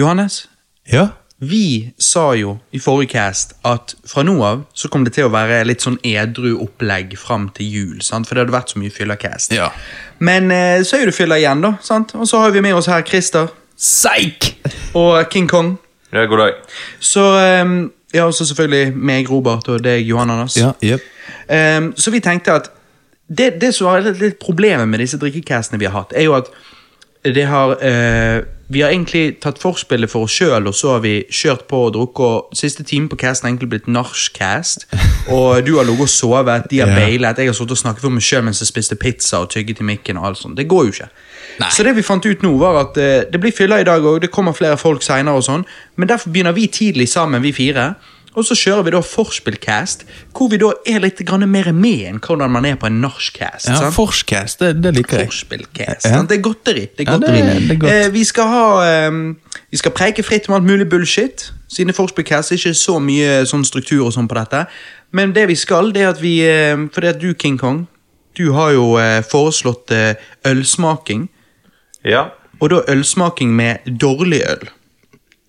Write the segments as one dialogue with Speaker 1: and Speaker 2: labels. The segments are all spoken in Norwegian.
Speaker 1: Johannes,
Speaker 2: Ja?
Speaker 1: vi sa jo i forrige cast at fra nå av så kom det til å være litt sånn edru opplegg fram til jul, sant? for det hadde vært så mye fyllercast.
Speaker 2: Ja.
Speaker 1: Men eh, så er jo det fyller igjen, da. sant? Og så har vi med oss her Christer
Speaker 2: Seik!
Speaker 1: og King Kong.
Speaker 3: Ja, god dag.
Speaker 1: Så ehm, ja, og så selvfølgelig meg, Robert, og deg, Johan Anders.
Speaker 2: Ja, jep.
Speaker 1: Ehm, så vi tenkte at det, det som er litt, litt problemet med disse drikkecastene vi har hatt, er jo at det har eh, Vi har egentlig tatt forspillet for oss sjøl, og så har vi kjørt på og drukket. Og siste time på casten har egentlig blitt nachcast. Og du har ligget og sovet, de har
Speaker 2: Ja.
Speaker 1: beilet, jeg har sittet og snakket for meg sjøl mens jeg spiste pizza og tygget i mikken. og alt sånt. Det går jo ikke. Så det vi fant ut nå, var at eh, det blir fylla i dag òg, det kommer flere folk seinere og sånn, men derfor begynner vi tidlig sammen, vi fire. Og så kjører vi da vorspiel-cast, hvor vi da er litt grann mer med enn hvordan man er på en nachcast.
Speaker 2: Ja,
Speaker 1: sant?
Speaker 2: Forskcast, det, det liker jeg.
Speaker 1: Forspillcast.
Speaker 2: Ja.
Speaker 1: sant? Det er godteri. Det er
Speaker 2: Ja, det-
Speaker 1: godteri.
Speaker 2: det er godt.
Speaker 1: Eh, vi skal ha ehm, Vi skal preike fritt om alt mulig bullshit. Siden Forspillcast er ikke så mye sånn struktur og sånn på dette. Men det vi skal, det er at vi ehm, For det at du, King Kong, du har jo eh, foreslått eh, ølsmaking.
Speaker 3: Ja.
Speaker 1: Og da ølsmaking med dårlig øl.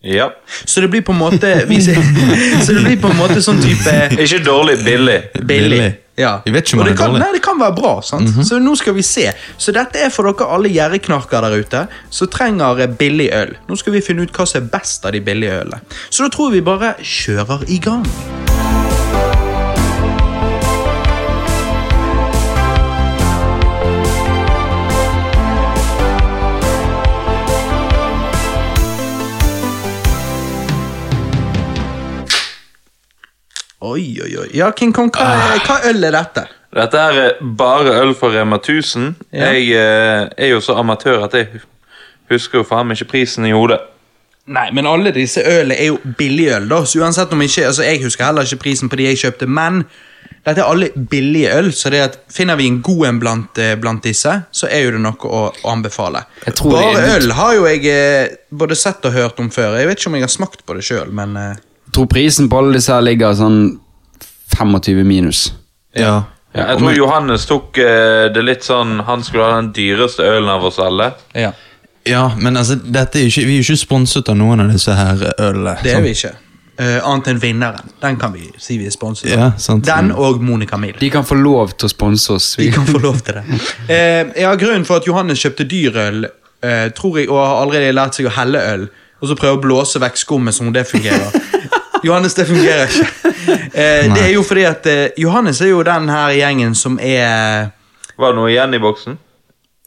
Speaker 3: Ja.
Speaker 1: Så det blir på en måte vi, Så det blir på en måte sånn type
Speaker 3: Ikke dårlig, billig.
Speaker 1: Billig.
Speaker 2: Billig.
Speaker 1: Ja.
Speaker 2: Jeg vet ikke om
Speaker 1: Og det
Speaker 2: han
Speaker 1: kan,
Speaker 2: er dårlig. Mhm.
Speaker 1: nei, det kan være bra. sant? Så nå skal vi se. Så dette er for dere alle gjerriknarker der ute som trenger eh, billig øl. Nå skal vi finne ut hva som er best av de billige ølene. Så da tror jeg vi bare kjører i gang. Oi, oi, oi. Ja, King Kong,
Speaker 2: Ah.
Speaker 1: hva, hva øl er dette?
Speaker 3: Dette her er eh, bare øl fra Rema 1000.
Speaker 1: Ja.
Speaker 3: Jeg eh, er jo så amatør at jeg husker jo faen meg ikke prisen i hodet.
Speaker 1: Nei, men alle disse ølene er jo billigøl, da. Så uansett om ikke Altså, jeg husker heller ikke prisen på de jeg kjøpte, men dette er alle billige øl, så det at finner vi en god en blant, eh, blant disse, så er jo det noe å å anbefale.
Speaker 4: Jeg tror
Speaker 1: Bare
Speaker 4: det er-
Speaker 1: øl har jo jeg eh, både sett og hørt om før. Jeg vet ikke om jeg har smakt på det sjøl, men eh,
Speaker 4: Jeg tror prisen på alle disse her ligger sånn 25 minus.
Speaker 2: Ja.
Speaker 3: Ja, jeg tror Johannes tok eh, det litt sånn Han skulle ha den dyreste ølen av oss alle.
Speaker 1: ja.
Speaker 2: Ja, men altså, dette er jo ikke, vi er jo ikke sponset av noen av disse her eh, ølene.
Speaker 1: det er
Speaker 2: sant?
Speaker 4: sånn.
Speaker 1: vi ikke. Eh, annet enn vinneren. Den kan vi si vi er sponset av.
Speaker 2: Ja, sant.
Speaker 1: Den
Speaker 4: Mm.
Speaker 1: og Monica Mill.
Speaker 4: De kan få lov til å sponse oss.
Speaker 1: De
Speaker 4: Vi,
Speaker 1: kan få lov til det. Eh, ja, grunnen for at Johannes kjøpte dyrøl, eh, tror jeg, og har allerede lært seg å helle øl, og så prøve å blåse vekk skummet som om det fungerer. Johannes, det fungerer ikke. Eh, det er jo fordi at eh, Johannes er jo den her gjengen som er
Speaker 3: Var det noe igjen i boksen?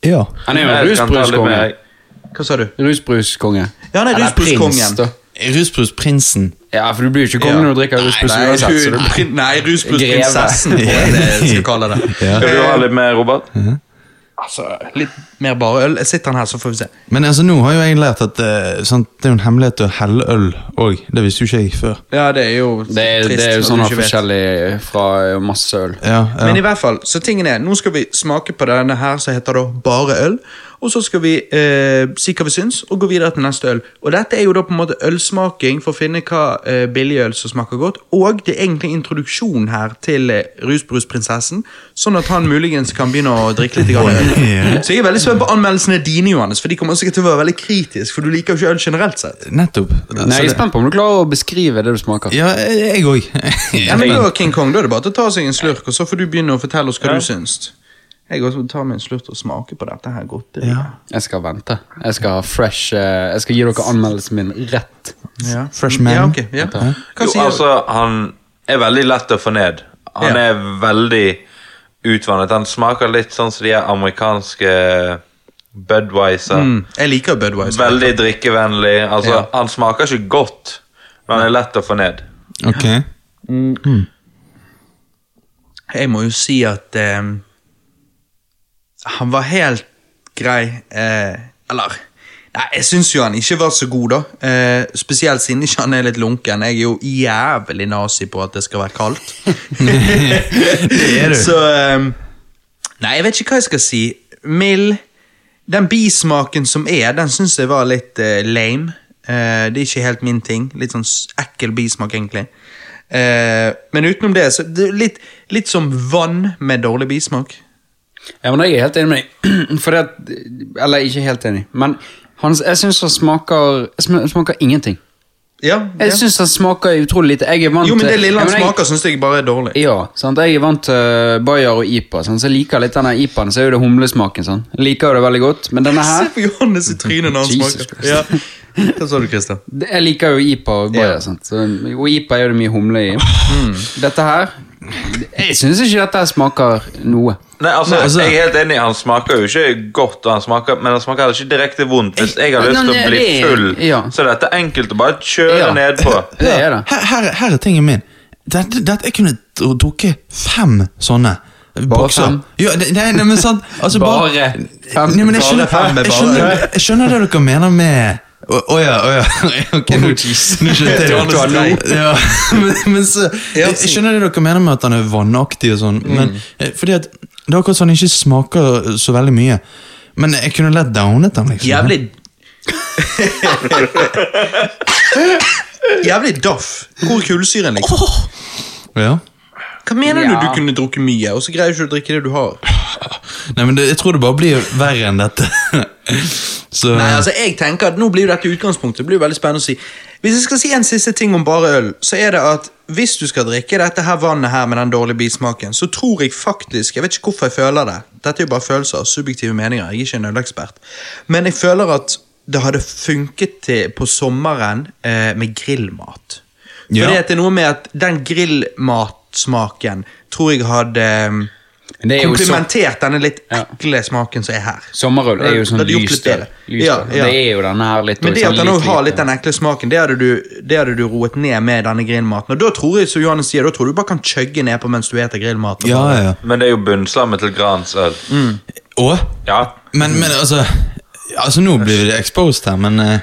Speaker 2: Ja.
Speaker 4: han er jo en
Speaker 3: Jeg kan ta litt
Speaker 4: rusbruskonge.
Speaker 3: mer.
Speaker 1: Hva sa du?
Speaker 4: Rusbruskonge.
Speaker 1: Ja, han er
Speaker 4: Eller
Speaker 1: rusbruskongen.
Speaker 4: prins, da.
Speaker 2: Rusbrusprinsen.
Speaker 4: Ja, for du blir jo ikke konge
Speaker 1: Ja.
Speaker 4: når du drikker rusbrus
Speaker 1: Nei,
Speaker 4: uansett.
Speaker 1: hun-
Speaker 4: Så du,
Speaker 1: prin- nei rusbrusprinsessen,
Speaker 4: Greve.
Speaker 1: tror jeg det skal kalle det.
Speaker 2: Ja.
Speaker 3: Skal du ha litt mer, Robert?
Speaker 1: Altså, litt mer bare øl. Sitter han her, så får vi se.
Speaker 2: Men altså, nå har jo jeg lært at eh, sant, det er jo en hemmelighet å helle øl òg. Det visste jo ikke jeg før.
Speaker 1: Ja, det er jo
Speaker 4: det, er-
Speaker 1: trist
Speaker 4: det er jo
Speaker 1: at du
Speaker 4: sånn
Speaker 1: ikke vet.
Speaker 4: forskjellig fra masse øl.
Speaker 2: Ja, ja.
Speaker 1: Men i hvert fall, så tingen er, nå skal vi smake på denne her som heter da bare øl, og så skal vi eh, si hva vi syns, og gå videre til neste øl. Og dette er jo da på en måte ølsmaking for å finne hva eh, billigøl som smaker godt, og det er egentlig introduksjon her til eh, rusbrusprinsessen, sånn at han muligens kan begynne å drikke litt i gang.
Speaker 2: Ja.
Speaker 1: Så jeg er veldig spent på anmeldelsene dine, Johannes, for de kommer sikkert til å være veldig kritiske, for du liker jo ikke øl generelt sett.
Speaker 2: Nettopp. Altså,
Speaker 4: Nei, jeg er
Speaker 2: det-
Speaker 4: spent på om du klarer å beskrive det du smaker.
Speaker 2: Ja, jeg òg.
Speaker 1: Ja, men da, King Kong, da er det bare til å ta seg en slurk, og så får du begynne å fortelle oss hva du syns. Jeg også tar meg en slurk og smaker på dette her godteriet.
Speaker 2: Ja.
Speaker 4: Jeg skal vente. Jeg skal ha fresh eh, Jeg skal gi dere anmeldelsen min rett.
Speaker 1: Ja.
Speaker 2: Fresh man.
Speaker 1: Ja, ok, ja. Hva
Speaker 3: Jo,
Speaker 1: sier du?
Speaker 3: altså, han er veldig lett å få ned. Han
Speaker 1: Ja.
Speaker 3: er veldig utvannet. Han smaker litt sånn som de her amerikanske eh, Budwiser.
Speaker 1: Mm, Jeg liker Budwiser.
Speaker 3: Veldig drikkevennlig. Altså,
Speaker 1: Ja.
Speaker 3: han smaker ikke godt, men han er lett å få ned.
Speaker 2: Ok.
Speaker 1: Jeg må jo si at eh, han var helt grei. eh, eller Nei, jeg syns jo han ikke var så god, da. Eh, spesielt siden ikke han er litt lunken. Jeg er jo jævlig nazi på at det skal være kaldt.
Speaker 2: Det er du.
Speaker 1: Så eh, Nei, jeg vet ikke hva jeg skal si. Mild. Den bismaken som er, den syns jeg var litt eh, lame. Eh, det er ikke helt min ting. Litt sånn s- ekkel bismak, egentlig. Eh, men utenom det, så det er litt, litt som vann med dårlig bismak.
Speaker 4: Ja, men Jeg er helt enig med deg. For det at, eller ikke helt enig, men Hans, jeg syns han smaker, jeg sm- smaker ingenting.
Speaker 1: Ja,
Speaker 4: Jeg
Speaker 1: ja.
Speaker 4: syns han smaker utrolig lite. Jeg er vant
Speaker 1: Jo, men
Speaker 4: til-
Speaker 1: det lille han
Speaker 4: Ja, men jeg-
Speaker 1: smaker, syns jeg bare er dårlig.
Speaker 4: Ja, sant? jeg er vant til eh, Bayer og IPA, sant? så jeg liker litt denne IPA-en. Så er jo det humlesmaken. Sant? Jeg liker jo det veldig godt, men denne
Speaker 1: Se
Speaker 4: her
Speaker 1: på Johannes i trynet når han
Speaker 4: Jesus
Speaker 1: smaker.
Speaker 4: Christ.
Speaker 1: Ja. Hva sa du, Christian?
Speaker 4: det- Jeg liker jo IPA og Bayer,
Speaker 1: Ja. Hmm.
Speaker 4: sant? Så, og IPA er jo det mye humle i. Dette her Jeg syns ikke dette her smaker noe.
Speaker 3: Nei, altså,
Speaker 2: Nei, altså-
Speaker 3: Jeg er helt enig, han smaker jo ikke godt, og han smaker, men han smaker heller ikke direkte vondt. Hvis jeg har
Speaker 4: Nei,
Speaker 3: lyst til å
Speaker 4: nei,
Speaker 3: bli
Speaker 4: det er-
Speaker 3: full,
Speaker 4: ja.
Speaker 3: så er dette enkelt å bare kjøre
Speaker 4: Ja.
Speaker 3: ned på.
Speaker 4: Det er det.
Speaker 2: Her, her, her er tingen min. Dette, dette, jeg kunne dr- drukket fem sånne bokser.
Speaker 4: fem?
Speaker 2: Ja, det- nei, nei, men sant altså,
Speaker 4: Bare fem.
Speaker 2: Nei, men jeg
Speaker 1: Bare
Speaker 2: skjønner,
Speaker 1: fem er
Speaker 2: jeg,
Speaker 1: bare-
Speaker 2: skjønner, jeg skjønner det dere mener med Å å ja, å ja. Ok, nå nå skjønte jeg
Speaker 1: Johannes er lei.
Speaker 2: det. Ja, men, men så, jeg, jeg skjønner det dere mener med at han er vannaktig og sånn, men eh, fordi at det er akkurat sånn han ikke smaker så veldig mye. Men jeg kunne lett downet han, liksom.
Speaker 1: Jævlig Jævlig daff. Hvor er kullsyren, liksom?
Speaker 2: Ja.
Speaker 1: Hva mener du
Speaker 4: Ja.
Speaker 1: du kunne drukke mye, og så greier ikke du å drikke det du har?
Speaker 2: Nei, men det, jeg tror det bare blir verre enn dette. så
Speaker 1: Nei, altså, jeg tenker at Nå blir jo dette utgangspunktet. Det blir jo veldig spennende å si. Hvis jeg skal si en siste ting om bare øl, så er det at hvis du skal drikke dette her vannet her med den dårlige bismaken, så tror jeg faktisk Jeg vet ikke hvorfor jeg føler det. Dette er jo bare følelser, subjektive meninger. Jeg er ikke en ølekspert. Men jeg føler at det hadde funket til på sommeren eh, med grillmat. Fordi
Speaker 2: Ja.
Speaker 1: at det er noe med at den grillmatsmaken tror jeg hadde eh,
Speaker 4: Men det er jo så-
Speaker 1: komplementert denne litt
Speaker 4: Ja.
Speaker 1: ekle smaken som er her.
Speaker 4: Sommerøl er jo
Speaker 1: Det
Speaker 4: sånn
Speaker 1: hadde gjort litt
Speaker 4: lyst øl.
Speaker 1: bedre.
Speaker 4: Lyst
Speaker 1: Ja,
Speaker 4: øl.
Speaker 1: ja.
Speaker 4: Det er jo denne her litt
Speaker 1: Men det
Speaker 4: sånn
Speaker 1: at han
Speaker 4: litt
Speaker 1: også har
Speaker 4: lite.
Speaker 1: litt den ekle smaken, det hadde du, det hadde du roet ned med denne grillmaten. Og da tror jeg, som Johannes sier, da tror du bare kan chugge nedpå mens du spiser grillmat. og
Speaker 2: Ja,
Speaker 1: bare-
Speaker 2: ja, ja.
Speaker 3: Men det er jo bunnslammet til Grans øl.
Speaker 4: Mm.
Speaker 2: Og?
Speaker 3: Ja.
Speaker 2: Men, men altså Altså Nå blir det exposed her, men eh,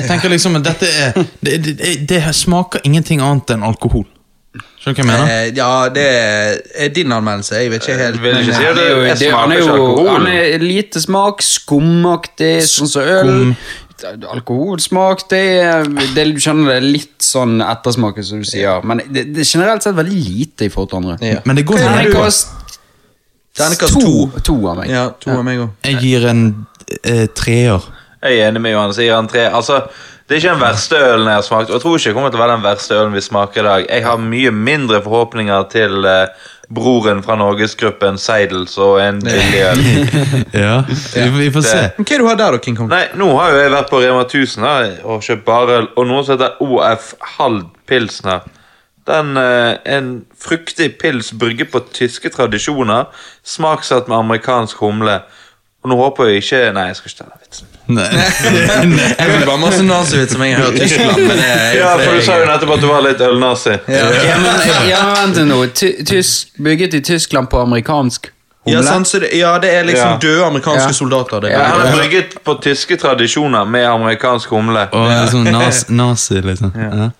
Speaker 2: jeg tenker liksom at dette er Det, det, det, det smaker ingenting annet enn alkohol. Skjønner du hva jeg mener?
Speaker 1: Eh, ja, det er din anmeldelse. Jeg vet ikke helt.
Speaker 3: Vil
Speaker 1: men,
Speaker 3: ikke si
Speaker 1: eh,
Speaker 3: det.
Speaker 4: Det er jo,
Speaker 3: Jeg
Speaker 4: det, han,
Speaker 3: smaker
Speaker 4: er
Speaker 3: ikke
Speaker 4: jo,
Speaker 3: alkohol.
Speaker 4: han er lite smak, skumaktig, sånn som øl. Alkoholsmak, det, er- det Du kjenner det er litt sånn ettersmak, som du sier. Men det, det er generelt sett veldig lite i forhold til andre.
Speaker 1: Eh, Ja.
Speaker 2: Men det går
Speaker 1: Hva er det du-
Speaker 4: Terningkast
Speaker 1: Terningkast
Speaker 4: to,
Speaker 1: to.
Speaker 4: to av meg.
Speaker 1: eh, Ja, to av meg òg.
Speaker 2: Jeg gir en eh, treer.
Speaker 3: Jeg er enig med Johannes. Jeg gir han tre. Altså, det er ikke den verste ølen jeg har smakt, og jeg tror ikke det kommer til å være den verste ølen vi smaker i dag. Jeg har mye mindre forhåpninger til eh, broren fra Norgesgruppen Seidels og en billig øl.
Speaker 2: ja, vi, vi får se.
Speaker 1: Men hva er det du har der, da, King Kong?
Speaker 3: Nei, nå har jo jeg vært på Rema 1000 her, og kjøpt barøl, og noe som heter OF Halv Pilsner. Den, eh, en fruktig pils brygget på tyske tradisjoner, smaksatt med amerikansk humle. Og nå håper jeg ikke Nei, jeg skal ikke ta den vitsen.
Speaker 2: Nei.
Speaker 1: Jeg vil bare masse nazivits som jeg har hørt i Tyskland. Men eh, det er
Speaker 3: Ja, for du sa jo nettopp at du var litt ølnazi.
Speaker 4: Ja, men, ja, vent nå. Ty- Tysk, bygget i Tyskland på amerikansk humle.
Speaker 1: ja, sant, så det, ja, det er liksom
Speaker 3: Ja.
Speaker 1: døde amerikanske
Speaker 4: Ja.
Speaker 1: soldater. Det.
Speaker 3: Ja, Han er brygget på tyske tradisjoner med amerikansk humle.
Speaker 2: Og sånn nas, nazi, liksom. Ja.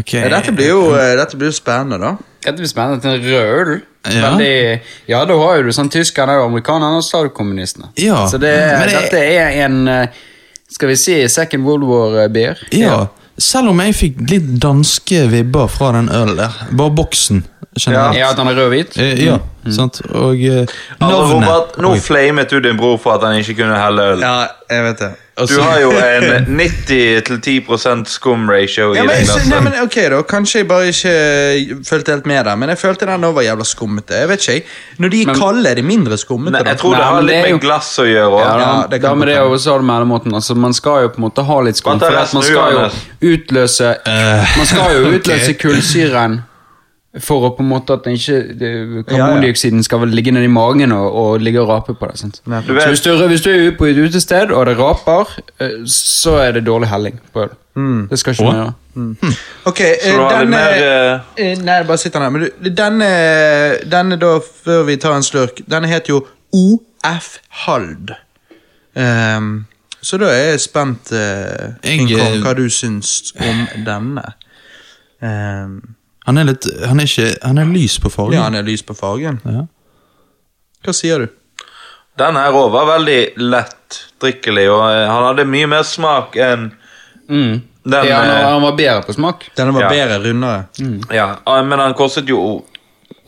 Speaker 2: Ok.
Speaker 1: Ja, dette, blir jo, eh, dette blir jo spennende, da.
Speaker 4: Dette blir spennende. til En rød øl.
Speaker 2: Ja.
Speaker 4: Veldig, ja, da har jo du sånn tyskerne og amerikanerne, og så har du kommunistene.
Speaker 2: Ja,
Speaker 4: Så det,
Speaker 2: men det-
Speaker 4: dette er en eh, Skal vi si Second World War-beer?
Speaker 2: Ja, selv om jeg fikk litt danske vibber fra den ølen der. Bare boksen. generelt.
Speaker 4: Ja, at han er rød og hvit?
Speaker 2: Eh, ja, sant. Og eh,
Speaker 3: Altså,
Speaker 2: navnet
Speaker 3: Robert, nå
Speaker 2: Oi.
Speaker 3: flamet du din bror for at han ikke kunne helle øl.
Speaker 1: Ja, jeg vet det.
Speaker 3: Du har jo en 90-10 skum ratio i
Speaker 1: Ja,
Speaker 3: det
Speaker 1: men, jeg sy-
Speaker 3: glasset.
Speaker 1: nei, men ok da, Kanskje jeg bare ikke eh, fulgte helt med der, men jeg følte den også var jævla skummete. Jeg vet ikke, jeg. Når de er
Speaker 4: Men-
Speaker 1: kalde, er de mindre skummete.
Speaker 3: Nei,
Speaker 1: da?
Speaker 3: jeg tror
Speaker 4: Nei,
Speaker 3: det har
Speaker 4: men det
Speaker 3: litt
Speaker 4: er
Speaker 3: med
Speaker 4: jo-
Speaker 3: glass å gjøre
Speaker 4: Ja,
Speaker 3: òg.
Speaker 4: da,
Speaker 1: Ja, det kan
Speaker 4: da med
Speaker 1: godt
Speaker 4: det
Speaker 1: hende.
Speaker 4: og så har du mellommåten. Altså, man skal jo på en måte ha litt skum,
Speaker 3: Hva tar
Speaker 4: for at
Speaker 3: resten
Speaker 4: man
Speaker 3: du,
Speaker 4: skal jo
Speaker 3: Johannes?
Speaker 4: utløse
Speaker 2: Eh,
Speaker 4: Man skal jo
Speaker 2: ok.
Speaker 4: utløse kullsyren for å på en måte at den ikke det- karbondioksiden skal vel ligge nedi magen og, og ligge og rape på det. sant?
Speaker 1: Nettopp.
Speaker 3: Du vet-
Speaker 4: Så hvis du, er- hvis du er ute på et utested og det raper, eh, så er det dårlig helling på øl.
Speaker 1: Mm.
Speaker 4: Det skal ikke
Speaker 2: Å?
Speaker 4: man gjøre.
Speaker 1: Ok, eh,
Speaker 3: Så du har litt
Speaker 1: denne
Speaker 3: mer eh,
Speaker 1: eh, Nei, bare sitt den her. Men du, denne, denne, da, før vi tar en slurk, denne heter jo OF Hald. Ehm, så da er jeg spent, eh, King
Speaker 2: Jeg,
Speaker 1: Kong,
Speaker 2: eh,
Speaker 1: hva du syns om denne. Ehm,
Speaker 2: Han er litt Han er ikke Han er lys på fargen.
Speaker 1: ja, han er lys på fargen.
Speaker 2: Ja.
Speaker 1: Hva sier du?
Speaker 3: Den her òg var veldig lett drikkelig, og eh, han hadde mye mer smak enn
Speaker 4: Mm.
Speaker 3: den
Speaker 4: ja, han,
Speaker 3: eh,
Speaker 4: var- han var bedre på smak.
Speaker 1: Denne var
Speaker 3: Ja.
Speaker 1: bedre, rundere.
Speaker 2: Mm.
Speaker 4: Mm.
Speaker 3: Ja, ah, men han kostet jo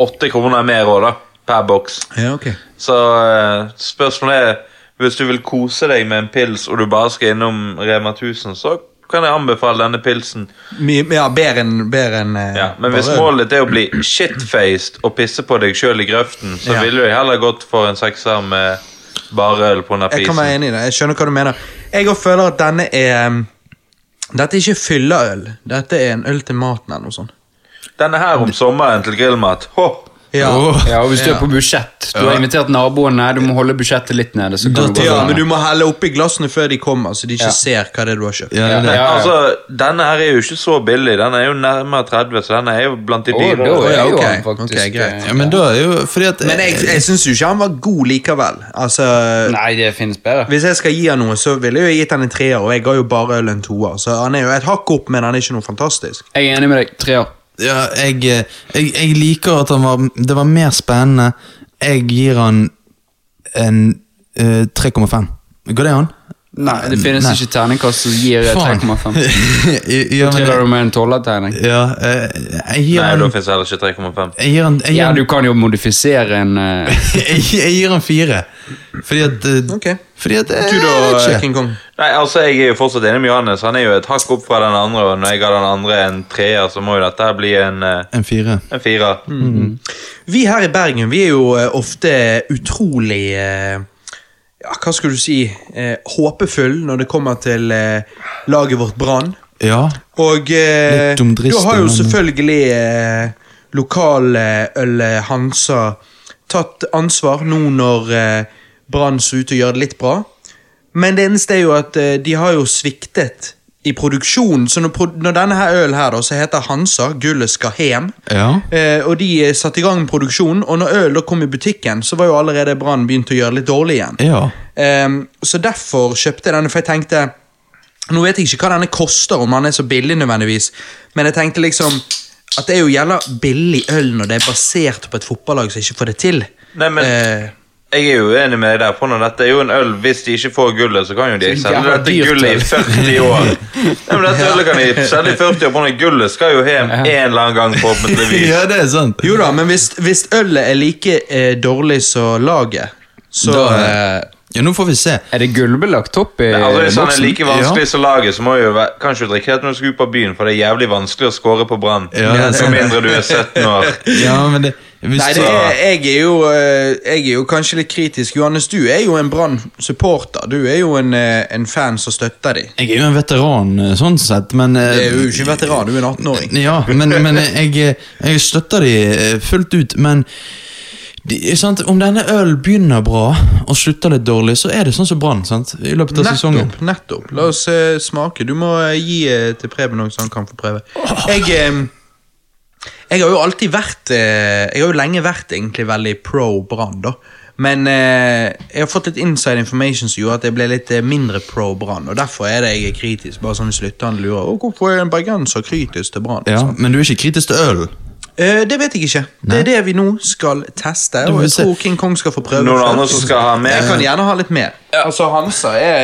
Speaker 3: åtte kroner mer òg, da. Per boks.
Speaker 1: Ja, ok.
Speaker 3: Så eh, spørsmålet er Hvis du vil kose deg med en pils og du bare skal innom Rema 1000, så kan jeg anbefale denne pilsen.
Speaker 1: My- Ja, bedre enn bedre enn, eh,
Speaker 3: Ja, men hvis
Speaker 1: bare øl.
Speaker 3: målet er å bli shitfaced og pisse på deg sjøl i grøften, så
Speaker 1: Ja.
Speaker 3: ville du heller gått for en sekser med bare øl på
Speaker 1: Jeg kan være
Speaker 3: napisen.
Speaker 1: enig i det. Jeg skjønner hva du mener. Jeg også føler at denne er um, Dette er ikke fylleøl. Dette er en øl til maten eller noe sånt.
Speaker 3: Denne her om sommeren til grillmat. Hå!
Speaker 1: Ja.
Speaker 2: Åh.
Speaker 4: Ja, og Hvis du er på budsjett, du har invitert naboene, du må holde budsjettet litt nede. så kan du gå
Speaker 1: ja,
Speaker 4: sånn.
Speaker 1: men du må helle oppi glassene før de kommer, så de ikke
Speaker 4: Ja.
Speaker 1: ser hva det er du har kjøpt.
Speaker 2: Ja, det er det.
Speaker 4: Ja, ja.
Speaker 3: Altså, Denne her er jo ikke så billig. Den er jo nærmere 30, så den er jo blant de
Speaker 4: Å, da
Speaker 3: dyrere.
Speaker 4: er
Speaker 1: ja,
Speaker 4: jo
Speaker 1: ok.
Speaker 4: han faktisk
Speaker 1: Ok, greit.
Speaker 4: eh,
Speaker 2: Ja, men da er jo fordi at
Speaker 1: Men jeg, jeg syns jo ikke han var god likevel. Altså,
Speaker 4: Nei, det finnes bedre.
Speaker 1: Hvis jeg skal gi han noe, så ville jeg jo gitt han en treer, og jeg ga jo bare øl en toer. Så han er jo et hakk opp, men han er ikke noe fantastisk.
Speaker 4: Jeg er enig med deg. Tre år.
Speaker 2: Ja, jeg, eh, jeg, jeg liker at han var Det var mer spennende. Jeg gir han en eh, 3,5. Går det an?
Speaker 4: Nei, det finnes
Speaker 2: Nei.
Speaker 4: ikke terningkast som gir eh, 3,5.
Speaker 2: ja, men,
Speaker 4: Triller du med en tolvertegning?
Speaker 2: ja, eh, jeg gir
Speaker 3: Nei, da
Speaker 2: han
Speaker 3: fins heller ikke 3,5.
Speaker 2: Jeg gir han jeg gir
Speaker 4: Ja,
Speaker 2: han-
Speaker 4: du kan jo modifisere en eh,
Speaker 2: jeg, jeg gir han fire. Fordi at eh,
Speaker 1: Ok.
Speaker 2: Fordi at eh,
Speaker 1: Du da,
Speaker 2: jeg vet ikke.
Speaker 1: King Kong?
Speaker 3: Nei, altså, Jeg er jo fortsatt enig med Johannes. Han er jo et hakk opp fra den andre. Og når jeg ga den andre en treer, så må jo dette her bli en, eh,
Speaker 2: En fire.
Speaker 3: en firer.
Speaker 4: Mm.
Speaker 1: Vi her i Bergen vi er jo eh, ofte utrolig eh, ja, Hva skulle du si eh, håpefull når det kommer til eh, laget vårt Brann.
Speaker 2: Ja.
Speaker 1: Og eh,
Speaker 2: Litt dumdristig,
Speaker 1: da har jo
Speaker 2: men-
Speaker 1: selvfølgelig eh, lokaløl eh, Hansa tatt ansvar nå når eh, Brann ser ut til å gjøre det litt bra. Men det eneste er jo at eh, de har jo sviktet i produksjonen. Så når, pro- når denne her ølen her da, så heter Hansa, gullet skal hjem.
Speaker 2: ja.
Speaker 1: Eh, og de eh, satte i gang produksjonen, og når øl da kom i butikken, så var jo allerede Brann begynt å gjøre det litt dårlig igjen.
Speaker 2: Ja.
Speaker 1: Ehm, så derfor kjøpte jeg denne, for jeg tenkte Nå vet jeg ikke hva denne koster, om han er så billig nødvendigvis, men jeg tenkte liksom at det er jo gjelder billig øl når det er basert på et fotballag som ikke får det til.
Speaker 3: Nei, men-
Speaker 1: Eh,
Speaker 3: Jeg er jo uenig med deg der. For når dette er jo en øl Hvis de ikke får gullet, så kan jo de
Speaker 4: Så
Speaker 3: selge
Speaker 4: jævla
Speaker 3: dette
Speaker 4: dyrt
Speaker 3: gullet
Speaker 4: øl.
Speaker 3: i 40 år. Nei, men Dette ølet kan de selge i 40 år, for når gullet skal jo hjem en eller annen gang, forhåpentligvis.
Speaker 2: ja, det er sant.
Speaker 1: jo da, men hvis, hvis ølet er like eh, dårlig som laget, så
Speaker 2: Da-
Speaker 1: eh,
Speaker 2: Ja, nå får vi se.
Speaker 4: Er det gulvbelagt topp i
Speaker 3: Altså, hvis han er
Speaker 4: boksen?
Speaker 3: like vanskelig som laget, så må jo være, kanskje du drikke helt når du skal ut på byen, for det er jævlig vanskelig å score på Brann.
Speaker 2: Ja, det er
Speaker 3: Med
Speaker 2: sant.
Speaker 3: mindre du er 17 år.
Speaker 2: Ja, men det hvis
Speaker 1: Nei, det er, jeg, er jo, eh, jeg er jo kanskje litt kritisk. Johannes, du er jo en Brann-supporter. Du er jo en, eh, en fan som støtter dem.
Speaker 2: Jeg er jo en veteran eh, sånn sett, men eh,
Speaker 1: Du er jo ikke veteran, du er en 18-åring.
Speaker 2: Ja, men, men jeg, eh, jeg støtter de eh, fullt ut, men de, sant? Om denne ølen begynner bra og slutter litt dårlig, så er det sånn som Brann. sant? I løpet av sesongen.
Speaker 1: Nettopp. nettopp. La oss eh, smake. Du må eh, gi eh, til Preben òg, så han kan få prøve. Jeg, eh, jeg har jo alltid vært eh, Jeg har jo lenge vært egentlig veldig pro Brann, da. Men eh, jeg har fått litt inside information som gjorde at jeg ble litt eh, mindre pro Brann. Og derfor er det jeg er kritisk. Bare sånn hvis lytteren lurer Å, hvorfor er en bergenser kritisk til Brann.
Speaker 2: Ja, Men du er ikke kritisk til ølen?
Speaker 1: Eh, det vet jeg ikke. Det er det vi nå skal teste.
Speaker 2: Da må
Speaker 1: Og
Speaker 2: vi
Speaker 1: jeg
Speaker 2: se.
Speaker 1: tror King Kong skal få prøve.
Speaker 3: Noen
Speaker 1: først.
Speaker 3: andre som skal ha mer?
Speaker 1: Jeg kan gjerne ha litt mer. Altså, Hansa er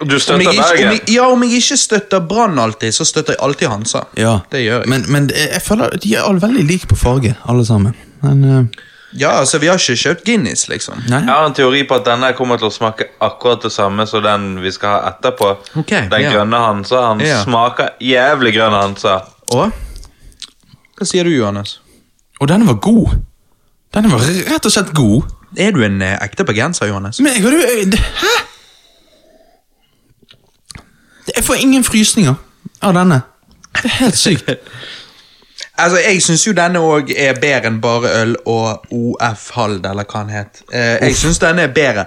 Speaker 3: Du
Speaker 1: om jeg,
Speaker 3: støtter
Speaker 1: ikke, om
Speaker 3: Bergen.
Speaker 1: jeg, ja, om jeg ikke støtter Brann alltid, så støtter jeg alltid Hansa.
Speaker 2: Ja.
Speaker 1: Det gjør jeg.
Speaker 2: Men, men det- jeg føler de er alle veldig like på farge, alle sammen. Men eh,
Speaker 1: ja, altså, Vi har ikke kjøpt Guinness, liksom.
Speaker 2: Nei.
Speaker 3: Jeg har en teori på at denne kommer til å smake akkurat det samme som den vi skal ha etterpå.
Speaker 1: Ok,
Speaker 3: den
Speaker 1: ja.
Speaker 3: grønne Hansa. Han
Speaker 1: Ja.
Speaker 3: smaker jævlig grønn Hansa.
Speaker 1: Og? Hva sier du, Johannes?
Speaker 2: Og denne var god. Denne var rett og slett god.
Speaker 1: Er du en eh, ekte bergenser, Johannes?
Speaker 2: Men jeg har jo det- Hæ? Jeg får ingen frysninger av denne. Det er helt sykt.
Speaker 1: Altså, Jeg syns jo denne òg er bedre enn bare øl og OF Hald, eller hva han het. Eh, jeg syns denne er bedre.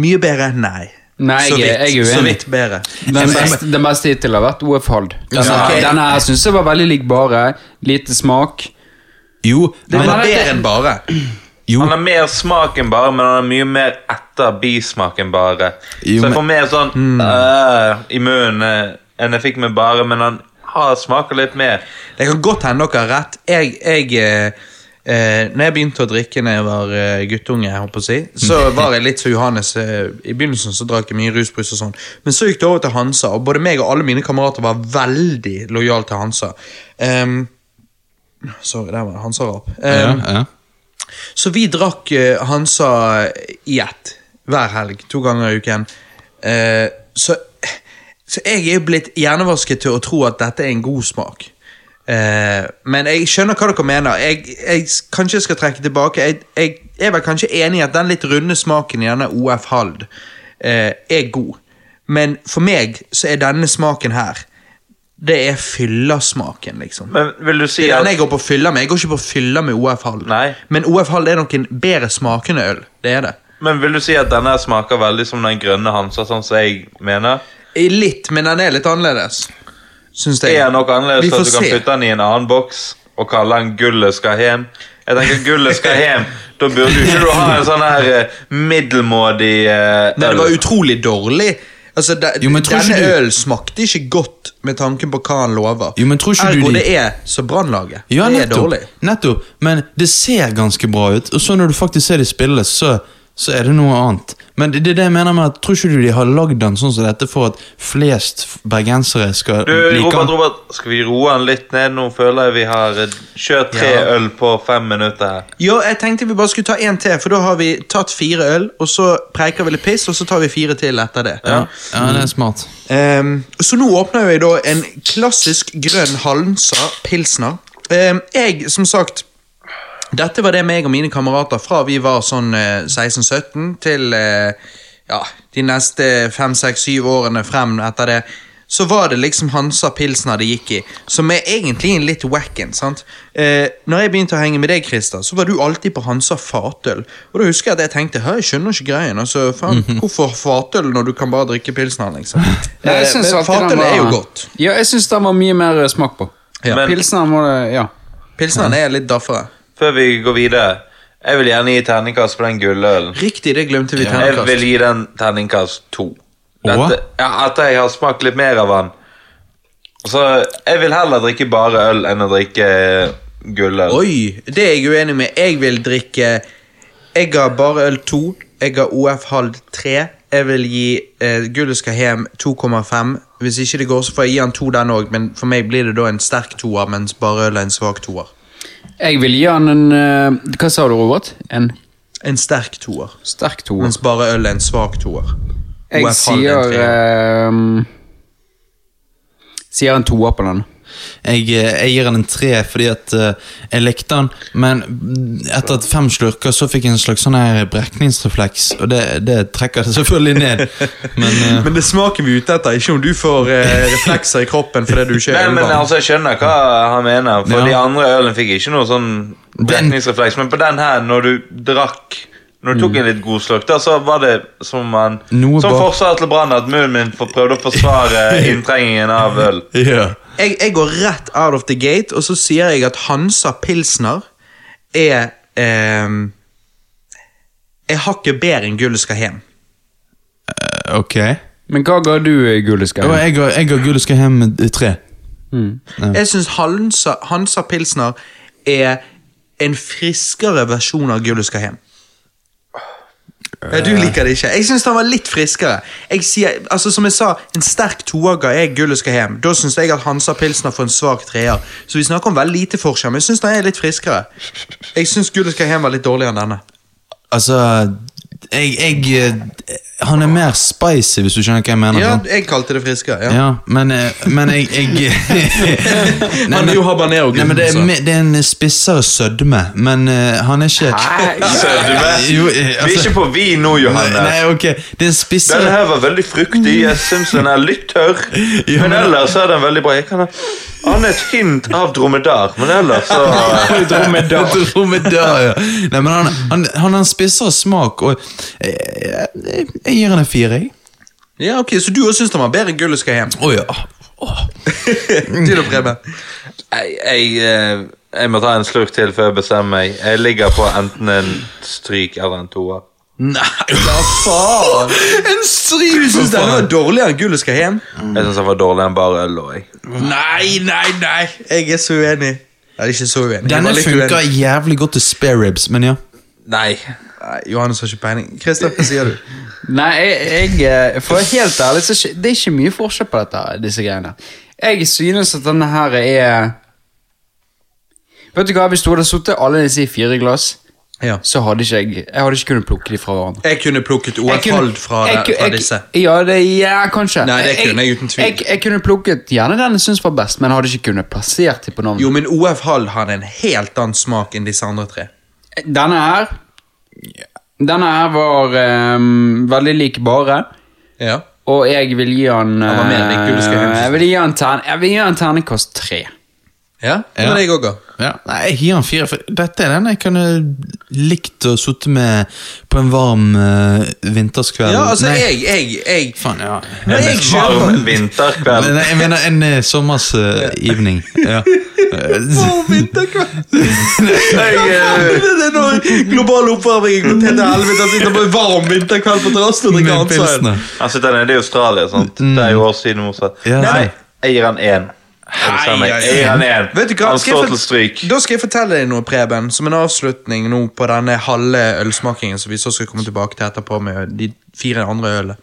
Speaker 1: Mye bedre? Nei.
Speaker 4: Nei, jeg
Speaker 1: så
Speaker 4: er-
Speaker 1: vidt.
Speaker 4: jeg er uenig.
Speaker 1: Så vidt bedre.
Speaker 4: Den beste, den beste hittil har vært OF Hald. Denne,
Speaker 1: Ja, ok.
Speaker 4: denne her syns jeg var veldig lik bare. Lite smak.
Speaker 2: Jo,
Speaker 1: Den
Speaker 2: men,
Speaker 1: er bedre enn bare.
Speaker 2: jo,
Speaker 3: Han har mer smak enn bare, men han har mye mer etter bismak enn bare.
Speaker 2: Jo,
Speaker 3: så
Speaker 2: men-
Speaker 3: jeg får mer sånn
Speaker 1: Mm.
Speaker 3: «Åh», i munnen eh, enn jeg fikk med bare, men han har smaker litt mer.
Speaker 1: Det kan godt hende dere har rett. Jeg, jeg eh, eh, Når jeg begynte å drikke da jeg var eh, guttunge, jeg holdt på å si, så var jeg litt som Johannes. Eh, I begynnelsen så drakk jeg mye rusbrus og sånn, men så gikk det over til Hansa, og både meg og alle mine kamerater var veldig lojale til Hansa. Ehm, sorry, der var det Hansa-rap. Ehm,
Speaker 2: ja, ja.
Speaker 1: Så vi drakk eh, Hansa i ett. hver helg, to ganger i uken. Eh, så, så jeg er jo blitt hjernevasket til å tro at dette er en god smak. Eh, men jeg skjønner hva dere mener. Jeg, jeg s- kanskje jeg skal trekke tilbake. Jeg, jeg er vel kanskje enig i at den litt runde smaken i denne OF Hald eh, er god. Men for meg så er denne smaken her Det er fyllersmaken, liksom.
Speaker 3: Men vil du si
Speaker 1: Det er
Speaker 3: at
Speaker 1: den jeg går på fylla med. Jeg går ikke på fylla med OF Hall.
Speaker 3: Nei.
Speaker 1: Men OF Hall er nok en bedre smakende øl. Det er det.
Speaker 3: Men vil du si at denne smaker veldig som den grønne Hansa, sånn som jeg mener?
Speaker 1: I Litt, men den er litt annerledes. Syns jeg.
Speaker 3: Er den nok
Speaker 1: Vi
Speaker 3: annerledes
Speaker 1: får
Speaker 3: at du kan
Speaker 1: se.
Speaker 3: putte den i en annen boks og kalle den 'Gullet skal hjem'? Jeg tenker 'Gullet skal hjem'. Da burde jo ikke du ha en sånn her eh, middelmådig eh,
Speaker 1: Men det
Speaker 3: øl.
Speaker 1: var utrolig dårlig. Altså, de,
Speaker 2: Jo, men tror
Speaker 1: denne
Speaker 2: ikke du-
Speaker 1: ølen smakte ikke godt med tanken på hva han lover.
Speaker 2: Jo, men tror ikke du
Speaker 1: Ergo,
Speaker 2: de-
Speaker 1: det er så Brannlaget.
Speaker 2: Ja,
Speaker 1: det er
Speaker 2: nettopp.
Speaker 1: dårlig.
Speaker 2: nettopp. Men det ser ganske bra ut, og så når du faktisk ser de spille, så, så er det noe annet. Men det det er det jeg mener med at tror ikke du de har lagd den sånn som dette for at flest f- bergensere skal
Speaker 3: Du,
Speaker 2: like
Speaker 3: Robert,
Speaker 2: den?
Speaker 3: Robert, skal vi roe den litt ned nå? Føler jeg vi har eh, kjørt tre
Speaker 1: Ja.
Speaker 3: øl på fem minutter her.
Speaker 1: Jo, jeg tenkte vi bare skulle ta én til, for da har vi tatt fire øl, og så preiker vi litt piss, og så tar vi fire til etter det.
Speaker 2: Ja. ja, det er smart.
Speaker 1: Ehm, så nå åpner jeg da en klassisk grønn Halmsa pilsner. Ehm, jeg, som sagt Dette var det meg og mine kamerater fra vi var sånn eh, 16-17 til eh, ja, de neste 5-6-7 årene frem etter det. Så var det liksom Hansa Pilsner det gikk i, som er egentlig en litt wacken. sant? Eh, når jeg begynte å henge med deg, Christer, så var du alltid på Hansa Fatøl. Og da husker jeg at jeg tenkte Hør, jeg skjønner ikke greien. altså, faen,
Speaker 4: Mhm.
Speaker 1: Hvorfor Fatøl når du kan bare drikke pilsner, liksom?
Speaker 4: Nei, jeg
Speaker 1: Eh,
Speaker 4: synes
Speaker 1: men
Speaker 4: alltid den
Speaker 1: Fatøl
Speaker 4: var-
Speaker 1: er jo godt.
Speaker 4: Ja, jeg syns den var mye mer eh, smak på.
Speaker 1: Ja.
Speaker 4: Men- Pilsneren var det Ja.
Speaker 1: Pilsneren er litt daffere.
Speaker 3: Før vi går videre, jeg vil gjerne gi terningkast på den gullølen.
Speaker 1: Riktig, det glemte vi.
Speaker 3: Jeg
Speaker 1: terningkast.
Speaker 3: vil gi den terningkast to.
Speaker 2: Åh?
Speaker 3: Dette, ja, at jeg har smakt litt mer av den. Så jeg vil heller drikke bare øl enn å drikke eh, gulløl.
Speaker 1: Oi, det er jeg uenig med. Jeg vil drikke Jeg har bare øl 2. Jeg har OF halv 3. Jeg vil gi eh, Gullet skal hjem 2,5. Hvis ikke det går, så får jeg gi han to den òg, men for meg blir det da en sterk toer, mens bare øl er en svak toer.
Speaker 4: Jeg vil gi han en eh, Hva sa du, Robert? En
Speaker 1: En sterk toer,
Speaker 4: sterk toer.
Speaker 1: mens bare øl er en svak toer. OF halv
Speaker 4: Jeg
Speaker 1: er en
Speaker 4: sier
Speaker 1: treer.
Speaker 4: eh, Sier en toer på den.
Speaker 2: Jeg, eh, jeg gir den en tre fordi at eh, jeg likte den, men mm, etter at fem slurker så fikk jeg en slags sånn her brekningsrefleks, og det, det trekker det selvfølgelig ned. Men eh,
Speaker 1: Men det smaker vi er ute etter, ikke om du får eh, reflekser i kroppen fordi du ikke
Speaker 3: Nei,
Speaker 1: er
Speaker 3: men
Speaker 1: ølvann.
Speaker 3: altså, Jeg skjønner hva han mener, for
Speaker 2: Ja.
Speaker 3: de andre ølene fikk ikke noe sånn brekningsrefleks. Men på den her, når du drakk Når du tok en litt god slurk, da, så var det som man
Speaker 2: Mm. Noe
Speaker 3: Som
Speaker 2: bak-
Speaker 3: forsvar til Brann at munnen min for- prøvde å forsvare inntrengingen av øl.
Speaker 2: ja.
Speaker 1: jeg, jeg går rett out of the gate, og så sier jeg at Hansa Pilsner er ehm, Er hakket bedre enn Gullet skal hjem.
Speaker 2: Ok.
Speaker 4: Men hva ga du, eh, Gulliska?
Speaker 2: Og jeg har, jeg har gull og skal hjem med eh, tre.
Speaker 1: Jeg syns Hansa, Hansa Pilsner er en friskere versjon av Gullet skal hjem. Ja, du liker det ikke. Jeg syns den var litt friskere. Jeg sier, altså Som jeg sa, en sterk toer ga jeg Gullet skal hjem. Da syns jeg at Hansa Pilsner får en svak treer. Så vi snakker om veldig lite forskjell, men jeg syns den er litt friskere. Jeg syns Gullet skal hjem var litt dårligere enn denne.
Speaker 2: Altså jeg, jeg eh, Han er mer spicy, hvis du skjønner hva jeg mener.
Speaker 1: Ja,
Speaker 2: sant?
Speaker 1: jeg kalte det friskere. Ja.
Speaker 2: ja Men, eh, men jeg, jeg Nei,
Speaker 1: Han er
Speaker 2: men-
Speaker 1: jo habanero,
Speaker 2: Nei, men det, er,
Speaker 1: så.
Speaker 2: me- det er en spissere sødme, men eh, han er ikke
Speaker 3: Sødme.
Speaker 2: Jo, eh,
Speaker 3: Vi er
Speaker 2: altså-
Speaker 3: ikke på vin nå,
Speaker 2: Nei,
Speaker 3: Johanne.
Speaker 1: eh,
Speaker 2: nei, ok. Det er en
Speaker 3: Den
Speaker 2: spissere
Speaker 3: her var veldig fruktig. Jeg syns den er litt tørr.
Speaker 2: Ja,
Speaker 3: Men
Speaker 2: men-
Speaker 3: ellers er den veldig bra. Jeg kan ha Han er et hint av dromedar, men ellers så
Speaker 2: Dromedar. ja. Nei, men han, han, han har en spissere smak, og jeg, jeg, jeg gir han en fire, jeg.
Speaker 1: Ja, ok, Så du òg syns han var bedre enn Gullet skal hjem?
Speaker 2: Å ja. Åh.
Speaker 1: Du da, Preben?
Speaker 3: jeg, jeg, eh, jeg må ta en slurk til før jeg bestemmer meg. Jeg ligger på enten en stryk eller en toer.
Speaker 1: Nei, hva faen?
Speaker 2: En stryk!
Speaker 1: Du syns den var dårligere enn Gullet skal hjem?
Speaker 3: Jeg syns den var dårligere enn bare øl. også, jeg.
Speaker 1: Nei, nei, nei! Jeg er så uenig. Jeg er ikke så uenig. Jeg var
Speaker 2: Denne
Speaker 1: litt
Speaker 2: funker
Speaker 1: uenig.
Speaker 2: jævlig godt til spare ribs, men ja.
Speaker 3: Nei.
Speaker 1: Nei, Johannes har ikke peiling. Christer, hva sier du?
Speaker 4: Nei, jeg, jeg eh, For å være helt ærlig, så er ikke- det er ikke mye forskjell på dette, disse greiene. Jeg synes at denne her er Vet du hva, hvis du hadde sittet alle disse i fire glass,
Speaker 1: Ja.
Speaker 4: så hadde ikke jeg Jeg hadde ikke kunnet plukke de fra hverandre.
Speaker 1: Jeg kunne plukket
Speaker 4: Jeg kunne-
Speaker 1: OF-hald fra,
Speaker 4: jeg ku-
Speaker 1: fra
Speaker 4: jeg-
Speaker 1: disse.
Speaker 4: Ja, det, ja, kanskje.
Speaker 1: Nei, det kunne jeg uten tvil.
Speaker 4: Jeg, jeg kunne plukket gjerne den jeg syns var best, men hadde ikke kunnet plassert dem på navnet.
Speaker 1: Jo, men OF-hall hadde en helt annen smak enn disse andre tre.
Speaker 4: Denne her Denne her var ehm, veldig lik bare.
Speaker 1: Ja.
Speaker 4: Og jeg vil gi han
Speaker 1: Han var mer lik Julius Games.
Speaker 4: eh, Jeg vil gi han, tern, jeg vil gi han ternekast tre.
Speaker 1: Ja, det
Speaker 2: Ja.
Speaker 1: var det jeg òg ga.
Speaker 2: Ja, nei, jeg gir han fire, for dette er den jeg kunne likt å sitte med på en varm eh, vinterskveld.
Speaker 1: Ja, altså,
Speaker 2: Nei,
Speaker 1: jeg, jeg, jeg
Speaker 2: Faen, ja.
Speaker 1: Nei, jeg kjøper
Speaker 3: Varm vinterkveld.
Speaker 2: Men jeg mener en uh, sommers eh, evening. Ja.
Speaker 1: Å, vinterkveld!
Speaker 3: Jeg, eh,
Speaker 1: Det er når global oppvarming er gått helt til helvete. Jeg sitter på en varm vinterkveld på terrassen og drikker
Speaker 2: Med
Speaker 1: Hansaen.
Speaker 2: pilsene.
Speaker 3: Han sitter nede i Australia, sant?
Speaker 1: Mm.
Speaker 3: Det er jo år siden motsatt.
Speaker 2: Ja.
Speaker 3: Nei, jeg gir han én.
Speaker 1: Hei, hei,
Speaker 3: Jeg gir han én.
Speaker 1: Vet du hva?
Speaker 3: Han
Speaker 1: Skal jeg
Speaker 3: står
Speaker 1: fort-
Speaker 3: til stryk.
Speaker 1: Da skal jeg fortelle deg noe, Preben, som en avslutning nå på denne halve ølsmakingen som vi så skal komme tilbake til etterpå med de fire andre ølene.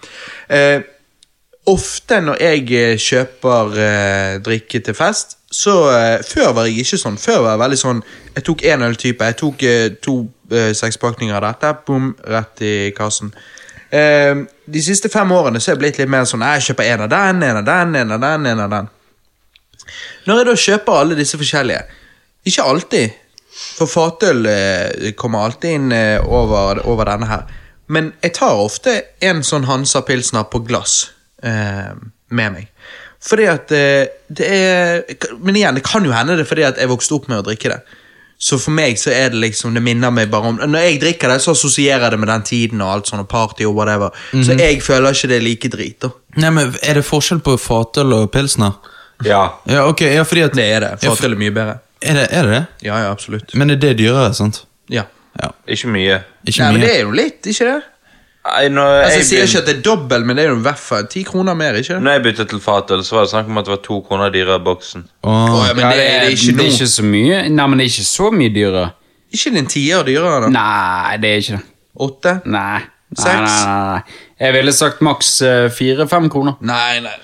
Speaker 1: Eh, ofte når jeg eh, kjøper eh, drikke til fest, så eh, Før var jeg ikke sånn. Før var jeg veldig sånn Jeg tok én øltype. Jeg tok eh, to eh, sekspakninger av dette. Bom, rett i kassen. Eh, de siste fem årene så er jeg blitt litt mer sånn «Nei, Jeg kjøper én av den, én av den, én av den, én av den. Når jeg da kjøper alle disse forskjellige Ikke alltid, for fatøl eh, kommer alltid inn eh, over, over denne her. Men jeg tar ofte en sånn Hansa Pilsner på glass eh, med meg. Fordi at eh, det er Men igjen, det kan jo hende det er fordi at jeg vokste opp med å drikke det. Så for meg så er det liksom Det minner meg bare om Når jeg drikker det, så assosierer jeg det med den tiden og alt sånn, og party og whatever. Så
Speaker 2: Mhm.
Speaker 1: jeg føler ikke det er like drit, da.
Speaker 2: Nei, men Er det forskjell på fatøl og pilsner?
Speaker 3: Ja.
Speaker 2: Ja, ok, ja, fordi at
Speaker 1: Det er det.
Speaker 2: Ja, for-
Speaker 1: Fatøl er mye bedre.
Speaker 2: Er det er det? det?
Speaker 1: Ja, ja, absolutt.
Speaker 2: Men er det dyrere, sant?
Speaker 1: Ja.
Speaker 2: Ja,
Speaker 3: Ikke mye.
Speaker 2: Ikke
Speaker 1: Nei, men
Speaker 2: mye.
Speaker 1: det er jo litt, ikke det?
Speaker 3: Nei, når jeg,
Speaker 1: Altså, jeg sier ikke
Speaker 3: begyn-
Speaker 1: at det er dobbel, men det er jo i hvert fall ti kroner mer, ikke det?
Speaker 3: når jeg bytta til fatøl, så var det snakk om at det var to kroner dyrere i boksen.
Speaker 2: Åh,
Speaker 1: Åja, men det er det ikke
Speaker 4: det
Speaker 1: nå.
Speaker 4: er ikke så mye. Nei, men det er ikke så mye dyrere.
Speaker 1: Ikke den tier dyrere, da?
Speaker 4: Nei, det er ikke det.
Speaker 1: Åtte?
Speaker 4: Nei. Nei,
Speaker 1: Seks?
Speaker 4: nei, nei, nei. Jeg ville sagt maks eh, fire-fem kroner.
Speaker 1: Nei, nei.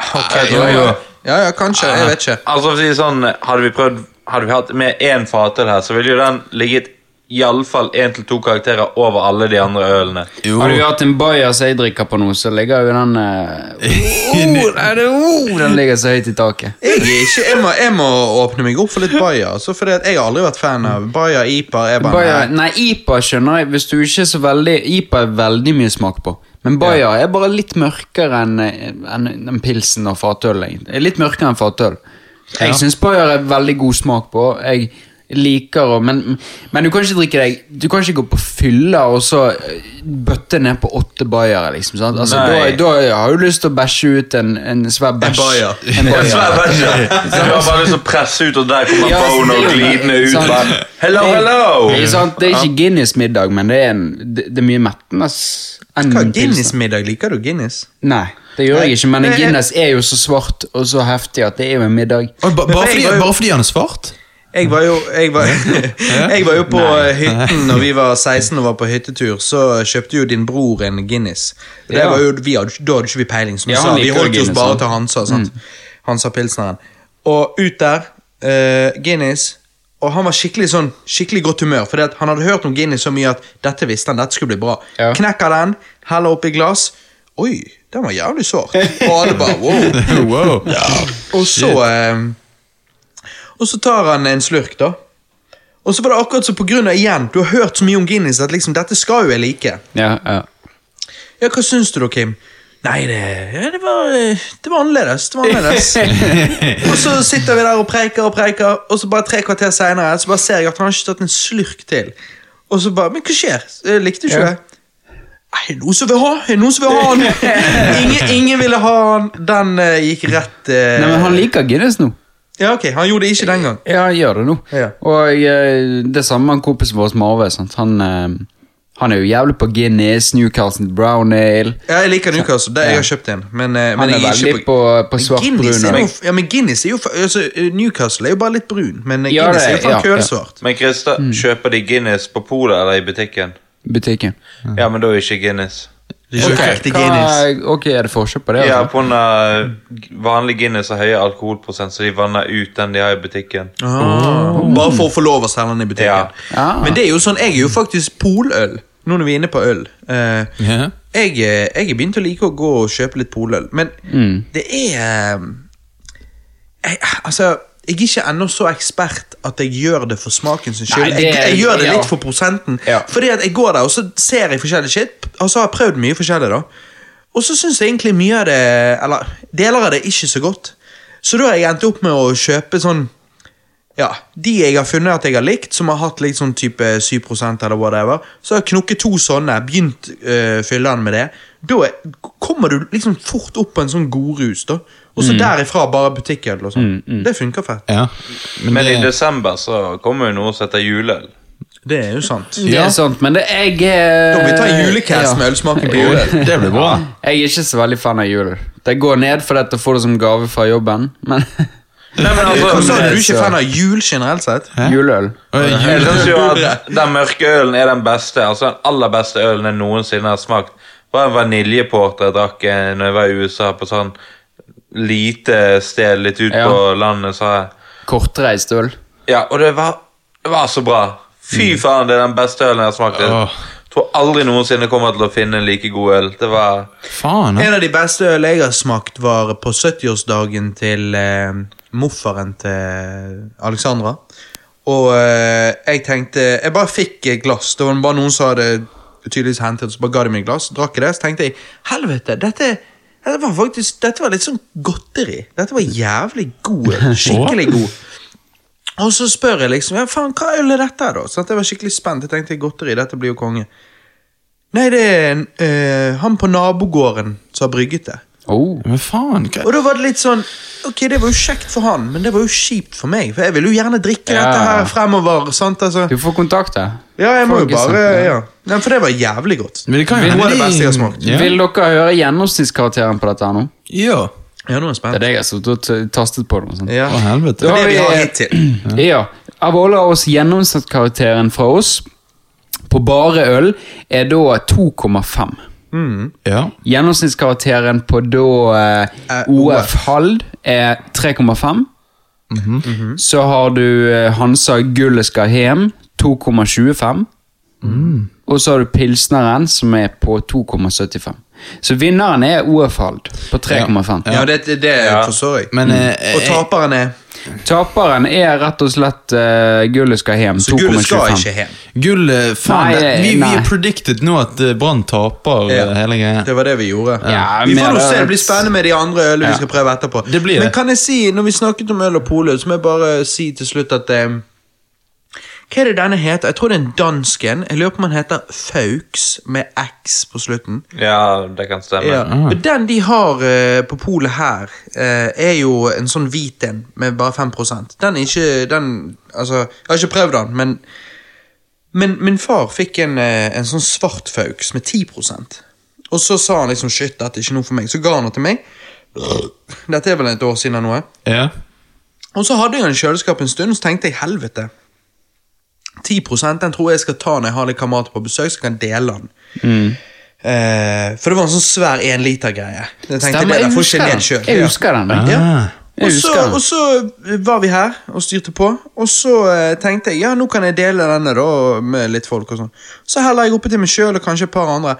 Speaker 1: Ok,
Speaker 3: Jeg
Speaker 1: jo,
Speaker 3: tror
Speaker 1: jo.
Speaker 3: jo-
Speaker 1: Ja, ja, kanskje. Jeg vet ikke.
Speaker 3: Altså, for å si det sånn, hadde vi prøvd Hadde vi hatt med én fatøl her, så ville jo den ligget iallfall én til to karakterer over alle de andre ølene.
Speaker 2: jo.
Speaker 4: Hadde vi hatt en bajas jeg drikker på nå, så ligger jo den eh, oh, nei, det, oh, Den ligger så høyt i taket.
Speaker 1: Jeg, er ikke, jeg, må, jeg må åpne meg opp for litt Bayer. Altså, fordi at jeg har aldri vært fan av Bayer Iper. Er bare,
Speaker 4: Bayer,
Speaker 1: nei.
Speaker 4: nei, IPA skjønner jeg. Hvis du ikke er så veldig IPA er veldig mye smak på. Men Bayer er bare litt mørkere enn enn enn pilsen og fatøl. egentlig. Er Litt mørkere enn fatøl. Jeg synes syns Bayer er veldig god smak på. Jeg liker å Men, men du kan ikke drikke deg Du kan ikke gå på fylla og så eh, bøtte ned på åtte Bayere, liksom. Sant? Altså, da,
Speaker 3: Nei.
Speaker 4: da har du lyst til å bæsje ut en, en svær bæsj.
Speaker 1: Bayer.
Speaker 4: En Bayer.
Speaker 3: Jeg sverger ikke. Jeg har bare lyst til å presse ut, og der kommer
Speaker 4: Ja,
Speaker 3: Bono
Speaker 4: det er jo-
Speaker 3: glidende ut.
Speaker 1: Sånn.
Speaker 4: sant.
Speaker 3: bare, Hello,
Speaker 4: Det-
Speaker 3: hello!
Speaker 4: Det er, sant, det er ikke Guinness-middag, men det er, en, det, det er mye mettende. ass, enn
Speaker 1: Hva,
Speaker 4: en pilsner.
Speaker 1: Guinness-middag? Liker du Guinness?
Speaker 4: Nei, det gjør jeg ikke, men en
Speaker 1: Nei, jeg-
Speaker 4: Guinness er jo så svart og så heftig at det er jo en middag.
Speaker 2: Oi, ba,
Speaker 1: Men jeg
Speaker 2: bare, fordi,
Speaker 1: var jo-
Speaker 2: bare fordi han er svart?
Speaker 1: Jeg var jo, jeg var, jeg var jo på eh, hytten når vi var 16 og var på hyttetur. Så kjøpte jo din bror en Guinness. Og Det
Speaker 4: Ja.
Speaker 1: var jo, vi hadde, da hadde ikke vi peiling. Som du
Speaker 4: Ja,
Speaker 1: sa,
Speaker 4: han
Speaker 1: vi
Speaker 4: liker jo
Speaker 1: holdt oss
Speaker 4: Guinness,
Speaker 1: bare
Speaker 4: han. Mm.
Speaker 1: til Hansa. Sant? Hansa Pilsneren. Og ut der, eh, Guinness. Og han var skikkelig sånn, skikkelig godt humør, for han hadde hørt om Guinness så mye at dette visste han, dette skulle bli bra.
Speaker 4: Ja.
Speaker 1: Knekker den, heller oppi glass. Oi, den var jævlig sår. Og alle bare wow.
Speaker 2: wow.
Speaker 1: Og så eh, Og så tar han en slurk, da. Og så var det akkurat så på grunn av igjen, du har hørt så mye om Guinness at liksom, dette skal jo jeg like.
Speaker 4: Ja, ja.
Speaker 1: Ja, hva syns du da, Kim? Nei, det, ja, det, var, eh, det var annerledes. Det var annerledes. og så sitter vi der og preiker og preiker, og så bare tre kvarter seinere så bare ser jeg at han har ikke tatt en slurk til. Og så bare Men hva skjer? Eh, Likte du ikke
Speaker 4: Ja.
Speaker 1: det? Er det noen som vil ha? Er det noen som vil ha han? Ingen, ingen ville ha han. Den eh, gikk rett eh,
Speaker 4: Nei, men han liker Guinness nå.
Speaker 1: Ja, ok, Han gjorde det ikke den gang.
Speaker 4: Ja, han gjør det nå.
Speaker 1: Ja.
Speaker 4: Og eh, det samme med han kompisen vår Marve. Sant? Han, eh, han er jo jævlig på Guinness, Newcastle Brown Ale.
Speaker 1: Ja, jeg liker Newcastle. Det, jeg har kjøpt en. Men, eh, men
Speaker 4: Han er
Speaker 1: jeg
Speaker 4: veldig
Speaker 1: ikke
Speaker 4: på, på svart
Speaker 1: Guinness er
Speaker 4: brun.
Speaker 1: jo, ja, men Guinness er jo fa- altså, Newcastle er jo bare litt brun, men eh,
Speaker 4: Ja,
Speaker 1: Guinness er jo
Speaker 4: det-
Speaker 1: faen
Speaker 4: ja, ja.
Speaker 1: kølsvart.
Speaker 3: Men Christer,
Speaker 1: Mm.
Speaker 3: kjøper de Guinness på polet eller i butikken?
Speaker 4: Butikken.
Speaker 1: Mm.
Speaker 3: Ja, men da er ikke Guinness.
Speaker 1: De kjører
Speaker 4: Ok,
Speaker 1: ekte Guinness.
Speaker 4: hva- ok, er det forskjell på det?
Speaker 3: Ja,
Speaker 4: altså?
Speaker 3: på den eh, vanlige Guinness har høye alkoholprosent, så de vanner ut den de har i butikken.
Speaker 1: Ah,
Speaker 4: Oh.
Speaker 1: Bare for å få lov å selge den i butikken.
Speaker 3: Ja.
Speaker 4: Ah.
Speaker 1: Men det er jo sånn, jeg er jo faktisk poløl, nå når vi er inne på øl. Eh,
Speaker 2: Ja.
Speaker 1: jeg, eh, jeg har begynt å like å gå og kjøpe litt poløl, men
Speaker 4: Mm.
Speaker 1: det er eh, jeg, Altså, jeg er ikke ennå så ekspert at jeg gjør det for smaken sin skyld.
Speaker 4: Nei,
Speaker 1: Jeg,
Speaker 4: det er-
Speaker 1: jeg gjør det
Speaker 4: ja.
Speaker 1: litt for prosenten.
Speaker 4: Ja.
Speaker 1: Fordi at jeg går der, og så ser jeg forskjellig shit, og så har jeg prøvd mye forskjellig, da. Og så syns jeg egentlig mye av det, eller deler av det, ikke så godt. Så da har jeg endt opp med å kjøpe sånn ja, De jeg har funnet at jeg har likt, som har hatt litt sånn type 7 eller whatever, så har jeg knukket to sånne, begynt øh, fyllene med det. Da er- kommer du liksom fort opp på en sånn godrus, da. Og
Speaker 2: Mm.
Speaker 1: så derifra bare butikkøl og sånn. Det funker fett.
Speaker 2: ja. Men,
Speaker 3: Men i
Speaker 2: det,
Speaker 3: desember så kommer jo noe som heter juleøl.
Speaker 1: Det er jo sant.
Speaker 4: Det
Speaker 2: Mm. Ja.
Speaker 4: er sant, men det jeg eh,
Speaker 1: Da må vi ta julecast med ølsmaken på julen.
Speaker 2: det blir bra.
Speaker 4: Jeg er ikke så veldig fan av jul. Det går ned for dette får du som gave fra jobben, men
Speaker 3: Nei, men
Speaker 1: Hva sa
Speaker 3: altså,
Speaker 1: du? Du er ikke fan av jul generelt sett?
Speaker 4: juleøl
Speaker 2: Og
Speaker 3: Jeg
Speaker 2: jul-
Speaker 3: synes jo at den mørke ølen er den beste. Altså Den aller beste ølen jeg noensinne har smakt. Det var en vaniljeporter jeg drakk eh, Når jeg var i USA, på sånn lite sted litt ut
Speaker 4: Ja.
Speaker 3: på landet. Så jeg.
Speaker 4: Kortreist øl.
Speaker 3: Ja, og det var, det var så bra. Fy faen, det er den beste ølen jeg har smakt. Jeg
Speaker 2: Åh.
Speaker 3: tror aldri noensinne kommer til å finne en like god øl. Det var
Speaker 2: Faen, ja.
Speaker 1: En av de beste øl jeg har smakt, var på 70-årsdagen til eh, morfaren til Alexandra. Og eh, jeg tenkte Jeg bare fikk et glass. Det var bare noen som hadde tydeligvis hentet, så bare ga de meg et glass. Drakk jeg det, så tenkte jeg helvete, dette, dette var faktisk Dette var litt sånn godteri. Dette var jævlig god. øl. Skikkelig god. Og så spør jeg liksom ja, faen, hva øl er dette, her da? Sånn at jeg var skikkelig spent. Jeg tenkte godteri, dette blir jo konge. Nei, det er en, eh, han på nabogården som har brygget det.
Speaker 4: Oh.
Speaker 2: Men faen, hva
Speaker 1: Og da var det litt sånn Ok, det var jo kjekt for han, men det var jo kjipt for meg. For jeg ville jo gjerne drikke
Speaker 4: Ja.
Speaker 1: dette her fremover. sant? Altså,
Speaker 4: Du får kontakte.
Speaker 1: ja, jeg må jo
Speaker 4: Folk er
Speaker 1: bare
Speaker 4: sånn,
Speaker 1: ja. Nei, For det var jævlig godt.
Speaker 2: Men det kan jo
Speaker 1: Noe
Speaker 2: hende
Speaker 1: av det
Speaker 2: de-
Speaker 1: beste jeg har smakt.
Speaker 2: Ja.
Speaker 4: Vil dere høre gjennomsnittskarakteren på dette her nå?
Speaker 2: Ja.
Speaker 1: Ja, nå er jeg
Speaker 4: Det er
Speaker 1: spent.
Speaker 4: det jeg har sittet og t- tastet på. Noe, sånt.
Speaker 1: Ja.
Speaker 2: Å, helvete.
Speaker 1: Det
Speaker 4: Da
Speaker 1: er det vi har
Speaker 4: har vi-
Speaker 1: hittil.
Speaker 4: Ja. Av alle av oss gjennomsnittskarakteren fra oss på bare øl er da 2,5.
Speaker 2: Ja.
Speaker 4: Gjennomsnittskarakteren på da eh,
Speaker 1: Eh,
Speaker 4: OF Hald er 3,5.
Speaker 1: Mhm.
Speaker 4: Så har du eh, Hansa Gullet skal hjem, 2,25.
Speaker 1: Mm.
Speaker 4: Og så har du Pilsneren, som er på 2,75. Så vinneren er OF Hald på 3,5.
Speaker 1: Ja, det, det, det
Speaker 3: Ja.
Speaker 1: forstår jeg.
Speaker 2: Men eh,
Speaker 1: Mm. Og taperen er
Speaker 4: Taperen er rett og slett eh, Gullet skal hjem, 2,25.
Speaker 1: Så gullet skal ikke hjem.
Speaker 2: gull eh, Faen,
Speaker 4: Nei,
Speaker 2: det- vi, vi
Speaker 4: nei.
Speaker 2: har predicted nå at eh, Brann taper eh,
Speaker 1: Ja.
Speaker 2: hele greia.
Speaker 1: Det var det vi gjorde.
Speaker 4: Ja,
Speaker 1: vi får
Speaker 4: men-
Speaker 1: nå se, det blir spennende med de andre ølene vi skal prøve etterpå.
Speaker 2: Det blir det.
Speaker 1: Men kan jeg si, når vi snakket om øl og poløl, så må jeg bare si til slutt at eh, Hva er det denne heter? Jeg tror det er en dansk en. Jeg lurer på om den heter Faux, med X på slutten.
Speaker 3: Ja, det kan stemme.
Speaker 1: Ja. Og Den de har eh, på polet her, eh, er jo en sånn hvit en med bare 5 Den er ikke den, altså, Jeg har ikke prøvd den, men Men min far fikk en, eh, en sånn svart faux med 10 Og så sa han liksom 'shit, dette er ikke noe for meg'. Så ga han det til meg. Dette er vel et år siden eller noe.
Speaker 2: Ja.
Speaker 1: Og så hadde jeg den i kjøleskapet en stund, så tenkte jeg 'helvete'. 10 den tror jeg jeg skal ta når jeg har litt kamerater på besøk, så kan jeg dele den.
Speaker 4: Mm.
Speaker 1: Eh, for det var en sånn svær enliter-greie. Jeg tenkte
Speaker 4: Stemmer,
Speaker 1: det der
Speaker 4: jeg
Speaker 1: får ikke
Speaker 4: husker
Speaker 1: jeg ned
Speaker 4: den.
Speaker 1: selv.
Speaker 4: Jeg
Speaker 1: Ja.
Speaker 4: husker den. da.
Speaker 2: Ah.
Speaker 1: Ja.
Speaker 4: Jeg
Speaker 1: Og så,
Speaker 4: husker den.
Speaker 1: og så eh, var vi her og styrte på, og så eh, tenkte jeg ja, nå kan jeg dele denne da med litt folk. og sånn. Så heller jeg oppi til meg sjøl og kanskje et par andre,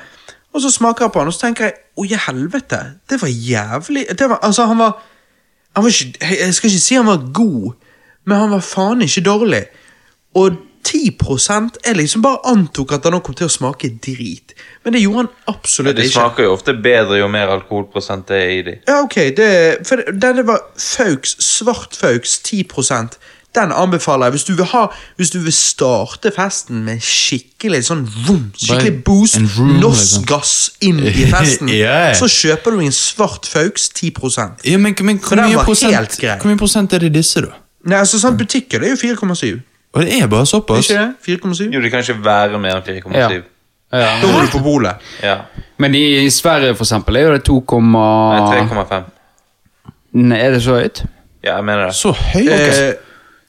Speaker 1: og så smaker jeg på den, og så tenker jeg å i helvete, det var jævlig det var, Altså, han var, han var ikke, jeg- Jeg skal ikke si han var god, men han var faen ikke dårlig. Og 10 Jeg liksom bare antok at han nå kom til å smake drit, men det gjorde han absolutt
Speaker 3: De
Speaker 1: ikke.
Speaker 3: smaker jo ofte bedre jo mer alkoholprosent det er i de.
Speaker 1: Ja, ok. Det, for denne var Faux, svart Faux, 10 Den anbefaler jeg. Hvis du vil, ha, hvis du vil starte festen med skikkelig sånn vroom, skikkelig
Speaker 2: Bare
Speaker 1: boost,
Speaker 2: en vroom,
Speaker 1: norsk
Speaker 2: liksom.
Speaker 1: gass inn i festen,
Speaker 2: Ja.
Speaker 1: så kjøper du en svart Faux 10 Nei,
Speaker 2: ja men, men hvor,
Speaker 1: den
Speaker 2: mye
Speaker 1: var helt
Speaker 2: prosent,
Speaker 1: grei.
Speaker 2: hvor mye prosent er det i disse, da?
Speaker 1: altså sånn butikker, det er jo 4,7.
Speaker 2: Og det er bare såpass?
Speaker 1: Ikke det? 4,7?
Speaker 3: Jo, de kan ikke være mer enn 4,7.
Speaker 4: Ja.
Speaker 3: Ja.
Speaker 1: Da må du på bolet.
Speaker 4: Men i i Sverige for eksempel er jo det 2,
Speaker 1: Ah.
Speaker 3: Nei, 3,5.
Speaker 4: Nei, Er det så høyt?
Speaker 3: Ja, jeg mener det.
Speaker 2: Så høy?
Speaker 1: Eh,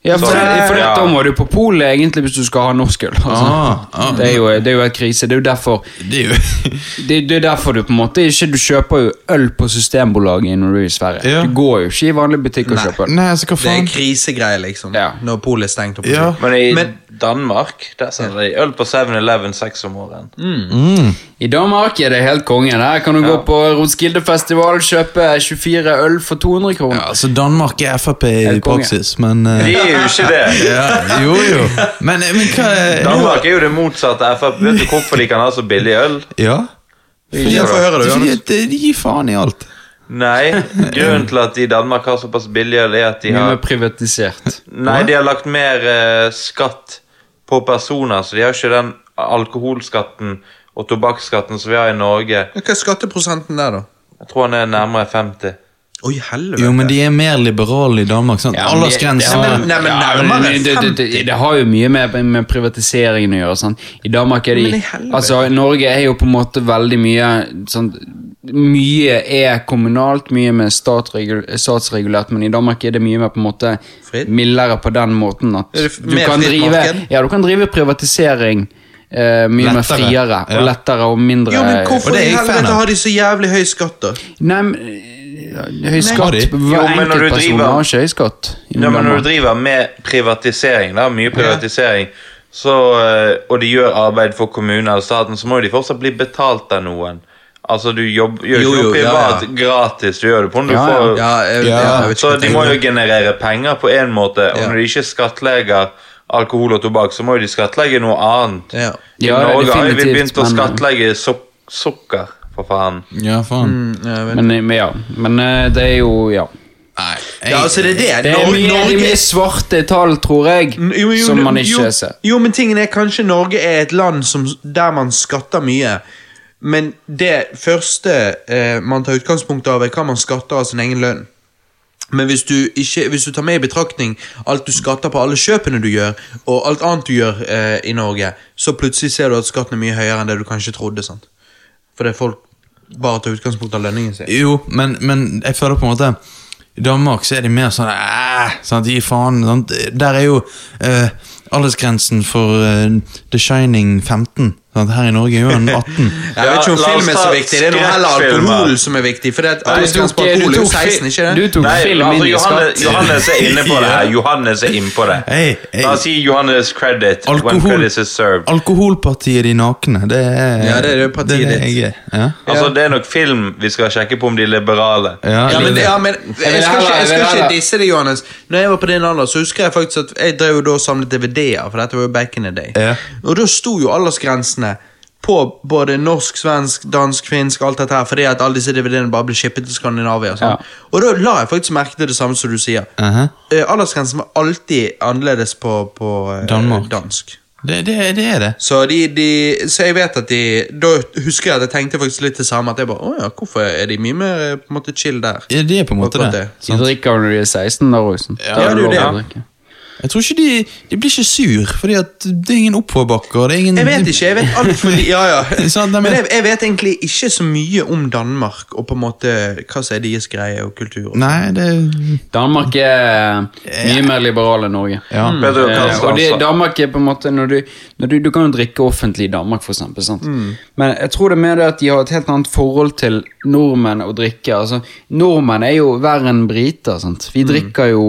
Speaker 4: Ja, for,
Speaker 3: Så-
Speaker 4: for
Speaker 3: Ja.
Speaker 4: da må du på polet egentlig hvis du skal ha norsk øl. Altså.
Speaker 2: Ah, ah.
Speaker 4: Det, er jo, det er jo et krise. Det er jo derfor
Speaker 2: Det er jo
Speaker 4: det, det er derfor du på en måte ikke Du kjøper jo øl på Systembolaget når du er i Sverige.
Speaker 2: Ja.
Speaker 4: Du går jo ikke i vanlig butikk og kjøper øl.
Speaker 2: Nei, altså, hva
Speaker 1: Det er
Speaker 2: faen?
Speaker 1: krisegreier, liksom.
Speaker 4: Ja.
Speaker 1: Når polet er stengt opp. sånn.
Speaker 2: Ja.
Speaker 3: Men i
Speaker 1: Men-
Speaker 3: Danmark der selger de øl på 7-Eleven seks om morgenen.
Speaker 1: Mm.
Speaker 2: Mm.
Speaker 4: I Danmark er det helt konge. Der kan du gå på Roskildefestival, kjøpe 24 øl for 200 kroner.
Speaker 2: Ja, altså, Danmark er Frp i
Speaker 4: Helt konge.
Speaker 2: praksis, men eh,
Speaker 3: De er jo ikke det.
Speaker 2: ja, Jo, jo. Men, eh, men hva er
Speaker 3: Danmark er jo det motsatte av Frp. Vet du hvorfor de kan ha så billig øl?
Speaker 2: Ja?
Speaker 1: Ja, få høre det,
Speaker 2: Fordi
Speaker 1: Johannes.
Speaker 2: at eh, de gir faen i alt.
Speaker 3: Nei, grunnen til at de i Danmark har såpass billig øl, er at de
Speaker 4: Mye
Speaker 3: har
Speaker 4: mer privatisert.
Speaker 3: Nei, de har lagt mer eh, skatt på personer, så de har ikke den alkoholskatten og tobakksskatten som vi har i Norge.
Speaker 1: Hva er skatteprosenten der, da?
Speaker 3: Jeg tror han er nærmere 50.
Speaker 1: Oi, helvete.
Speaker 2: Jo, men de er mer liberale i Danmark. sant?
Speaker 4: Ja, men det-
Speaker 2: Aldersgrensen
Speaker 4: det har-
Speaker 1: men- nei, men
Speaker 4: Ja,
Speaker 1: nærmere
Speaker 4: det- det- det- Det det har jo mye med, med privatiseringen å gjøre. sant? I Danmark er
Speaker 1: Men i
Speaker 4: de
Speaker 1: helvete.
Speaker 4: Altså, Norge er jo på en måte veldig mye sånn, Mye er kommunalt, mye med statsregul, statsregulert, men i Danmark er det mye mer på en måte
Speaker 1: Fritt.
Speaker 4: mildere på den måten at
Speaker 1: Er det f-
Speaker 4: du
Speaker 1: mer
Speaker 4: kan
Speaker 1: fritt
Speaker 4: drive
Speaker 1: marked?
Speaker 4: Ja, du kan drive privatisering eh, mye mer
Speaker 2: Lettere.
Speaker 4: friere og
Speaker 2: Ja.
Speaker 4: lettere og mindre
Speaker 1: Jo, men
Speaker 2: Og
Speaker 1: hvorfor
Speaker 2: det
Speaker 1: i
Speaker 2: er jeg fan
Speaker 1: helvete
Speaker 2: av.
Speaker 1: har de så jævlig høy skatt, da?
Speaker 4: Nei, men eh, Høy skatt
Speaker 2: de?
Speaker 3: Jo,
Speaker 4: Hver
Speaker 3: men når du
Speaker 4: enkeltperson
Speaker 3: driver-
Speaker 4: har ikke høy skatt. i
Speaker 3: Ja, men
Speaker 4: Danmark.
Speaker 3: når du driver med privatisering, da, mye privatisering, så, eh, og de gjør arbeid for kommunen eller staten, så må jo de fortsatt bli betalt av noen. Altså, du jobb, gjør
Speaker 1: Jo,
Speaker 3: ikke
Speaker 1: jo,
Speaker 3: noe
Speaker 1: ja,
Speaker 3: privat
Speaker 1: ja.
Speaker 3: gratis, du gjør det på når du
Speaker 4: Ja, ja.
Speaker 3: får...
Speaker 1: Ja, jeg,
Speaker 2: Ja,
Speaker 1: jeg vet ikke
Speaker 3: Så
Speaker 1: hva
Speaker 3: de
Speaker 1: jeg
Speaker 3: må jo
Speaker 1: tenker.
Speaker 3: generere penger på én måte, og
Speaker 1: Ja.
Speaker 3: når de ikke skattlegger alkohol og tobakk, så må jo de skattlegge noe annet.
Speaker 1: Ja.
Speaker 3: I
Speaker 4: Ja, det er
Speaker 3: Norge har jo vi
Speaker 4: definitivt,
Speaker 3: begynt å
Speaker 4: men-
Speaker 3: skattlegge suk sukker, for faen.
Speaker 2: Ja, faen.
Speaker 1: Ja, jeg vet.
Speaker 4: Men, men ja, men eh, det er jo Ja.
Speaker 2: Nei,
Speaker 1: ja, altså, det er det.
Speaker 4: Det er
Speaker 1: Nor-
Speaker 4: mye, det er mye svarte tall, tror jeg,
Speaker 1: N- jo, jo,
Speaker 4: som man
Speaker 1: jo,
Speaker 4: ikke ser.
Speaker 1: Jo, men tingen er kanskje Norge er et land som, der man skatter mye. Men det første eh, man tar utgangspunkt av, er hva man skatter av sin egen lønn. Men hvis du, ikke, hvis du tar med i betraktning alt du skatter på alle kjøpene du gjør, og alt annet du gjør eh, i Norge, så plutselig ser du at skatten er mye høyere enn det du kanskje trodde. sant? Fordi folk bare tar utgangspunkt av lønningen sin.
Speaker 2: Jo, men, men jeg føler på en måte I Danmark så er de mer sånn "Æh", sant, Gi faen. Sant? Der er jo eh, aldersgrensen for eh, The Shining 15. Sant? Her i Norge er jo den 18.
Speaker 1: Jeg vet ikke om
Speaker 3: Ja, la oss
Speaker 1: film er så
Speaker 3: ta
Speaker 1: viktig, det er noe heller
Speaker 3: skrekkfilmer.
Speaker 1: alkohol som er viktig. For det er,
Speaker 4: Du
Speaker 1: at
Speaker 4: tok, eh,
Speaker 1: på
Speaker 4: du
Speaker 1: alkohol er jo
Speaker 4: tok,
Speaker 1: 16, ikke
Speaker 4: fi-
Speaker 1: det?
Speaker 4: du tok
Speaker 3: Nei,
Speaker 4: film inn
Speaker 3: altså,
Speaker 4: i
Speaker 3: Johannes,
Speaker 4: skatt.
Speaker 3: Johannes er inne på det her. Johannes er inne på det.
Speaker 2: Hey, hey.
Speaker 3: La oss si Johannes credit when
Speaker 2: Alkohol,
Speaker 3: credit is served.
Speaker 2: alkoholpartiet De nakne. Det er
Speaker 1: Ja, det er det partiet
Speaker 2: det er
Speaker 1: ditt.
Speaker 2: jeg er. Ja.
Speaker 3: Altså, det er nok film vi skal sjekke på om de er liberale.
Speaker 2: Ja,
Speaker 1: Ja, men,
Speaker 2: det-
Speaker 1: ja, men jeg skal ikke, jeg skal ikke disse det, Johannes. Når jeg var på din alder, så husker jeg faktisk at jeg drev jo da og samlet DVD-er, for dette var jo back in the day.
Speaker 2: Ja.
Speaker 1: Og da sto jo aldersgrensene på både norsk, svensk, dansk, finsk, alt dette her, fordi at alle disse DVD-ene bare ble shippet til Skandinavia. Sånn. Og da la jeg faktisk merke til det samme som du sier.
Speaker 2: Aha.
Speaker 1: Eh, Aldersgrensen var alltid annerledes på, på eh,
Speaker 2: Danmark.
Speaker 1: dansk.
Speaker 2: det, det, det er det.
Speaker 1: Så, de, de, så jeg vet at de Da husker jeg at jeg tenkte faktisk litt det samme. At jeg bare, åja, hvorfor er de mye mer eh, på en måte chill der?
Speaker 2: Ja, Det er på en måte
Speaker 1: Akkurat
Speaker 2: det.
Speaker 1: det.
Speaker 4: De drikker når de er 16, da, Rosen. Da
Speaker 1: det er jo
Speaker 4: lov
Speaker 1: det.
Speaker 4: å drikke.
Speaker 2: Jeg tror ikke de, de blir ikke sur, fordi at det er ingen oppoverbakker. Det er ingen,
Speaker 1: Jeg vet ikke. jeg vet alt for li- ja, ja.
Speaker 2: Sant, nei,
Speaker 1: Men
Speaker 2: men-
Speaker 1: jeg, jeg vet egentlig ikke så mye om Danmark og på en måte hva som er deres greie og kultur.
Speaker 2: Nei, det
Speaker 4: Danmark er mye mer liberal enn Norge.
Speaker 2: Ja.
Speaker 3: Vet du hva
Speaker 4: Eh,
Speaker 3: kanskje
Speaker 4: og det,
Speaker 3: altså?
Speaker 4: Danmark er på en måte når du, når du, du kan jo drikke offentlig i Danmark, for eksempel. Sant?
Speaker 1: Mm.
Speaker 4: Men jeg tror det er mer det at de har et helt annet forhold til nordmenn å drikke. Altså, nordmenn er jo verre enn briter. Sant? Vi
Speaker 1: Mm.
Speaker 4: drikker jo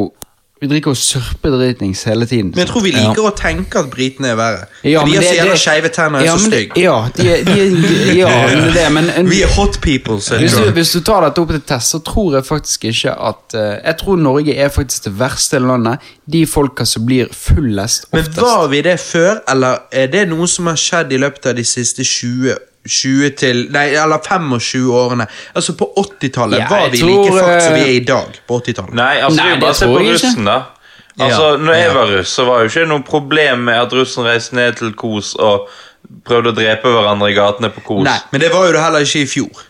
Speaker 4: Vi drikker jo sørpedritings hele tiden.
Speaker 1: Men jeg
Speaker 4: sant?
Speaker 1: tror vi liker å tenke at britene er verre.
Speaker 4: Ja,
Speaker 1: For de har
Speaker 4: men
Speaker 1: så
Speaker 4: det-
Speaker 1: jævla
Speaker 4: det-
Speaker 1: skeive tenner og
Speaker 4: ja,
Speaker 1: er så
Speaker 4: men det-
Speaker 1: stygge.
Speaker 4: Ja, de, er- de, er- ja, men det er det, men
Speaker 1: Vi er hot people, så jeg
Speaker 4: hvis du,
Speaker 1: tror.
Speaker 4: hvis du tar dette opp til test, så tror jeg faktisk ikke at eh, Jeg tror Norge er faktisk det verste landet. De folka som blir fullest
Speaker 1: Men
Speaker 4: oftest.
Speaker 1: var vi det før, eller er det noe som har skjedd i løpet av de siste 20 20 til, nei, eller 25 årene? Altså, på 80-tallet
Speaker 4: Ja,
Speaker 1: var
Speaker 4: jeg
Speaker 1: vi
Speaker 4: tror,
Speaker 1: like fucked som vi er
Speaker 4: eh,
Speaker 1: i dag. på 80-tallet.
Speaker 3: Nei, altså,
Speaker 4: Nei,
Speaker 3: det er jo
Speaker 4: det
Speaker 3: bare å se
Speaker 4: tror
Speaker 3: på
Speaker 4: jeg ikke.
Speaker 3: russen, da. Altså,
Speaker 1: Ja.
Speaker 3: når jeg var russ, så var jo ikke noe problem med at russen reiste ned til Kos og prøvde å drepe hverandre i gatene på Kos.
Speaker 1: Nei, men det var jo det heller ikke i fjor.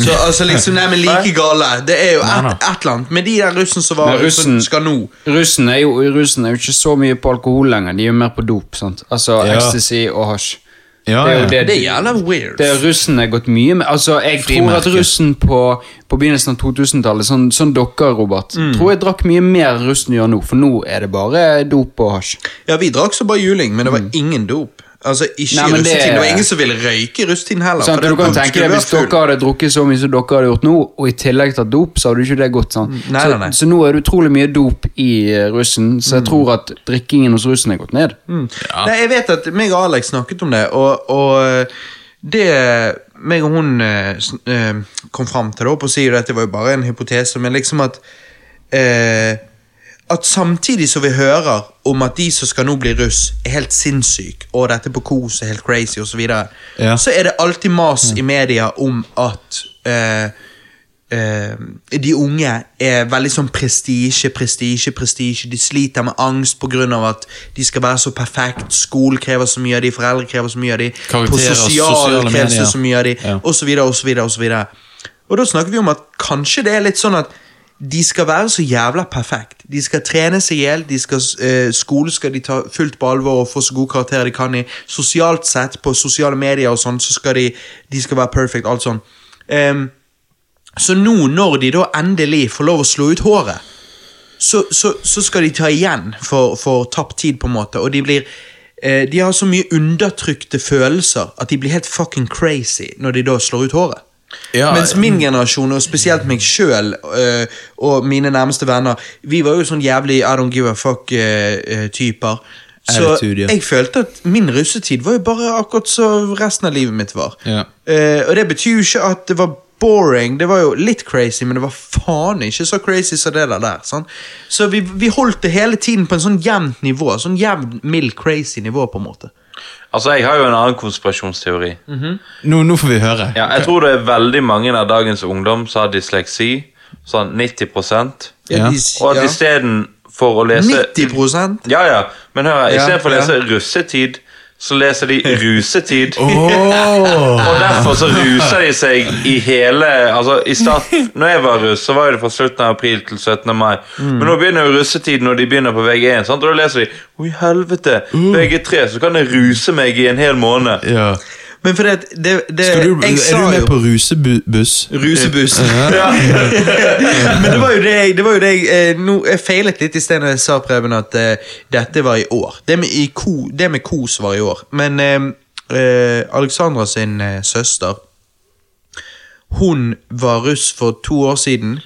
Speaker 1: Så
Speaker 4: Mm.
Speaker 1: altså liksom, nei, men like gale. Det er jo et, et eller annet. Men de der russen som var
Speaker 4: Men russen-
Speaker 1: som skal nå
Speaker 4: Russen er, jo, russen er jo ikke så mye på alkohol lenger. De er jo mer på dop. sant? Altså
Speaker 2: Ja.
Speaker 4: ecstasy og hasj.
Speaker 2: Ja,
Speaker 4: det er jo
Speaker 2: ja.
Speaker 4: det,
Speaker 1: Det er jævla weird.
Speaker 4: Det har russene gått mye med. Altså, Jeg tror at
Speaker 2: Frimerke.
Speaker 4: russen på, på begynnelsen av 2000-tallet, sånn, sånn dere, Robert,
Speaker 2: Mm.
Speaker 4: tror jeg drakk mye mer russen gjør nå, for nå er det bare dop og hasj.
Speaker 1: Ja, vi drakk så bare juling, men det var ingen dop. Altså, ikke
Speaker 4: Mm. Nei,
Speaker 1: i
Speaker 4: men det-
Speaker 1: russetiden. Det... var ingen som ville røyke i russetiden heller.
Speaker 4: Sant,
Speaker 1: for
Speaker 4: og du
Speaker 1: det-
Speaker 4: kan
Speaker 1: skulle
Speaker 4: tenke deg,
Speaker 1: være
Speaker 4: Hvis
Speaker 1: full.
Speaker 4: dere hadde drukket så mye som dere hadde gjort nå, og i tillegg tatt dop, så hadde jo ikke det gått. sant?
Speaker 2: Mm.
Speaker 1: Nei,
Speaker 4: så,
Speaker 1: nei, nei.
Speaker 4: så nå er det utrolig mye dop i eh, russen, så
Speaker 2: Mm.
Speaker 4: jeg tror at drikkingen hos russen er gått ned.
Speaker 1: Mm. Nei, jeg vet at meg og Alex snakket om det, og, og det meg og hun eh, sn- eh, kom fram til det, og sier at det var jo bare en hypotese, men liksom at eh, at samtidig som vi hører om at de som skal nå bli russ, er helt sinnssyke, og dette på kos er helt crazy, osv., så, videre,
Speaker 2: Ja.
Speaker 1: så er det alltid mas i media om at eh, eh, de unge er veldig sånn prestisje, prestisje, prestisje. De sliter med angst pga. at de skal være så perfekt, skolen krever så mye av de, foreldre krever så mye av de, på
Speaker 2: Karakterer,
Speaker 1: sosiale
Speaker 2: sosiale
Speaker 1: kreves det
Speaker 2: medier.
Speaker 1: så mye av de,
Speaker 2: Ja.
Speaker 1: og så videre, og så videre, og så videre. Og da snakker vi om at kanskje det er litt sånn at de skal være så jævla perfekt. De skal trene seg i hjel, de skal, eh, skole skal de ta fullt på alvor og få så gode karakterer de kan i. Sosialt sett, på sosiale medier og sånn, så skal de, de skal være perfect, alt sånn. Ehm, så nå når de da endelig får lov å slå ut håret, så, så, så skal de ta igjen for, for tapt tid, på en måte. Og de blir eh, De har så mye undertrykte følelser at de blir helt fucking crazy når de da slår ut håret.
Speaker 2: Ja,
Speaker 1: Mens min generasjon, og spesielt meg sjøl og mine nærmeste venner, vi var jo sånn jævlig I don't give a fuck-typer. så
Speaker 2: Attitude, ja.
Speaker 1: jeg følte at min russetid var jo bare akkurat så resten av livet mitt var.
Speaker 2: Ja.
Speaker 1: Eh, og det betyr jo ikke at det var boring, det var jo litt crazy, men det var faen ikke så crazy som det der. der sant? Så vi, vi holdt det hele tiden på en sånn jevnt nivå, sånn jevnt mild crazy nivå, på en måte.
Speaker 3: Altså, Jeg har jo en annen konspirasjonsteori.
Speaker 4: Mhm.
Speaker 2: Nå, nå får vi høre.
Speaker 3: Ja, jeg tror det er veldig mange av dagens ungdom som har dysleksi. Sånn 90 Og
Speaker 2: Ja.
Speaker 1: de-
Speaker 3: at istedenfor å lese
Speaker 1: 90
Speaker 3: Ja, ja. Men hør, her,
Speaker 1: Ja,
Speaker 3: istedenfor å
Speaker 1: ja.
Speaker 3: lese russetid, så leser de rusetid.
Speaker 2: Åh!
Speaker 3: Og derfor så ruser de seg i hele Altså, i start, når jeg var russ, så var jo det fra slutten av april til 17. mai. Men nå begynner jo russetiden når de begynner på VG1, sant? og da leser de Å, i helvete! VG3, så kan jeg ruse meg i en hel måned.
Speaker 2: Ja.
Speaker 1: Men fordi at det, det
Speaker 2: Skal du,
Speaker 1: jeg
Speaker 2: er
Speaker 1: sa
Speaker 2: du med
Speaker 1: jo,
Speaker 2: på rusebuss?
Speaker 1: Rusebuss.
Speaker 3: Ja.
Speaker 1: Men det var jo det jeg, det var jo det jeg, eh, nå, jeg feilet litt i sted når jeg sa Preben at eh, dette var i år. Det med, i ko, det med kos var i år. Men eh, eh, Alexandra sin eh, søster Hun var russ for to år siden.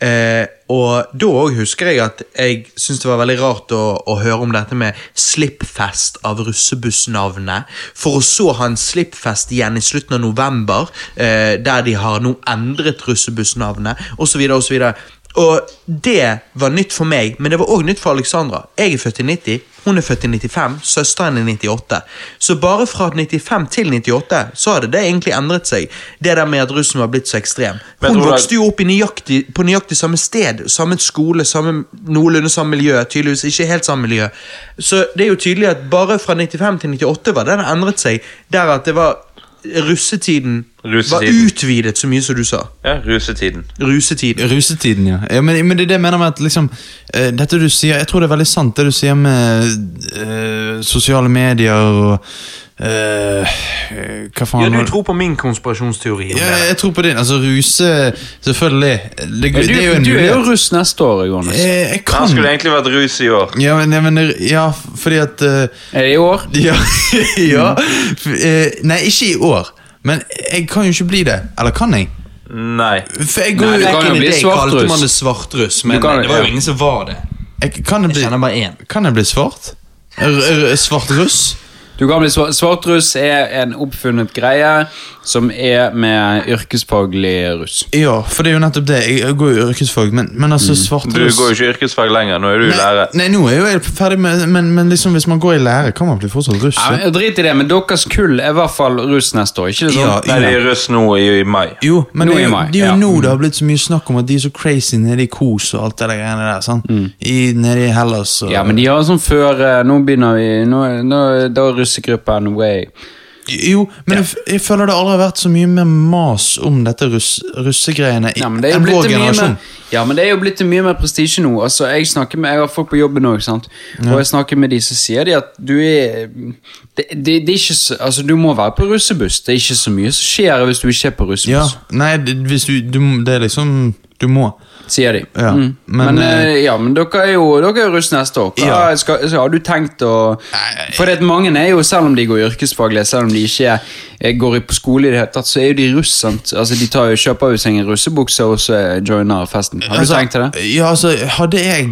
Speaker 1: Eh, og da òg husker jeg at jeg syntes det var veldig rart å, å høre om dette med slippfest av russebussnavnet, for å så ha en slippfest igjen i slutten av november, eh, der de har nå endret russebussnavnet, osv. osv. Og det var nytt for meg, men det var òg nytt for Alexandra. Jeg er født i 90, hun er født i 95, søsteren er 98. Så bare fra 95 til 98 så hadde det egentlig endret seg, det der med at russen var blitt så ekstrem.
Speaker 3: Men
Speaker 1: Hun
Speaker 3: Ola-
Speaker 1: vokste jo opp i nøyaktig, på nøyaktig samme sted, samme skole, samme, noenlunde samme miljø. Tydeligvis ikke helt samme miljø. Så det er jo tydelig at bare fra 95 til 98 var den endret seg, der at det var russetiden, var
Speaker 3: Russetiden.
Speaker 1: utvidet så mye som du sa.
Speaker 3: ja rusetiden.
Speaker 1: Rusetiden.
Speaker 2: Rusetiden, ja. ja men, men det er det jeg mener med at liksom eh, Dette du sier, jeg tror det er veldig sant det du sier med eh, sosiale medier og eh, Hva faen var det?
Speaker 1: tror på min konspirasjonsteori.
Speaker 2: ja, jeg tror på din. Altså, ruse Selvfølgelig. Det,
Speaker 4: Du,
Speaker 2: det er jo en
Speaker 4: du er jo
Speaker 2: mulighet.
Speaker 4: russ neste år, Johannes.
Speaker 2: Eh, jeg
Speaker 3: Han
Speaker 2: kan
Speaker 3: skulle egentlig vært rus i år.
Speaker 2: ja, men, ja, men, ja, fordi at eh,
Speaker 4: Er det i år?
Speaker 2: Ja, ja. F- eh, Nei, ikke i år. Men jeg kan jo ikke bli det. Eller kan jeg?
Speaker 3: Nei.
Speaker 2: For jeg
Speaker 4: Nei,
Speaker 2: går
Speaker 4: du
Speaker 2: jo
Speaker 4: kan jo bli svartruss.
Speaker 1: svartruss,
Speaker 4: Du kan- ja.
Speaker 1: ingen som var det.
Speaker 2: jeg, kan, jeg bli,
Speaker 1: bare én.
Speaker 2: kan jeg bli svart? R r svart russ?
Speaker 4: Du kan bli svart, svartruss er en oppfunnet greie som er med yrkesfaglig russ.
Speaker 2: Ja, for det er jo nettopp det. Jeg- Jeg går jo i yrkesfag, men, men
Speaker 4: Mm.
Speaker 2: altså svart
Speaker 3: Du
Speaker 2: russ
Speaker 3: går jo ikke yrkesfag lenger. Nå er du lærer.
Speaker 2: Nei, nå er jo jeg ferdig med men, men liksom hvis man går i lære, kan man bli fortsatt russ?
Speaker 4: Ja,
Speaker 2: jo?
Speaker 4: men Drit i det, men deres kull er i hvert fall russ neste år. ikke det sånn?
Speaker 2: Ja,
Speaker 3: Nei, de er russ nå i, i mai.
Speaker 2: Jo, men
Speaker 4: Nå
Speaker 2: det er
Speaker 4: i
Speaker 2: jo,
Speaker 4: mai,
Speaker 2: det er jo
Speaker 4: ja. Mm.
Speaker 2: nå det har blitt så mye snakk om at de er så crazy nede i Kos og alt det der greiene der. sant? I, nede i Hellas og
Speaker 4: Mm. Ja, men de har sånn før eh, Nå begynner vi nå, nå, Da er russegruppen way.
Speaker 2: Jo, men jeg, f- jeg føler det aldri har vært så mye mer mas om dette russ, russegreiene i,
Speaker 4: Ja, men det er jo
Speaker 2: enn
Speaker 4: blitt
Speaker 2: vår
Speaker 4: mye
Speaker 2: generasjon.
Speaker 4: mer- Ja, men det er jo blitt mye mer prestisje nå. Altså, jeg snakker med, jeg har folk på jobben nå, ikke sant? og jeg snakker med de som sier de at du er det, det, det er ikke så, altså, Du må være på russebuss. Det er ikke så mye som skjer hvis du ikke er på
Speaker 2: Ja,
Speaker 4: russebuss,
Speaker 2: nei, det, hvis du, du Det er liksom Du må.
Speaker 4: sier de.
Speaker 2: Ja,
Speaker 4: Mm.
Speaker 2: men,
Speaker 4: Men, eh, ja, men dere er jo dere er russ neste år. Hva
Speaker 2: Ja.
Speaker 4: skal, så har du tenkt å For det at mange er jo, selv om de går yrkesfaglig, selv om de ikke eh, går i- på skole i det hele tatt, så er jo de russ. sant? Altså, De tar jo, kjøper jo seg en russebukse og så eh, joiner festen. Har du
Speaker 2: Altså,
Speaker 4: tenkt til det?
Speaker 2: Ja, altså, hadde jeg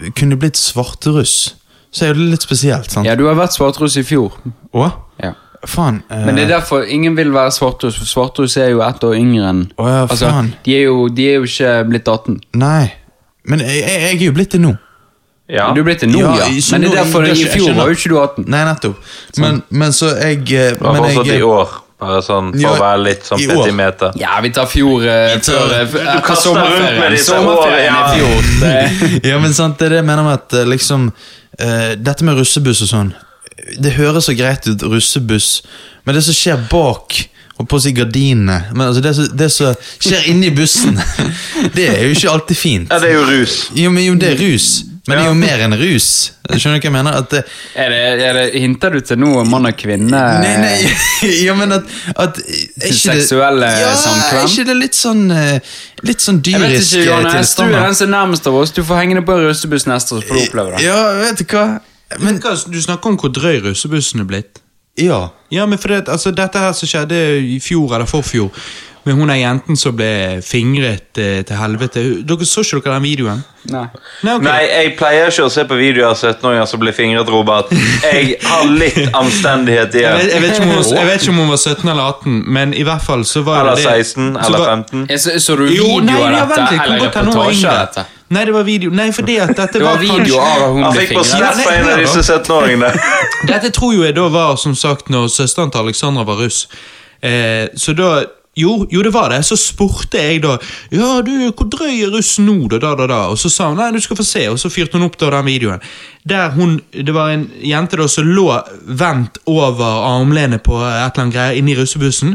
Speaker 2: eh, kunne blitt svarteruss, så er jo det litt spesielt, sant?
Speaker 4: Ja, du har vært svartruss i fjor.
Speaker 2: Å?
Speaker 4: Ja.
Speaker 2: Faen. eh,
Speaker 4: Men det er derfor ingen vil være svartrus, for svartrus er jo ett år yngre enn altså,
Speaker 2: Å ja, faen.
Speaker 4: de, er jo, de er jo ikke blitt 18.
Speaker 2: Nei. Men jeg, jeg, jeg er jo blitt det nå.
Speaker 3: Ja.
Speaker 4: Du er blitt det nå,
Speaker 2: Ja,
Speaker 4: ja.
Speaker 2: så
Speaker 4: Men det
Speaker 2: nå-
Speaker 4: er derfor
Speaker 2: det er
Speaker 4: i
Speaker 2: ikke- jeg
Speaker 4: fjor
Speaker 2: skjønner.
Speaker 4: var jo ikke du Sånn. 18.
Speaker 2: Nei, nettopp. Men, men så jeg eh,
Speaker 3: Det var
Speaker 2: men
Speaker 3: fortsatt
Speaker 2: jeg,
Speaker 3: i år, bare sånn for
Speaker 2: Ja,
Speaker 3: å være litt sånn
Speaker 2: i år.
Speaker 3: petimeter.
Speaker 4: Ja, vi tar fjor eh, før eh,
Speaker 3: Du
Speaker 4: etter
Speaker 3: kaster rundt med
Speaker 4: sommerferien.
Speaker 3: disse
Speaker 4: Sommerferien
Speaker 3: årene,
Speaker 4: i
Speaker 3: ja.
Speaker 4: fjor. Det,
Speaker 2: Ja, men sant, det er det jeg mener med at eh, liksom eh, Dette med russebuss og sånn Det høres så greit ut, russebuss Men det som skjer bak og på å si gardinene Men altså, det, som- det som skjer inni bussen Det er jo ikke alltid fint
Speaker 3: Ja, det er jo rus.
Speaker 2: Jo, men jo, det er rus Men det er jo mer enn rus Skjønner du hva jeg mener? At eh, det,
Speaker 4: er det, er det, hinter du til noe mann og kvinne?
Speaker 2: Nei, nei, ja, men at, at eh, er ikke det-
Speaker 4: Eh. Seksuelle
Speaker 2: ja,
Speaker 4: samkvem?
Speaker 2: er ikke det litt sånn eh, Litt sånn
Speaker 4: Jeg vet
Speaker 2: dyrisk
Speaker 4: ikke,
Speaker 2: eh,
Speaker 4: Johannes. Du er
Speaker 2: tilstander?
Speaker 4: den som er nærmest av oss. Du får henge deg på en russebuss neste år, så får du oppleve det.
Speaker 2: Ja, vet du hva? Men,
Speaker 1: Hva, Du snakker om hvor drøy russebussen er blitt.
Speaker 2: ja
Speaker 1: Ja, men for det, altså, Dette her som skjedde i fjor eller forfjor, med hun der jenten som ble fingret eh, til helvete Dere Så ikke dere den videoen?
Speaker 4: Nei.
Speaker 1: Nei, ok.
Speaker 3: Nei, jeg pleier ikke å se på videoer av 17-åringer som blir fingret, Robert. Jeg har litt anstendighet
Speaker 1: Jeg vet, jeg,
Speaker 3: igjen.
Speaker 1: vet ikke om hun, var- jeg vet ikke om hun var 17 eller 18, men i hvert fall så var
Speaker 3: Eller
Speaker 1: det
Speaker 3: 16,
Speaker 1: så
Speaker 3: eller
Speaker 1: var-
Speaker 3: 15.
Speaker 4: Jeg Så, så du
Speaker 1: Mm. Jo,
Speaker 4: video
Speaker 1: nei,
Speaker 4: av
Speaker 1: ja,
Speaker 4: dette,
Speaker 1: vent litt. Kan
Speaker 4: eller
Speaker 1: godt hende hun var
Speaker 4: reportasje av
Speaker 1: yngre.
Speaker 4: dette?
Speaker 1: Nei, det var video. Nei, fordi at dette
Speaker 4: Det var video av at hun
Speaker 3: Han
Speaker 4: ble
Speaker 3: fikk på
Speaker 4: fingret.
Speaker 3: snap fra en av disse 17-åringene.
Speaker 1: Dette tror jo jeg da var, som sagt, når søsteren til Alexandra var russ. Eh, så da jo, jo, det var det. Så spurte jeg da Ja, du, hvor drøy er russ nå, da, da, da, da? Og så sa hun nei, du skal få se, og så fyrte hun opp da den videoen. Der hun, Det var en jente da som lå vendt over armlenet på et eller annet greier inni russebussen,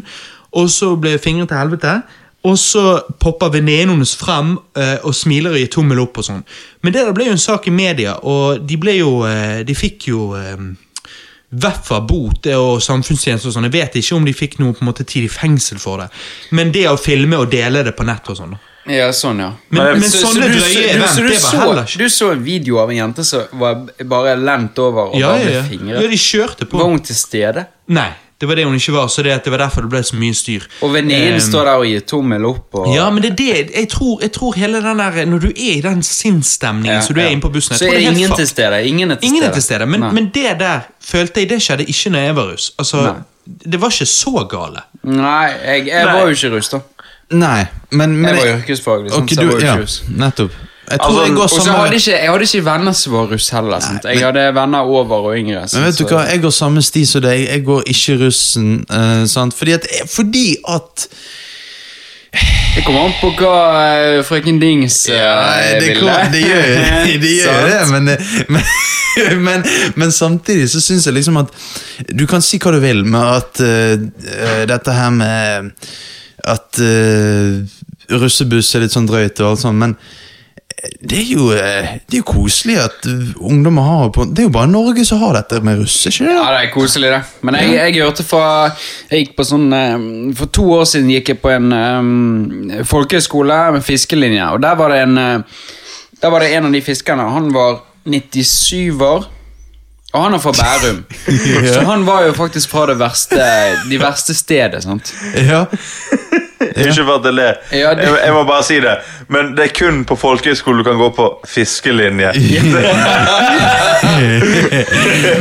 Speaker 1: og så ble fingret til helvete. Og så popper venninnen hennes frem eh, og smiler og gir tommel opp og sånn. Men det der ble jo en sak i media, og de ble jo eh, De fikk jo eh, Veffa, bot det og samfunnstjeneste og sånn. Jeg vet ikke om de fikk noe på en måte tid i fengsel for det. Men det å filme og dele det på nett og sånn. da.
Speaker 4: Ja, sånn, ja.
Speaker 1: Men,
Speaker 3: Men-
Speaker 1: men,
Speaker 3: så-
Speaker 1: sånne
Speaker 4: du,
Speaker 1: drøye event,
Speaker 4: så du,
Speaker 1: det var heller
Speaker 4: så,
Speaker 1: ikke
Speaker 4: du så en video av en jente som var bare lent over og
Speaker 1: Ja,
Speaker 4: bare
Speaker 1: ja,
Speaker 4: med
Speaker 1: ja.
Speaker 4: fingre.
Speaker 1: ja, de kjørte på.
Speaker 4: Var hun til stede?
Speaker 1: Nei, det var det hun ikke var, så det, at det var derfor det ble så mye styr.
Speaker 4: Og venninnen
Speaker 1: Eh,
Speaker 4: står der og gir tommel opp og
Speaker 1: Ja, men det er det jeg tror, jeg tror hele den der Når du er i den sinnsstemningen
Speaker 4: Ja,
Speaker 1: som du er
Speaker 4: ja.
Speaker 1: inne på bussen jeg
Speaker 4: Så
Speaker 1: tror
Speaker 4: er
Speaker 1: det helt
Speaker 4: ingen
Speaker 1: fucked.
Speaker 4: til stede. Ingen er til
Speaker 1: Ingen
Speaker 4: stede.
Speaker 1: er til stede, men,
Speaker 4: Nei.
Speaker 1: men det der følte jeg det skjedde ikke når jeg var russ. Altså, det var ikke så gale.
Speaker 4: Nei, jeg, jeg
Speaker 3: Nei.
Speaker 4: var jo ikke rusta.
Speaker 2: Nei, men, men
Speaker 4: Jeg var yrkesfaglig, sant,
Speaker 2: Ok,
Speaker 4: så jeg
Speaker 2: du-
Speaker 4: var jo
Speaker 2: ja,
Speaker 4: ikke russ.
Speaker 2: Nettopp. Jeg tror
Speaker 3: Altså,
Speaker 2: jeg går
Speaker 4: Og så
Speaker 2: samme
Speaker 4: hadde ikke, jeg hadde ikke venner som var russ heller. Sant? Jeg hadde venner over og yngre. sant,
Speaker 2: Men vet du
Speaker 4: så-
Speaker 2: hva, jeg går samme sti som deg. Jeg går ikke russen. eh, sant? Fordi at, fordi at
Speaker 4: Det kommer an på hva eh, frøken Dings eh,
Speaker 2: Nei, det,
Speaker 4: ville.
Speaker 2: kom, det gjør jo det, gjør jo det men, men, men, men samtidig så syns jeg liksom at Du kan si hva du vil med at eh, eh, dette her med At eh, russebuss er litt sånn drøyt og alt sånt, men det er, jo, eh, det er jo koselig at eh, ungdommer har på Det er jo bare Norge som har dette med russ, ikke det?
Speaker 4: Ja, det er koselig, det. Men jeg, jeg hørte fra Jeg gikk på sånn eh, For to år siden gikk jeg på en eh, folkehøyskole med fiskelinje, og der var det en eh, Der var det en av de fiskerne. Han var 97-er. Og han er fra Bærum, så han var jo faktisk fra det verste, de verste stedet. sant?
Speaker 2: Ja.
Speaker 3: Ikke for at jeg ler.
Speaker 4: Ja, det-
Speaker 3: Jeg, jeg må bare si det. Men det er kun på folkehøyskole du kan gå på fiskelinje.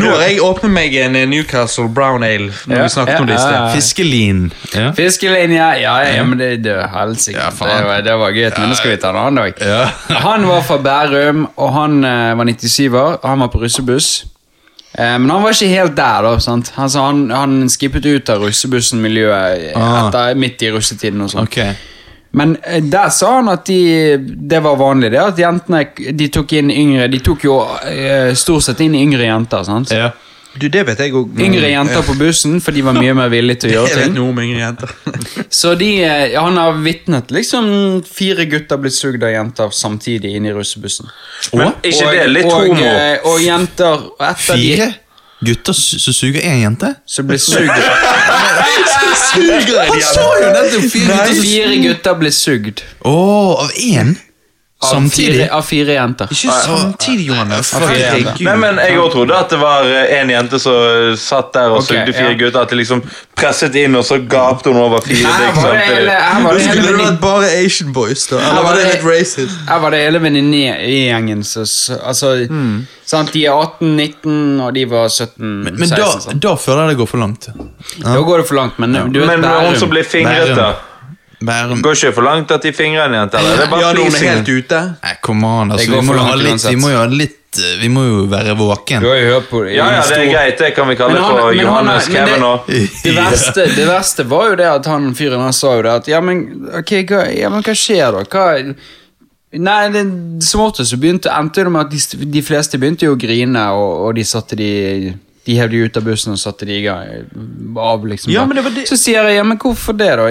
Speaker 1: Nå har jeg åpnet meg en eh, Newcastle Brown Ale når
Speaker 4: Ja,
Speaker 1: vi snakket om
Speaker 4: ja,
Speaker 1: det i
Speaker 4: ja,
Speaker 1: sted.
Speaker 4: ja.
Speaker 2: Fiskelin. Ja.
Speaker 4: Fiskelinje, ja, ja, ja, men det, det er helsike.
Speaker 2: Ja, faen.
Speaker 4: det, var- det var gøy, men det skal vi ta en annen dag.
Speaker 2: Ja.
Speaker 4: han var fra Bærum, og han eh, var 97-er. og Han var på russebuss. Eh, men han var ikke helt der, da. sant? Han, sa han, han skippet ut av russebussen-miljøet
Speaker 2: Ah.
Speaker 4: etter midt i russetiden. og sånt.
Speaker 2: Ok.
Speaker 4: Men eh, der sa han at de, det var vanlig, det. At jentene de tok inn yngre De tok jo eh, stort sett inn yngre jenter. sant?
Speaker 2: Ja.
Speaker 5: Du, det vet jeg òg.
Speaker 4: Yngre jenter på bussen, for de var mye mer villige til å
Speaker 5: Jeg
Speaker 4: gjøre
Speaker 5: vet
Speaker 4: ting.
Speaker 5: noe om yngre jenter.
Speaker 4: Så de, eh, han har vitnet liksom fire gutter blitt sugd av jenter samtidig inn i russebussen.
Speaker 3: Men ikke det litt
Speaker 4: og,
Speaker 3: homo?
Speaker 4: eh, Og, jenter og etter
Speaker 2: Fire gutter s- som suger én jente?
Speaker 4: de som ble sugd
Speaker 2: Han sa jo nettopp fire gutter som
Speaker 4: Fire gutter ble sugd
Speaker 2: Å, av én?
Speaker 4: av
Speaker 2: Samtidig?
Speaker 4: Fire, av fire jenter.
Speaker 5: Ikke samtidig, Johannes.
Speaker 2: Fuck, jeg-
Speaker 5: Herregud.
Speaker 3: Nei, men jeg også trodde at det var eh, en jente som eh, satt der og
Speaker 4: Ok,
Speaker 3: sugde fire
Speaker 4: ja.
Speaker 3: gutter. At de liksom presset inn, og så gapte hun over fire
Speaker 4: Her
Speaker 3: digg
Speaker 4: var det
Speaker 3: samtidig.
Speaker 4: hele, her var
Speaker 5: Da
Speaker 4: det hele
Speaker 5: skulle det
Speaker 4: vennin-
Speaker 5: vært bare Asian boys, da.
Speaker 4: Ja,
Speaker 5: Eller var det
Speaker 4: det-
Speaker 5: litt racist?
Speaker 4: her var det hele venninnegjengen som s- Altså, sant, de er 18-19, og de var 17-16.
Speaker 2: Men da,
Speaker 5: altså.
Speaker 2: da føler jeg det går for langt. Ja.
Speaker 4: Da går det for langt, men du vet
Speaker 3: Men når hun som blir fingret,
Speaker 2: Bærum.
Speaker 3: da?
Speaker 2: Bærum
Speaker 3: Går ikke for langt at de fingrer en jente? Eller? Det er
Speaker 5: Ja,
Speaker 3: bare
Speaker 5: noen er helt
Speaker 3: flisingen.
Speaker 5: ute.
Speaker 2: Nei, kom an, altså.
Speaker 4: Det går
Speaker 2: Vi må,
Speaker 4: for
Speaker 2: jo ha
Speaker 4: langt
Speaker 2: litt, vi må jo ha litt eh, Vi må jo være
Speaker 4: Du
Speaker 2: våken.
Speaker 4: har jo hørt på det.
Speaker 3: Ja, ja, det er greit. Det kan vi kalle
Speaker 4: Men han-
Speaker 3: for
Speaker 4: men han-
Speaker 3: Johannes
Speaker 4: men det-
Speaker 3: Kevin òg.
Speaker 4: Det verste, det verste var jo det at han fyren han sa jo det at ja, men, ok, hva, ja, men hva skjer da? Hva Nei, det, som oftest så begynte, endte det med at de, de fleste begynte jo å grine, og, og de satte de de hev de ut av bussen og satte de i gang. Av, liksom,
Speaker 5: Ja,
Speaker 4: da.
Speaker 5: men det var det-
Speaker 4: Så sier jeg ja, men hvorfor det, da?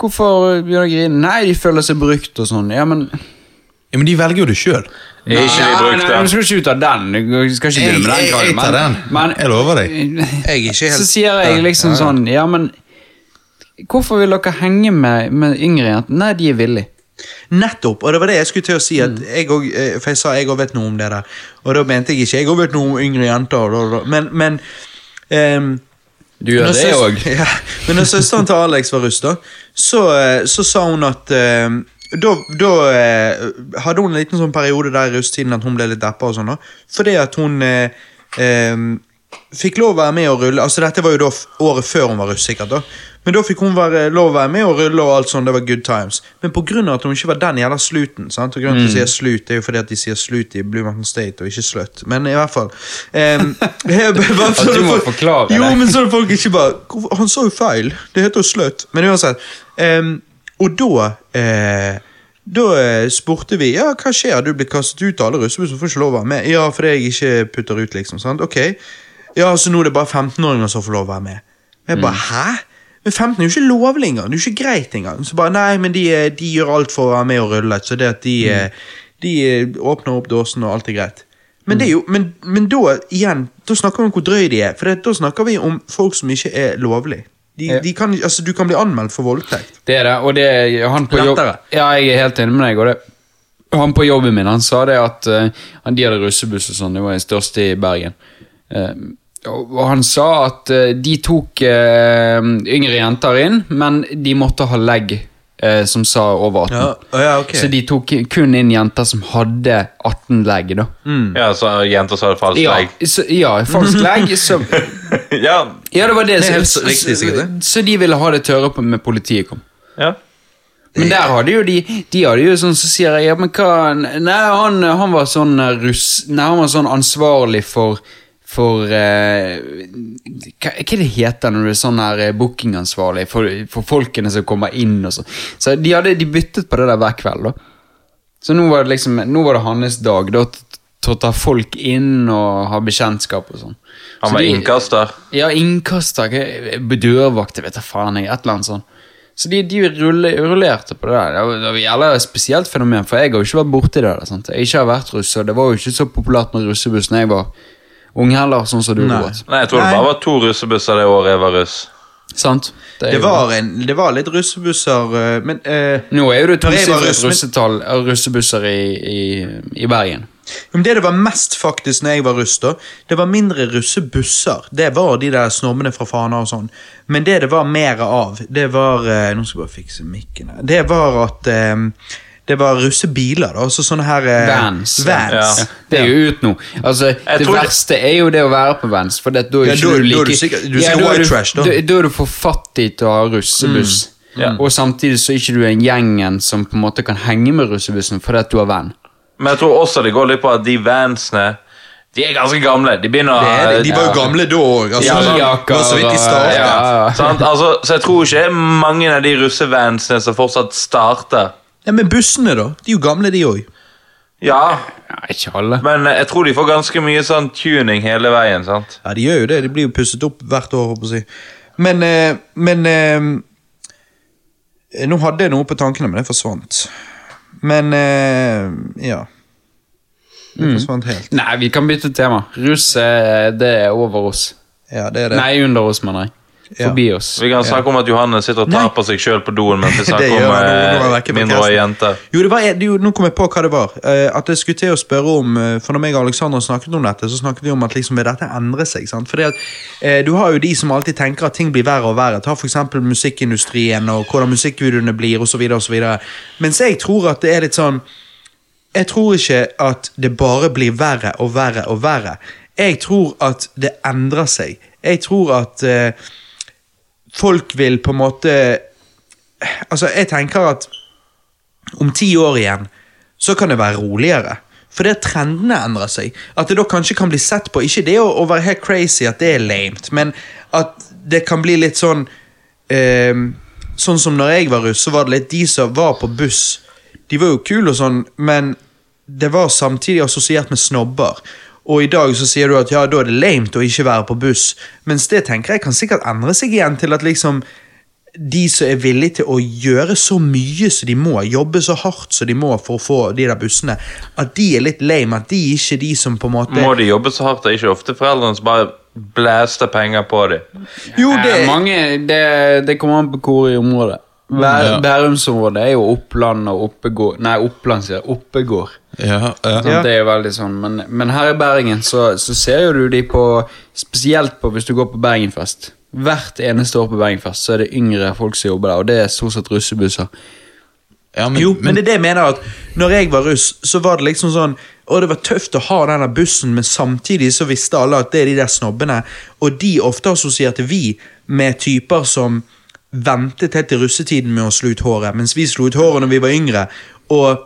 Speaker 4: Hvorfor begynner de å grine? Nei, de føler seg brukt og sånn. Ja, men
Speaker 2: Ja, men de velger jo det sjøl.
Speaker 3: Er ikke de
Speaker 4: Nei, nei, du
Speaker 3: brukte?
Speaker 4: skal ikke ut av den. Du skal ikke begynne med den.
Speaker 2: Jeg- jeg- jeg tar
Speaker 4: Karl, men-
Speaker 2: den. Jeg lover deg.
Speaker 5: Jeg er ikke
Speaker 4: så sier jeg liksom sånn Ja, men hvorfor vil dere henge med, med yngre jenter? Nei, de er villige.
Speaker 5: Nettopp, og det var det jeg skulle til å si.
Speaker 2: Mm.
Speaker 5: At jeg og, eh, for jeg sa jeg òg vet noe om det der. Og da mente jeg ikke jeg òg vet noe om yngre jenter. Og, da- da- men men ehm,
Speaker 4: Du gjør
Speaker 5: når
Speaker 4: det
Speaker 5: søs-
Speaker 4: òg.
Speaker 5: Ja, men når søsteren til Alex var russ, da, så, eh, så sa hun at eh, da, da eh, hadde hun en liten sånn periode der i russetiden at hun ble litt deppa og sånn, da. Fordi at hun eh, eh, fikk lov å være med og rulle Altså Dette var jo da f- året før hun var russ, sikkert. da Men da fikk hun være, lov å være med og rulle og alt sånn. Det var good times. Men pga. at hun ikke var den jævla sluten sant? Og grunnen til at
Speaker 4: Mm.
Speaker 5: de sier slut, er jo fordi at de sier slut i Blue Mountain State og ikke slutt. Men i hvert fall eh,
Speaker 4: Ja,
Speaker 5: jeg, bare,
Speaker 4: du må forklare
Speaker 5: Jo,
Speaker 4: det.
Speaker 5: men så er det folk ikke bare "Hvorfor- Han sa jo feil. Det heter jo sløtt. Men uansett. ehm, og da eh, Da eh, spurte vi ja, hva skjer. Du blir kastet ut av alle russebussen, får ikke lov å være med. Ja, fordi jeg ikke putter ut, liksom. sant? Ok. Ja, så nå er det bare 15-åringer som får lov å være med. Og
Speaker 4: Mm.
Speaker 5: jeg bare, hæ? Men 15 er jo ikke lovlig engang. Det er jo ikke greit engang. Så bare, nei, men de, eh, de gjør alt for å være med og rulle. Så det at de,
Speaker 4: Mm.
Speaker 5: eh, de eh, åpner opp dåsen, og alt er greit. Men, det er jo, men, men da igjen, da snakker vi om hvor drøy de er. For det, da snakker vi om folk som ikke er lovlig. De,
Speaker 4: Ja.
Speaker 5: de kan, altså, du kan bli anmeldt for voldtekt.
Speaker 4: Det er det, og det er han på jobb
Speaker 5: Lettere.
Speaker 4: Ja, jeg er helt enig med deg, og det Han på jobben min, han sa det at eh, han, de hadde russebuss og sånn, det var den største i Bergen. Eh, og, og han sa at eh, de tok eh, yngre jenter inn, men de måtte ha legg eh, som sa over 18.
Speaker 5: Ja, å ja, ok.
Speaker 4: Så de tok kun inn jenter som hadde 18 legg, da.
Speaker 3: Ja, så jenter sa det falskt
Speaker 4: Ja,
Speaker 3: legg.
Speaker 4: så, ja falsk legg. Så,
Speaker 3: Ja.
Speaker 4: ja, det var det.
Speaker 5: Det er
Speaker 4: Så,
Speaker 5: helt
Speaker 4: så,
Speaker 5: riktig, sikkert
Speaker 4: så,
Speaker 5: det.
Speaker 4: så de ville ha det tørre på, med politiet kom.
Speaker 3: ja.
Speaker 4: Men der hadde jo de De hadde jo sånn, så sier jeg ja, men hva Nei, han, han var sånn eh, russ Nei, han var sånn ansvarlig for for eh, hva, hva det heter når du er sånn her eh, bookingansvarlig for, for folkene som kommer inn og sånn. Så de hadde de byttet på det der hver kveld, da. Så nå var det liksom Nå var det hans dag da, til- til å ta folk inn og ha bekjentskap og sånn. Så
Speaker 3: Han var
Speaker 4: de-
Speaker 3: innkaster.
Speaker 4: ja, innkaster, hva- dørvakter, vet jeg faen jeg, et eller annet sånt. Så de, de rulle, rullerte på det der. Det var- Det var jævla et spesielt fenomen, for jeg har jo ikke vært borti det. der, Sant? Jeg har ikke vært russ, og det var jo ikke så populært med russebuss når jeg var ung heller, sånn som du, Robert.
Speaker 3: Nei, jeg tror det
Speaker 5: Nei.
Speaker 3: bare var to russebusser det året jeg var russ.
Speaker 4: Sant? er
Speaker 5: Det
Speaker 4: jo-
Speaker 5: var, en, det var litt russebusser, eh, men eh,
Speaker 4: Nå er jo det
Speaker 5: Når jeg var
Speaker 4: tosifret
Speaker 5: russ, men-
Speaker 4: russetall av russebusser i, i, i Bergen.
Speaker 5: Men det det var mest faktisk når jeg var russ, da, det var mindre russebusser. Det var de der snobbene fra Fana og sånn. Men det det var mer av, det var eh, Nå skal jeg bare fikse mikken her. Det var at eh, det var russebiler, da. Altså sånne her eh,
Speaker 4: Vans.
Speaker 5: vans.
Speaker 3: Ja.
Speaker 4: Det er jo ut nå. Altså, det
Speaker 3: tror det-
Speaker 4: verste er jo det å være på Vans, for det, da er
Speaker 5: Ja,
Speaker 4: ikke
Speaker 5: da-
Speaker 4: du
Speaker 5: da er
Speaker 4: like
Speaker 5: du sikkert- du er sikkert
Speaker 4: da er
Speaker 5: white
Speaker 4: du-
Speaker 5: trash, da.
Speaker 4: Da, da er du for fattig til å ha russebuss.
Speaker 3: Mm. Ja.
Speaker 4: Og samtidig så er ikke du den gjengen som på en måte kan henge med russebussen fordi at du har venn.
Speaker 3: Men jeg tror også det går litt på at de vansene De er ganske gamle. De begynner
Speaker 5: Det er det. De var jo
Speaker 3: Ja.
Speaker 5: gamle da òg. Altså,
Speaker 4: Ja,
Speaker 5: det
Speaker 4: jakker
Speaker 5: var så vidt de
Speaker 4: og-
Speaker 5: startet.
Speaker 4: ja.
Speaker 3: Sant? Altså, så jeg tror ikke det er mange av de russevansene som fortsatt starter.
Speaker 5: Ja, men bussene, da. De er jo gamle, de òg.
Speaker 3: Ja,
Speaker 4: Ja, ikke alle.
Speaker 3: men eh, jeg tror de får ganske mye sånn tuning hele veien, sant?
Speaker 5: Ja, de gjør jo det. De blir jo pusset opp hvert år, håper jeg. å si. Men, eh, men eh, Nå hadde jeg noe på tankene, men det forsvant. Men eh, ja. Det forsvant helt.
Speaker 4: Nei, vi kan bytte tema. Russ eh, det er over oss.
Speaker 5: Ja, det er det.
Speaker 4: Nei, under oss, mener jeg.
Speaker 5: Ja.
Speaker 4: Forbi oss.
Speaker 3: Vi kan snakke om at Johannes sitter og tar på seg sjøl på doen mens vi
Speaker 5: Det
Speaker 3: snakker
Speaker 5: gjør
Speaker 3: om
Speaker 5: han, nå- nå er han
Speaker 3: eh,
Speaker 5: vekk i podcasten.
Speaker 3: mindreårige jenter.
Speaker 5: Jo, det var, det, jo, nå kom jeg på hva det var. Eh, at jeg skulle til å spørre om eh, For når meg og Alexander snakket om dette, så snakket vi om at liksom, vil dette endre seg? sant? Fordi at eh, Du har jo de som alltid tenker at ting blir verre og verre. Ta f.eks. musikkindustrien og hvordan musikkvideoene blir osv. Mens jeg tror at det er litt sånn jeg tror ikke at det bare blir verre og verre og verre. Jeg tror at det endrer seg. Jeg tror at eh, folk vil på en måte Altså, jeg tenker at om ti år igjen, så kan det være roligere. For det at trendene endrer seg. At det da kanskje kan bli sett på Ikke det å, å være helt crazy at det er lamet, men at det kan bli litt sånn ehm, Sånn som når jeg var russ, så var det litt de som var på buss. De var jo kule og sånn, men det var samtidig assosiert med snobber. Og i dag så sier du at ja, da er det lamet å ikke være på buss. Mens det tenker jeg kan sikkert endre seg igjen til at liksom de som er villige til å gjøre så mye som de må, jobbe så hardt som de må for å få de der bussene, at de er litt lame, at de ikke er de som på en måte
Speaker 3: Må de jobbe så hardt? Det er ikke ofte foreldrene som bare blæster penger på dem.
Speaker 5: Jo,
Speaker 4: det...
Speaker 5: det
Speaker 4: Eh, mange, det, det kommer an på hvor i området. Bær, Bærumsområdet er jo Oppland og Oppegård Nei, Oppland sier jeg. Oppegård.
Speaker 2: Ja, ja.
Speaker 4: Sant?
Speaker 5: Ja.
Speaker 4: Det er jo veldig sånn, men, men her i Bergen så, så ser jo du de på Spesielt på hvis du går på Bergenfest. Hvert eneste år på Bergenfest så er det yngre folk som jobber der, og det er stort sett russebusser.
Speaker 2: ja men,
Speaker 5: Jo, men det er det jeg mener at Når jeg var russ, så var det liksom sånn Å, det var tøft å ha denne bussen Men samtidig så visste alle at det er de der snobbene Og de ofte assosierte vi Med typer som Ventet helt til russetiden med å slå ut håret Mens vi slo ut håret når vi var yngre Og,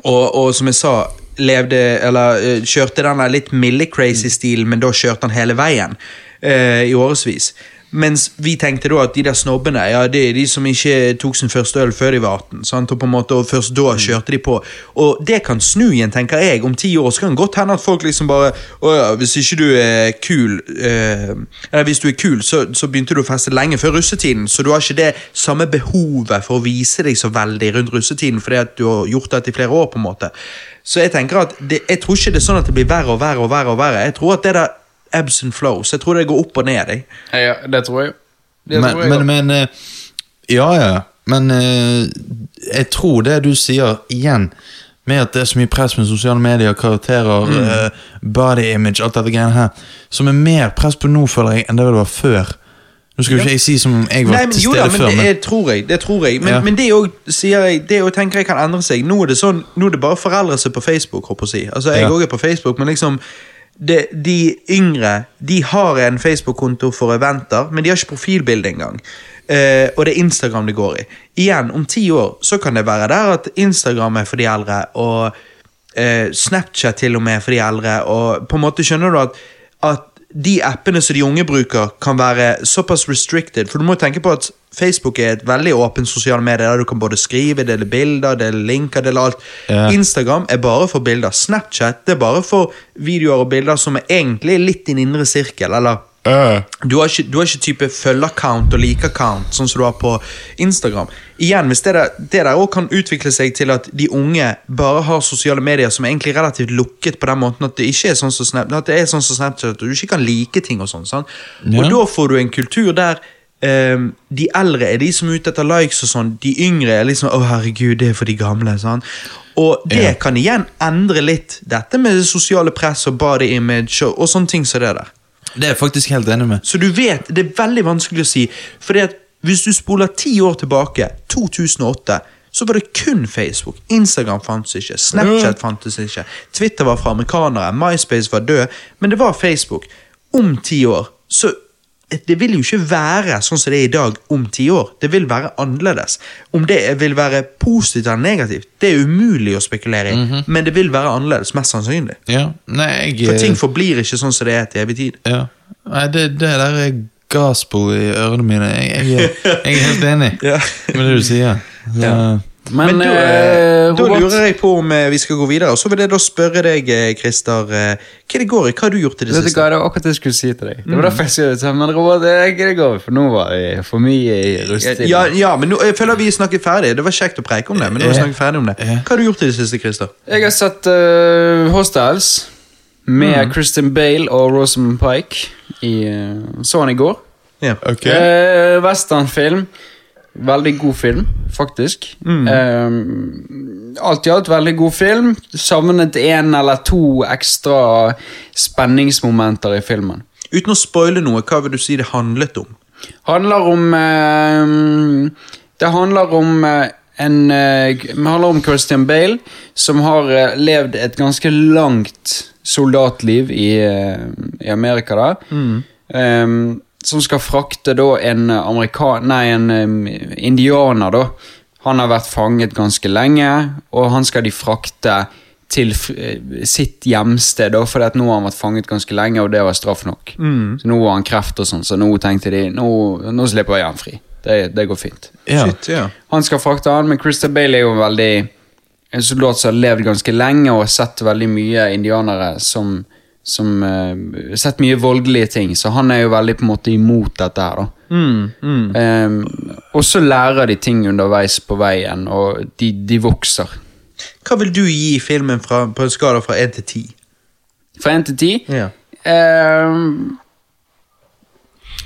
Speaker 5: og, og som jeg sa Levde, eller eh, kjørte den der litt milde crazy stilen Men da kjørte han hele veien eh, I årevis mens vi tenkte da at de der snobbene ja, det er de som ikke tok sin første øl før de var 18. Sant? Og på en måte, og først da kjørte de på. Og det kan snu igjen, tenker jeg. Om ti år så kan det godt hende at folk liksom bare Å ja, hvis ikke du er kul eh, Eller hvis du er kul, så, så begynte du å feste lenge før russetiden, så du har ikke det samme behovet for å vise deg så veldig rundt russetiden fordi at du har gjort dette i flere år, på en måte. Så jeg tenker at det, jeg tror ikke det er sånn at det blir verre og verre og verre. og verre. Jeg tror at det der ebbs and flows. Jeg tror det går opp og ned. Jeg.
Speaker 4: Ja, det tror jeg. Det
Speaker 2: men,
Speaker 4: tror jeg.
Speaker 2: men, men eh, Ja, ja. Men eh, jeg tror det du sier, igjen, med at det er så mye press med sosiale medier, karakterer,
Speaker 5: Mm.
Speaker 2: eh, body image, alt dette greiene her, som er mer press på nå, føler jeg, enn det det var før. Nå skal jo ikke jeg si som om jeg var
Speaker 5: Nei, men,
Speaker 2: til
Speaker 5: jo da,
Speaker 2: stede
Speaker 5: men
Speaker 2: før,
Speaker 5: det
Speaker 2: men
Speaker 5: er, tror jeg. Det tror jeg. Men,
Speaker 2: Ja.
Speaker 5: men det òg sier jeg Det og tenker jeg kan endre seg. Nå er det sånn, nå er det bare foreldre som er på Facebook. Håper jeg. å si. Altså, jeg
Speaker 2: Ja.
Speaker 5: òg er på Facebook, men liksom det, De yngre De har en Facebook-konto for eventer, men de har ikke profilbilde engang. Eh, og det er Instagram det går i. Igjen, om ti år så kan det være der at Instagram er for de eldre, og eh, Snapchat til og med er for de eldre, og på en måte skjønner du at at de appene som de unge bruker, kan være såpass restricted. For du må tenke på at Facebook er et veldig åpent sosiale medier der du kan både skrive, dele bilder, dele linker, dele alt.
Speaker 2: Ja.
Speaker 5: Instagram er bare for bilder. Snapchat det er bare for videoer og bilder som er egentlig litt din indre sirkel, eller du har ikke, du har ikke type følge-account og like-account, sånn som du har på Instagram. Igjen, hvis det der, det der også kan utvikle seg til at de unge bare har sosiale medier som er egentlig relativt lukket på den måten at det ikke er sånn som Snap, at det er sånn som Snapchat, at du ikke kan like ting og sånn. sant? Og
Speaker 2: Ja.
Speaker 5: da får du en kultur der ehm, de eldre er de som er ute etter likes og sånn, de yngre er liksom 'Å, herregud, det er for de gamle'. sant? Og det
Speaker 2: Ja.
Speaker 5: kan igjen endre litt dette med det sosiale press og body image og, og sånne ting som det der.
Speaker 2: det er jeg faktisk helt enig med.
Speaker 5: Så du vet, det er veldig vanskelig å si. Fordi at hvis du spoler ti år tilbake, 2008, så var det kun Facebook. Instagram fantes ikke, Snapchat fantes ikke, Twitter var for amerikanere, MySpace var død, men det var Facebook. Om ti år, så det vil jo ikke være sånn som det er i dag om ti år. Det vil være annerledes. Om det vil være positivt eller negativt, det er umulig å spekulere i, men det vil være annerledes, mest sannsynlig.
Speaker 2: Ja, nei, jeg
Speaker 5: For
Speaker 2: eh,
Speaker 5: ting forblir ikke sånn som det er til evig tid.
Speaker 2: ja. Nei, det, det der er gospel i ørene mine. Jeg, jeg, er- jeg er helt enig
Speaker 5: Ja.
Speaker 2: med det du sier. Så,
Speaker 5: Ja.
Speaker 4: Men,
Speaker 5: Men da,
Speaker 4: eh,
Speaker 5: da
Speaker 4: Robert
Speaker 5: lurer jeg på om eh, vi skal gå videre. Og så vil jeg da spørre deg, eh, Christer, eh, hva det går i? Hva har du gjort i
Speaker 4: Vet
Speaker 5: det
Speaker 4: du hva,
Speaker 5: siste?
Speaker 4: det var akkurat det jeg skulle si til deg. Det var derfor jeg skulle si Men Robert, det er ikke det går, for nå var jeg for mye i russetiden.
Speaker 5: Ja, ja, men nå, jeg føler vi snakket ferdig. Det var kjekt å preike om det, men nå har vi snakket ferdig om det.
Speaker 2: Ja.
Speaker 5: Eh, Hva har du gjort i det siste, Christer?
Speaker 4: Jeg har sett eh, Hostiles med Christian Bale og Rosamund Pike. I, eh, så han i går.
Speaker 5: Ja.
Speaker 2: Ok.
Speaker 4: Eh, Westernfilm. Veldig god film, faktisk. Eh, alt i alt veldig god film. Savnet en eller to ekstra spenningsmomenter i filmen.
Speaker 5: Uten å spoile noe, hva vil du si det handlet om?
Speaker 4: handler om eh, Det handler om eh, en eh, Det handler om Christian Bale, som har eh, levd et ganske langt soldatliv i, eh, i Amerika. da Eh, som skal frakte da en amerika- Nei, en eh, indianer, da. Han har vært fanget ganske lenge, og han skal de frakte til fr- eh, sitt hjemsted, da, fordi at nå har han vært fanget ganske lenge, og det var straff nok. Så nå har han kreft og sånn, så nå tenkte de nå, nå slipper jeg han fri. Det, det går fint.
Speaker 2: Ja.
Speaker 5: Shit, ja.
Speaker 4: Han skal frakte han, men Christer Bale er jo veldig en soldat som har levd ganske lenge og har sett veldig mye indianere som, som eh, Sett mye voldelige ting, så han er jo veldig på en måte imot dette her, da.
Speaker 5: Mm,
Speaker 4: Eh, og så lærer de ting underveis på veien, og de, de vokser.
Speaker 5: Hva vil du gi filmen fra, på en skala fra 1 til 10?
Speaker 4: Fra én til ti Ehm,
Speaker 5: Ja.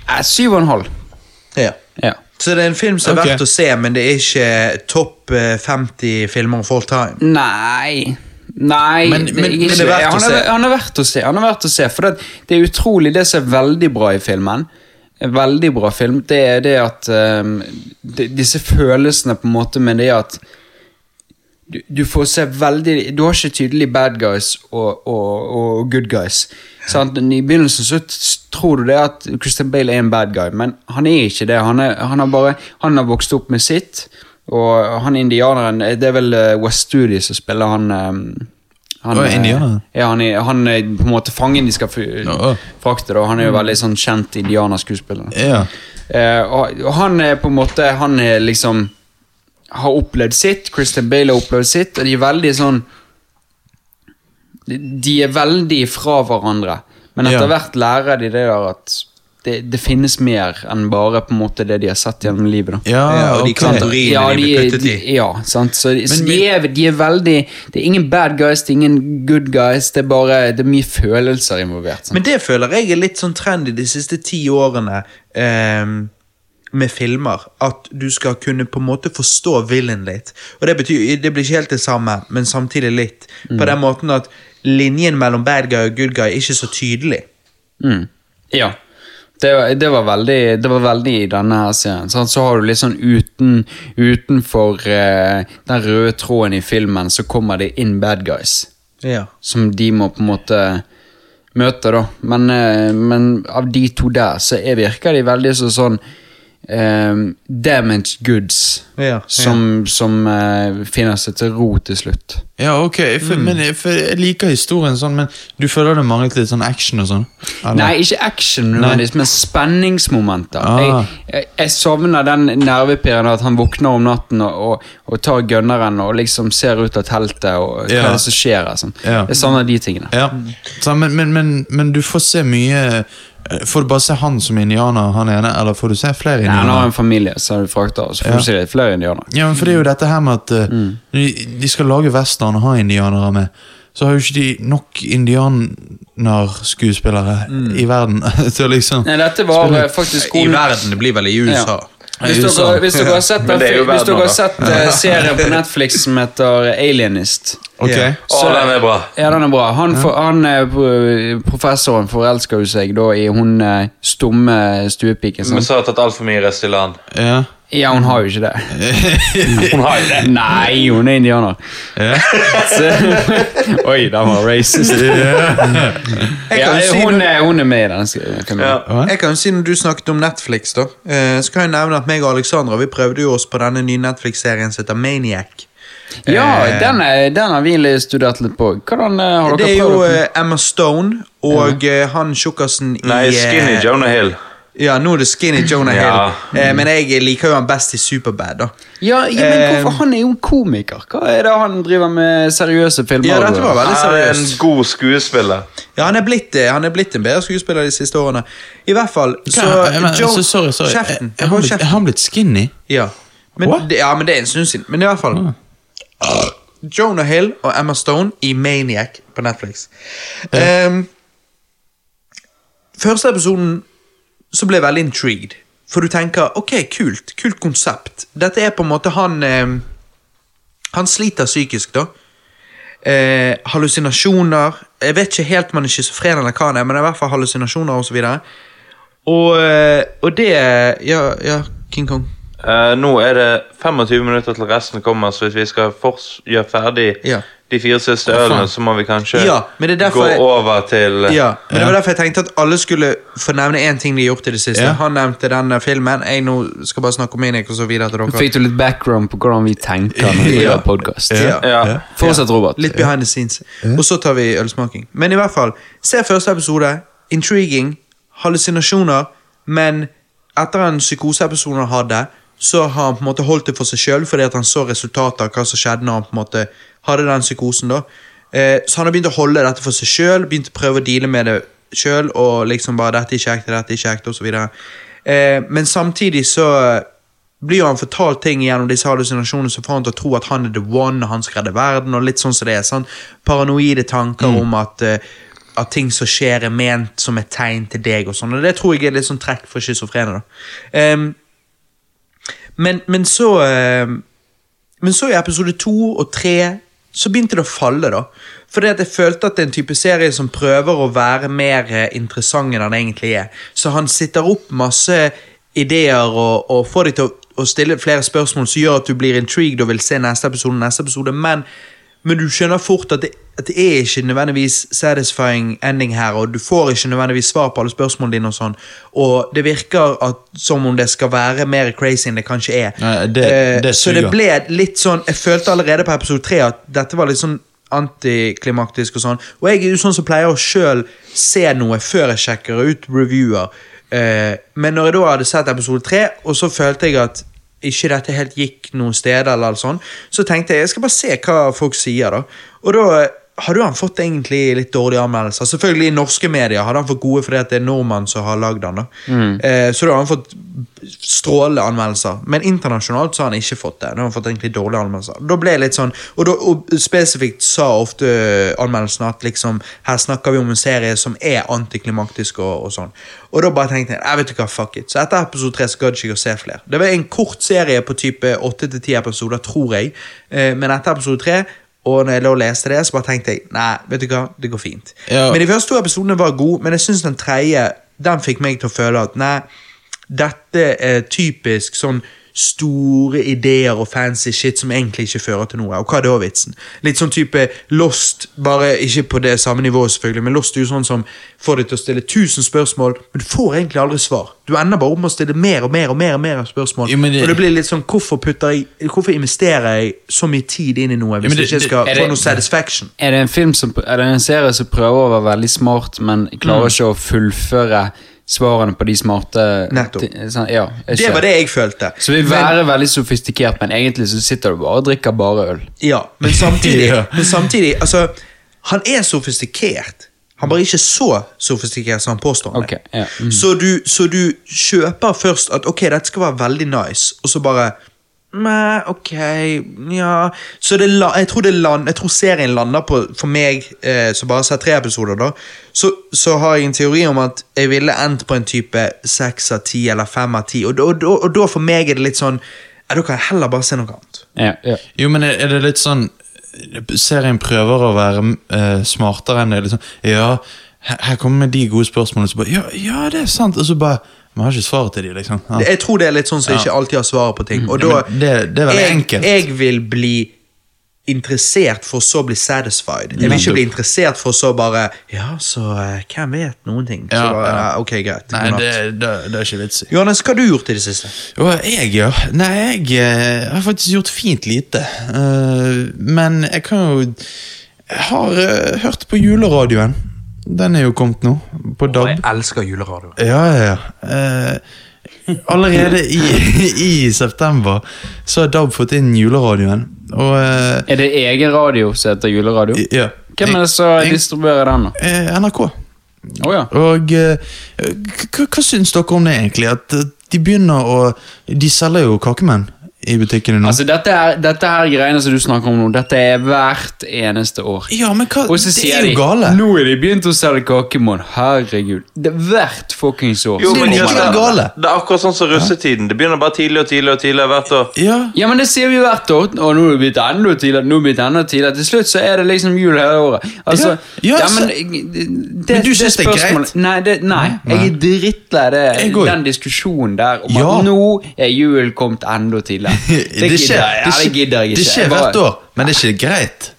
Speaker 4: eh, eh, Syv og en halv.
Speaker 5: ja.
Speaker 4: Ja.
Speaker 5: Så det er en film som er
Speaker 2: Ok.
Speaker 5: verdt å se, men det er ikke topp eh, 50 filmer of all time.
Speaker 4: Nei. Nei
Speaker 5: Men-
Speaker 4: det,
Speaker 5: men- men
Speaker 4: ikke-
Speaker 5: det er verdt å
Speaker 4: han,
Speaker 5: se.
Speaker 4: er, han er verdt å se. Han er verdt å se For det, det er utrolig det som er veldig bra i filmen. En veldig bra film. Det er det at ehm, de, Disse følelsene på en måte med det at du, du får se veldig Du har ikke tydelig bad guys og, og, og good guys. Sant? I begynnelsen så t- tror du det at Christian Bale er en bad guy, men han er ikke det. Han, er, han, har, bare, han har vokst opp med sitt, og han indianeren Det er vel eh, West Studi som spiller han eh, han,
Speaker 2: Å,
Speaker 4: eh,
Speaker 2: indianeren?
Speaker 4: Ja, han er, han er på en måte fangen de skal fu-
Speaker 2: Å, å.
Speaker 4: frakte. Da. Han er jo veldig sånn kjent indianerskuespiller.
Speaker 2: Ja.
Speaker 4: Eh, og, og han er på en måte Han er liksom Har opplevd sitt, Christian Bale har opplevd sitt, og de er veldig sånn De de er veldig fra hverandre, men etter
Speaker 2: Ja.
Speaker 4: hvert lærer de det der at det, det finnes mer enn bare på en måte det de har sett gjennom livet. da
Speaker 2: Ja,
Speaker 5: Ja, Eh, og de
Speaker 2: ok.
Speaker 5: kan ta- kategoriene de blir puttet i.
Speaker 4: de- Ja, sant? Så, de- så de, er, de er veldig Det er ingen bad guys, det er ingen good guys, det er bare Det er mye følelser involvert. Sant?
Speaker 5: Men det føler jeg er litt sånn trendy de siste ti årene ehm, med filmer. At du skal kunne på en måte forstå villen litt. Og det, betyr, det blir ikke helt det samme, men samtidig litt. På den måten at linjen mellom bad guy og good guy er ikke så tydelig.
Speaker 4: Mm. Ja. Det, var- det, var veldig, det var veldig i denne her serien. Sant? Så har du litt sånn uten, utenfor eh, den røde tråden i filmen, så kommer det inn bad guys.
Speaker 5: Ja.
Speaker 4: Som de må på en måte møte, da. Men, eh, men av de to der, så er, virker de veldig så sånn eh, Damaged goods.
Speaker 5: Ja, ja.
Speaker 4: Som, som eh, finner seg til ro til slutt.
Speaker 2: Ja, ok. For,
Speaker 5: Mm.
Speaker 2: men, jeg- for jeg liker historien sånn, men du føler det manglet litt sånn action og sånn? eller?
Speaker 4: Nei, ikke action, nødvendigvis, men spenningsmomenter.
Speaker 2: Ah.
Speaker 4: Jeg, jeg, jeg savner den nervepirren at han våkner om natten og, og, og tar gunneren og liksom ser ut av teltet og hva
Speaker 2: Ja.
Speaker 4: er det som skjer. her, Sånn.
Speaker 2: Ja.
Speaker 4: Jeg savner de tingene.
Speaker 2: Ja, så, men, men, men, men du får se mye eh, Får du bare se han som indianer, han ene, eller får du se flere
Speaker 4: Nei, han
Speaker 2: indianere?
Speaker 4: har en familie som du frakter, så får du se litt flere indianere.
Speaker 2: Ja, men for det er jo dette her med at eh,
Speaker 5: Mm.
Speaker 2: de, de skal lage western og ha indianere med. Så har jo ikke de nok indianerskuespillere
Speaker 5: Mm.
Speaker 2: i verden til å liksom
Speaker 4: Nei, dette var eh, faktisk
Speaker 5: I
Speaker 4: skolen
Speaker 5: verden, det blir vel i USA.
Speaker 4: Hvis dere, hvis dere har sett,
Speaker 3: Men det er jo
Speaker 4: hvis dere
Speaker 3: verden,
Speaker 4: har sett eh, serien på Netflix som heter Alienist
Speaker 2: Ok.
Speaker 5: Ja.
Speaker 3: Å, den er bra.
Speaker 4: Ja, den er bra. Han, for, han eh, pro- professoren forelsker jo seg da i hun eh, stumme stuepiken.
Speaker 3: Men
Speaker 4: sant?
Speaker 3: så har jeg tatt altfor mye Restylane.
Speaker 2: Ja.
Speaker 4: Ja, hun har jo ikke det.
Speaker 3: Hun har jo det.
Speaker 4: Nei, hun er indianer. Så, oi, den var racist.
Speaker 5: Jeg
Speaker 4: Ja,
Speaker 5: kan si
Speaker 4: hun,
Speaker 5: noe-
Speaker 4: er, hun er med i den. sk- filmen.
Speaker 3: Ja.
Speaker 5: Jeg kan jo si Når du snakket om Netflix, da eh, så kan jeg nevne at meg og Alexandra vi prøvde jo oss på denne nye Netflix-serien som heter Maniac.
Speaker 4: Ja, den, er, den har vi litt studert litt på. Hvordan eh, har
Speaker 5: Eh. Det
Speaker 4: dere
Speaker 5: er jo
Speaker 4: prøvd det?
Speaker 5: eh, Emma Stone og eh, han tjukkasen i
Speaker 3: Nei, Skinny
Speaker 5: eh,
Speaker 3: Jonah Hill.
Speaker 5: Ja, nå er det Skinny Jonah
Speaker 3: Ja.
Speaker 5: Hill. Eh, men jeg liker jo han best i Superbad, da.
Speaker 4: Ja, ja, men
Speaker 5: eh,
Speaker 4: hvorfor? Han er jo en komiker. Hva er det han driver med seriøse filmer?
Speaker 5: Ja, dette var veldig
Speaker 3: Han er en
Speaker 5: seriøst.
Speaker 3: god skuespiller.
Speaker 5: Ja, han er blitt, det. han er blitt en bedre skuespiller de siste årene. I hvert fall, så
Speaker 2: Hva- jeg mener,
Speaker 5: Joe-
Speaker 2: altså, sorry, sorry.
Speaker 5: Kjeften.
Speaker 2: Er, er, han
Speaker 5: Hold
Speaker 2: blitt, er
Speaker 5: kjeften.
Speaker 2: han blitt skinny?
Speaker 5: Ja. Men,
Speaker 2: What?
Speaker 5: det, ja, men det er en stund siden. Men i hvert fall Jonah Hill og Emma Stone i Maniac på Netflix. Ehm, første episoden så ble jeg veldig intrigued. For du tenker ok, kult. Kult konsept. Dette er på en måte han ehm, Han sliter psykisk, da. Eh, hallusinasjoner Jeg vet ikke helt om han er schizofren eller hva han er, men det er i hvert fall hallusinasjoner og så videre. Og, eh, og det Ja, ja, King Kong.
Speaker 3: Eh, nå er det 25 minutter til resten kommer, så hvis vi skal fors gjøre ferdig
Speaker 5: Ja.
Speaker 3: de fire siste ølene, så må vi kanskje
Speaker 5: Ja, men det er derfor
Speaker 3: gå
Speaker 5: jeg-
Speaker 3: over til eh,
Speaker 5: Ja, men det var derfor jeg tenkte at alle skulle få nevne én ting de har gjort i det siste.
Speaker 2: Ja.
Speaker 5: Han nevnte den eh, filmen. Jeg nå skal bare snakke om Maniac og så videre til dere.
Speaker 4: Fikk du litt background på hvordan vi tenker når vi
Speaker 5: Ja.
Speaker 4: gjør podkast?
Speaker 5: Ja.
Speaker 3: Ja.
Speaker 2: Ja.
Speaker 4: Fortsett, Robert.
Speaker 5: Litt behind the scenes. Og så tar vi ølsmaking. Men i hvert fall, se første episode. Intriguing. Hallusinasjoner. Men etter en psykoseepisode han hadde, så har han på en måte holdt det for seg sjøl fordi at han så resultatet av hva som skjedde når han på en måte hadde den psykosen. da. Eh, så han har begynt å holde dette for seg sjøl, begynt å prøve å deale med det sjøl. Og liksom bare 'dette er kjekt, dette er kjekt', osv. Eh, men samtidig så blir jo han fortalt ting gjennom disse hallusinasjonene som får han til å tro at han er the one, og han skal redde verden, og litt sånn som det er. Sånn paranoide tanker om at, eh, at ting som skjer, er ment som et tegn til deg, og sånn. Og det tror jeg er litt sånn trekk for schizofrene, da. Ehm, men, men så ehm, men så i episode to og tre så begynte det å falle, da. Fordi at jeg følte at det er en type serie som prøver å være mer eh, interessant enn han egentlig er. Så han sitter opp masse ideer og, og får deg til å, å stille flere spørsmål som gjør at du blir intrigued og vil se neste episode, neste episode, men, men du skjønner fort at det, at det er ikke nødvendigvis satisfying ending her, og du får ikke nødvendigvis svar på alle spørsmålene dine og sånn, og det virker at, som om det skal være mer crazy enn det kanskje er.
Speaker 2: Nei, det-
Speaker 5: Eh,
Speaker 2: det
Speaker 5: så det
Speaker 2: suger.
Speaker 5: ble litt sånn Jeg følte allerede på episode 3 at dette var litt sånn antiklimaktisk og sånn. Og jeg er jo sånn som pleier å sjøl se noe før jeg sjekker ut reviewer. Eh, men når jeg da hadde sett episode 3, og så følte jeg at ikke dette helt gikk noen steder, eller alt sånn, så tenkte jeg jeg skal bare se hva folk sier, da. Og da eh, hadde jo han fått egentlig litt dårlige anmeldelser. Selvfølgelig i norske medier hadde han fått gode fordi at det er nordmann som har lagd han. da. Eh, så da har han fått strålende anmeldelser, men internasjonalt så har han ikke fått det. Da har han fått egentlig dårlige anmeldelser. Da ble jeg litt sånn, og, da, og spesifikt sa ofte eh, anmeldelsen at liksom, her snakker vi om en serie som er antiklimaktisk og, og sånn. Og da bare tenkte jeg, jeg vet ikke hva, fuck it. Så etter episode 3 så gadd ikke jeg å se flere. Det var en kort serie på type 8-10 episoder, tror jeg, eh, men etter episode 3 og når jeg lå og leste det, så bare tenkte jeg nei, vet du hva, det går fint.
Speaker 2: Ja.
Speaker 5: Men De første to episodene var gode, men jeg synes den tredje den fikk meg til å føle at nei, dette er typisk sånn store ideer og fancy shit som egentlig ikke fører til noe. Og hva er da vitsen? Litt sånn type Lost, bare ikke på det samme nivået, selvfølgelig, men Lost er jo sånn som får deg til å stille tusen spørsmål, men du får egentlig aldri svar. Du ender bare om å stille mer og mer og mer og mer spørsmål.
Speaker 2: Jo, men det-
Speaker 5: Og det blir litt sånn, hvorfor, putter jeg, hvorfor investerer jeg så mye tid inn i noe hvis
Speaker 2: men det-
Speaker 5: jeg ikke skal
Speaker 4: det- er det-
Speaker 5: få noe satisfaction?
Speaker 4: Er det en film som, er det en serie som prøver å være veldig smart, men klarer ikke å fullføre svarene på de smarte
Speaker 5: Nettopp.
Speaker 4: ti- sånn, ja, jeg
Speaker 5: Det
Speaker 4: skjønner.
Speaker 5: var det jeg følte.
Speaker 4: Så vi vil være veldig sofistikert, men egentlig så sitter du bare og drikker bare øl.
Speaker 5: Ja, men samtidig,
Speaker 2: Ja.
Speaker 5: men samtidig altså, Han er sofistikert. Han bare ikke så sofistikert som han påstår. han er.
Speaker 4: Ok, ja, mm.
Speaker 5: så, du, så du kjøper først at ok, dette skal være veldig nice, og så bare Mæ, ok, ja Så det, la- jeg, tror det land, jeg tror serien lander på, for meg eh, som bare har sett tre episoder, da, så, så har jeg en teori om at jeg ville endt på en type seks av ti eller fem av ti, og, da- og, da- og da for meg er det litt sånn ja, Da kan jeg heller bare se noe annet.
Speaker 4: Ja, ja.
Speaker 2: Jo, men er, er det litt sånn Serien prøver å være eh, smartere enn det. Liksom. Ja, her, her kommer de gode spørsmålene, så bare ja, ja, det er sant. Og så bare Man har ikke svaret til de, liksom. Ja.
Speaker 5: Jeg tror det er litt sånn som ikke alltid har svaret på ting. Og da,
Speaker 2: Ja, men det- det er veldig
Speaker 5: jeg,
Speaker 2: enkelt.
Speaker 5: Jeg vil bli interessert for så å bli satisfied. Jeg vil ikke
Speaker 2: Nettopp.
Speaker 5: bli interessert for så bare Ja, så eh, hvem vet noen ting? Så
Speaker 2: Ja,
Speaker 5: bare,
Speaker 2: ja.
Speaker 5: ja, ok, greit.
Speaker 2: Nei,
Speaker 5: god natt.
Speaker 2: det, det, det er ikke vits i.
Speaker 5: Johannes, hva har du gjort i det siste?
Speaker 2: Jo, jeg, ja. Nei, jeg eh, har faktisk gjort fint lite. Eh, men jeg kan jo Jeg har eh, hørt på juleradioen. Den er jo kommet nå, på DAB.
Speaker 6: Jeg elsker juleradio.
Speaker 2: Ja, ja, ja. Eh, allerede i, i september så har DAB fått inn juleradioen. Og eh,
Speaker 4: Er det egen radio som heter juleradio?
Speaker 2: i- ja.
Speaker 4: Hvem er det som
Speaker 2: Jeg-
Speaker 4: distribuerer den? da?
Speaker 2: Eh, NRK.
Speaker 4: Å ja.
Speaker 2: Og eh, k- k- hva syns dere om det, egentlig? At eh, de begynner å De selger jo kakemenn i butikkene nå.
Speaker 4: Altså, dette er, dette er greiene som du snakker om nå. Dette er hvert eneste år.
Speaker 2: ja, men hva
Speaker 4: Og så
Speaker 2: Det
Speaker 4: sier
Speaker 2: er
Speaker 4: de
Speaker 2: jo gale.
Speaker 4: Nå er de begynt å selge kakemål. Herregud. Det er hvert fuckings år.
Speaker 3: Jo,
Speaker 4: så
Speaker 3: men
Speaker 2: det er
Speaker 4: kommer
Speaker 3: ikke
Speaker 2: jævla
Speaker 4: det.
Speaker 2: gale.
Speaker 3: Det er akkurat sånn som russetiden. Det begynner bare tidligere og tidligere og tidligere hvert år.
Speaker 2: Ja.
Speaker 4: Ja, men det sier vi jo hvert år, og nå er det blitt enda tidligere, nå er det blitt enda tidligere. Til slutt så er det liksom jul hele året. Altså,
Speaker 2: Ja, ja, så-
Speaker 4: men, det,
Speaker 2: Men du synes det er greit?
Speaker 4: spørsmålet- Nei, det, nei, jeg er drittlei det,
Speaker 2: Jeg går jo.
Speaker 4: den diskusjonen der om
Speaker 2: Ja.
Speaker 4: at nå er julen kommet enda tidligere.
Speaker 2: Det
Speaker 4: gidder
Speaker 2: skjer,
Speaker 4: jeg- ja, det gidder jeg ikke.
Speaker 2: det skjer
Speaker 4: Jeg bare-
Speaker 2: hvert år, men det er ikke greit.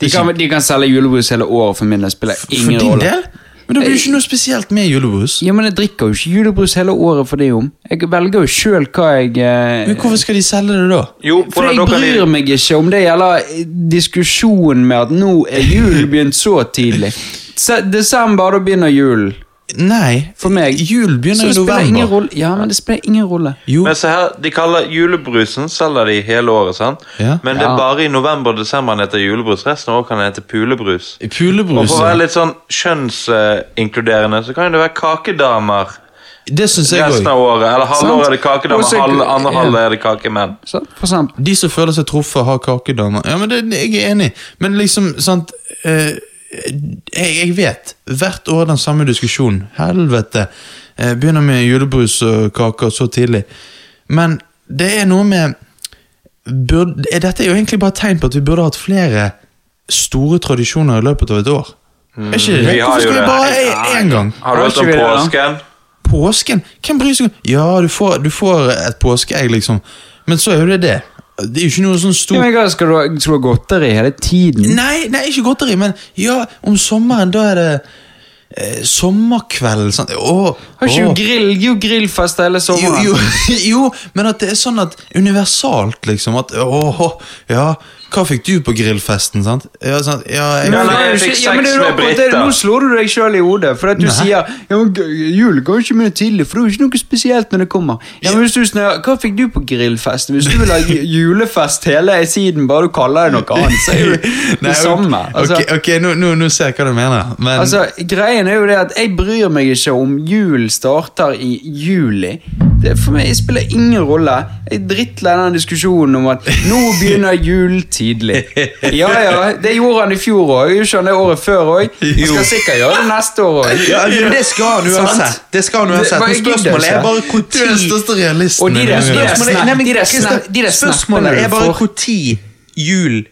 Speaker 4: De kan, de kan selge julebrus hele året for min del, spiller
Speaker 2: For
Speaker 4: ingen
Speaker 2: din
Speaker 4: rolle.
Speaker 2: del? Men det blir jo ikke noe spesielt med julebrus.
Speaker 4: Ja, men jeg drikker jo ikke julebrus hele året for det om. Jeg velger jo sjøl hva jeg eh,
Speaker 2: Men hvorfor skal de selge det da?
Speaker 3: Jo,
Speaker 4: For
Speaker 3: hvordan dere
Speaker 4: jeg bryr
Speaker 3: liker-
Speaker 4: meg ikke om det gjelder eh, diskusjonen med at nå er julen begynt så tidlig. Se, desember, da begynner julen.
Speaker 2: Nei,
Speaker 4: For meg.
Speaker 2: jul
Speaker 4: Så
Speaker 2: begynner
Speaker 4: det
Speaker 2: i
Speaker 4: spiller ingen
Speaker 2: november.
Speaker 4: rolle. Ja, men det spiller ingen rolle.
Speaker 2: Jo,
Speaker 3: Men se her, De kaller julebrusen selger de hele året, sant?
Speaker 2: Ja.
Speaker 3: men det
Speaker 4: Ja.
Speaker 3: er bare i november og desember den heter julebrus. Resten av året kan den hete pulebrus. Og
Speaker 2: pulebrus
Speaker 3: for å
Speaker 2: ja.
Speaker 3: være litt sånn kjønnsinkluderende, så kan jo det være kakedamer
Speaker 2: Det syns jeg
Speaker 3: resten
Speaker 2: òg.
Speaker 3: av året. Eller halve
Speaker 4: Sant.
Speaker 3: året er det kakedamer,
Speaker 4: Og så-
Speaker 3: halve, andre
Speaker 4: ja.
Speaker 3: halve er det kakemenn.
Speaker 4: Så, for eksempel.
Speaker 2: De som føler seg truffet, har kakedamer. Ja, men det, Jeg er enig, men liksom sant eh, jeg, jeg vet. Hvert år den samme diskusjonen. Helvete. Eh, begynner med julebrus og kaker så tidlig. Men det er noe med burde, eh, Dette er jo egentlig bare et tegn på at vi burde hatt flere store tradisjoner i løpet av et år. Er ikke det?
Speaker 3: Mm. vi har
Speaker 2: Hvorfor
Speaker 3: jo
Speaker 2: skal vi
Speaker 3: det.
Speaker 2: bare én gang?
Speaker 3: Har du
Speaker 4: Har
Speaker 3: hørt
Speaker 4: ikke
Speaker 3: om
Speaker 4: vi det, da?
Speaker 3: påsken?
Speaker 2: Påsken? Hvem bryr seg om Ja, du får, du får et påskeegg, liksom. Men så er jo det det. Det er jo ikke noe sånn
Speaker 4: Ja,
Speaker 2: stor
Speaker 4: men hva skal du, ha- skal du ha godteri hele tiden?
Speaker 2: Nei, nei, ikke godteri, men ja, om sommeren, da er det eh, sommerkveld sant? Åh,
Speaker 4: Har ikke
Speaker 2: åh.
Speaker 4: jo grill, jo grillfest hele
Speaker 2: jo,
Speaker 4: sommeren?
Speaker 2: jo, jo, men at det er sånn at universalt, liksom. At åh, ja, hva fikk du på grillfesten, sant? Ja, sant? Ja, jeg,
Speaker 3: Ja,
Speaker 4: Men
Speaker 3: nei,
Speaker 4: det er jo
Speaker 3: jeg fikk
Speaker 4: ikke- ja, men
Speaker 3: sex
Speaker 4: det er jo
Speaker 3: med
Speaker 4: akkurat
Speaker 3: Britta.
Speaker 4: det. Nå slår du deg sjøl i hodet. For at du
Speaker 2: Nei.
Speaker 4: sier ja, men, g- jul går ikke mye tidlig, for det er jo ikke noe spesielt når det kommer. Ja, men hvis du snør, Hva fikk du på grillfest? Hvis du vil ha j- julefest hele siden, bare du kaller det noe annet, så er jo
Speaker 2: Nei,
Speaker 4: det samme. Altså,
Speaker 2: ok, ok, nå, nå, nå ser jeg hva du mener. Men
Speaker 4: altså, greien er jo det at jeg bryr meg ikke om jul starter i juli. Det for meg spiller ingen rolle. Jeg er drittlei den diskusjonen om at nå begynner jul tidlig. Ja ja, det gjorde han i fjor òg. Gjorde han det året før òg? Han skal sikkert gjøre det neste år òg.
Speaker 5: Ja, men det skal han uansett. Det skal han uansett.
Speaker 4: Det-
Speaker 5: Men spørsmålet er bare hvor
Speaker 2: du er den
Speaker 5: tid
Speaker 2: største realisten.
Speaker 4: Og de
Speaker 2: i
Speaker 4: der-
Speaker 2: denne
Speaker 4: de der-
Speaker 2: verden.
Speaker 5: Spørsmålet-
Speaker 4: snapp-
Speaker 5: Nei, men
Speaker 4: de der
Speaker 5: Kristian,
Speaker 4: snapp- de der snappene
Speaker 5: Spørsmålet
Speaker 4: du
Speaker 5: er bare
Speaker 4: får.
Speaker 5: hvor tid jul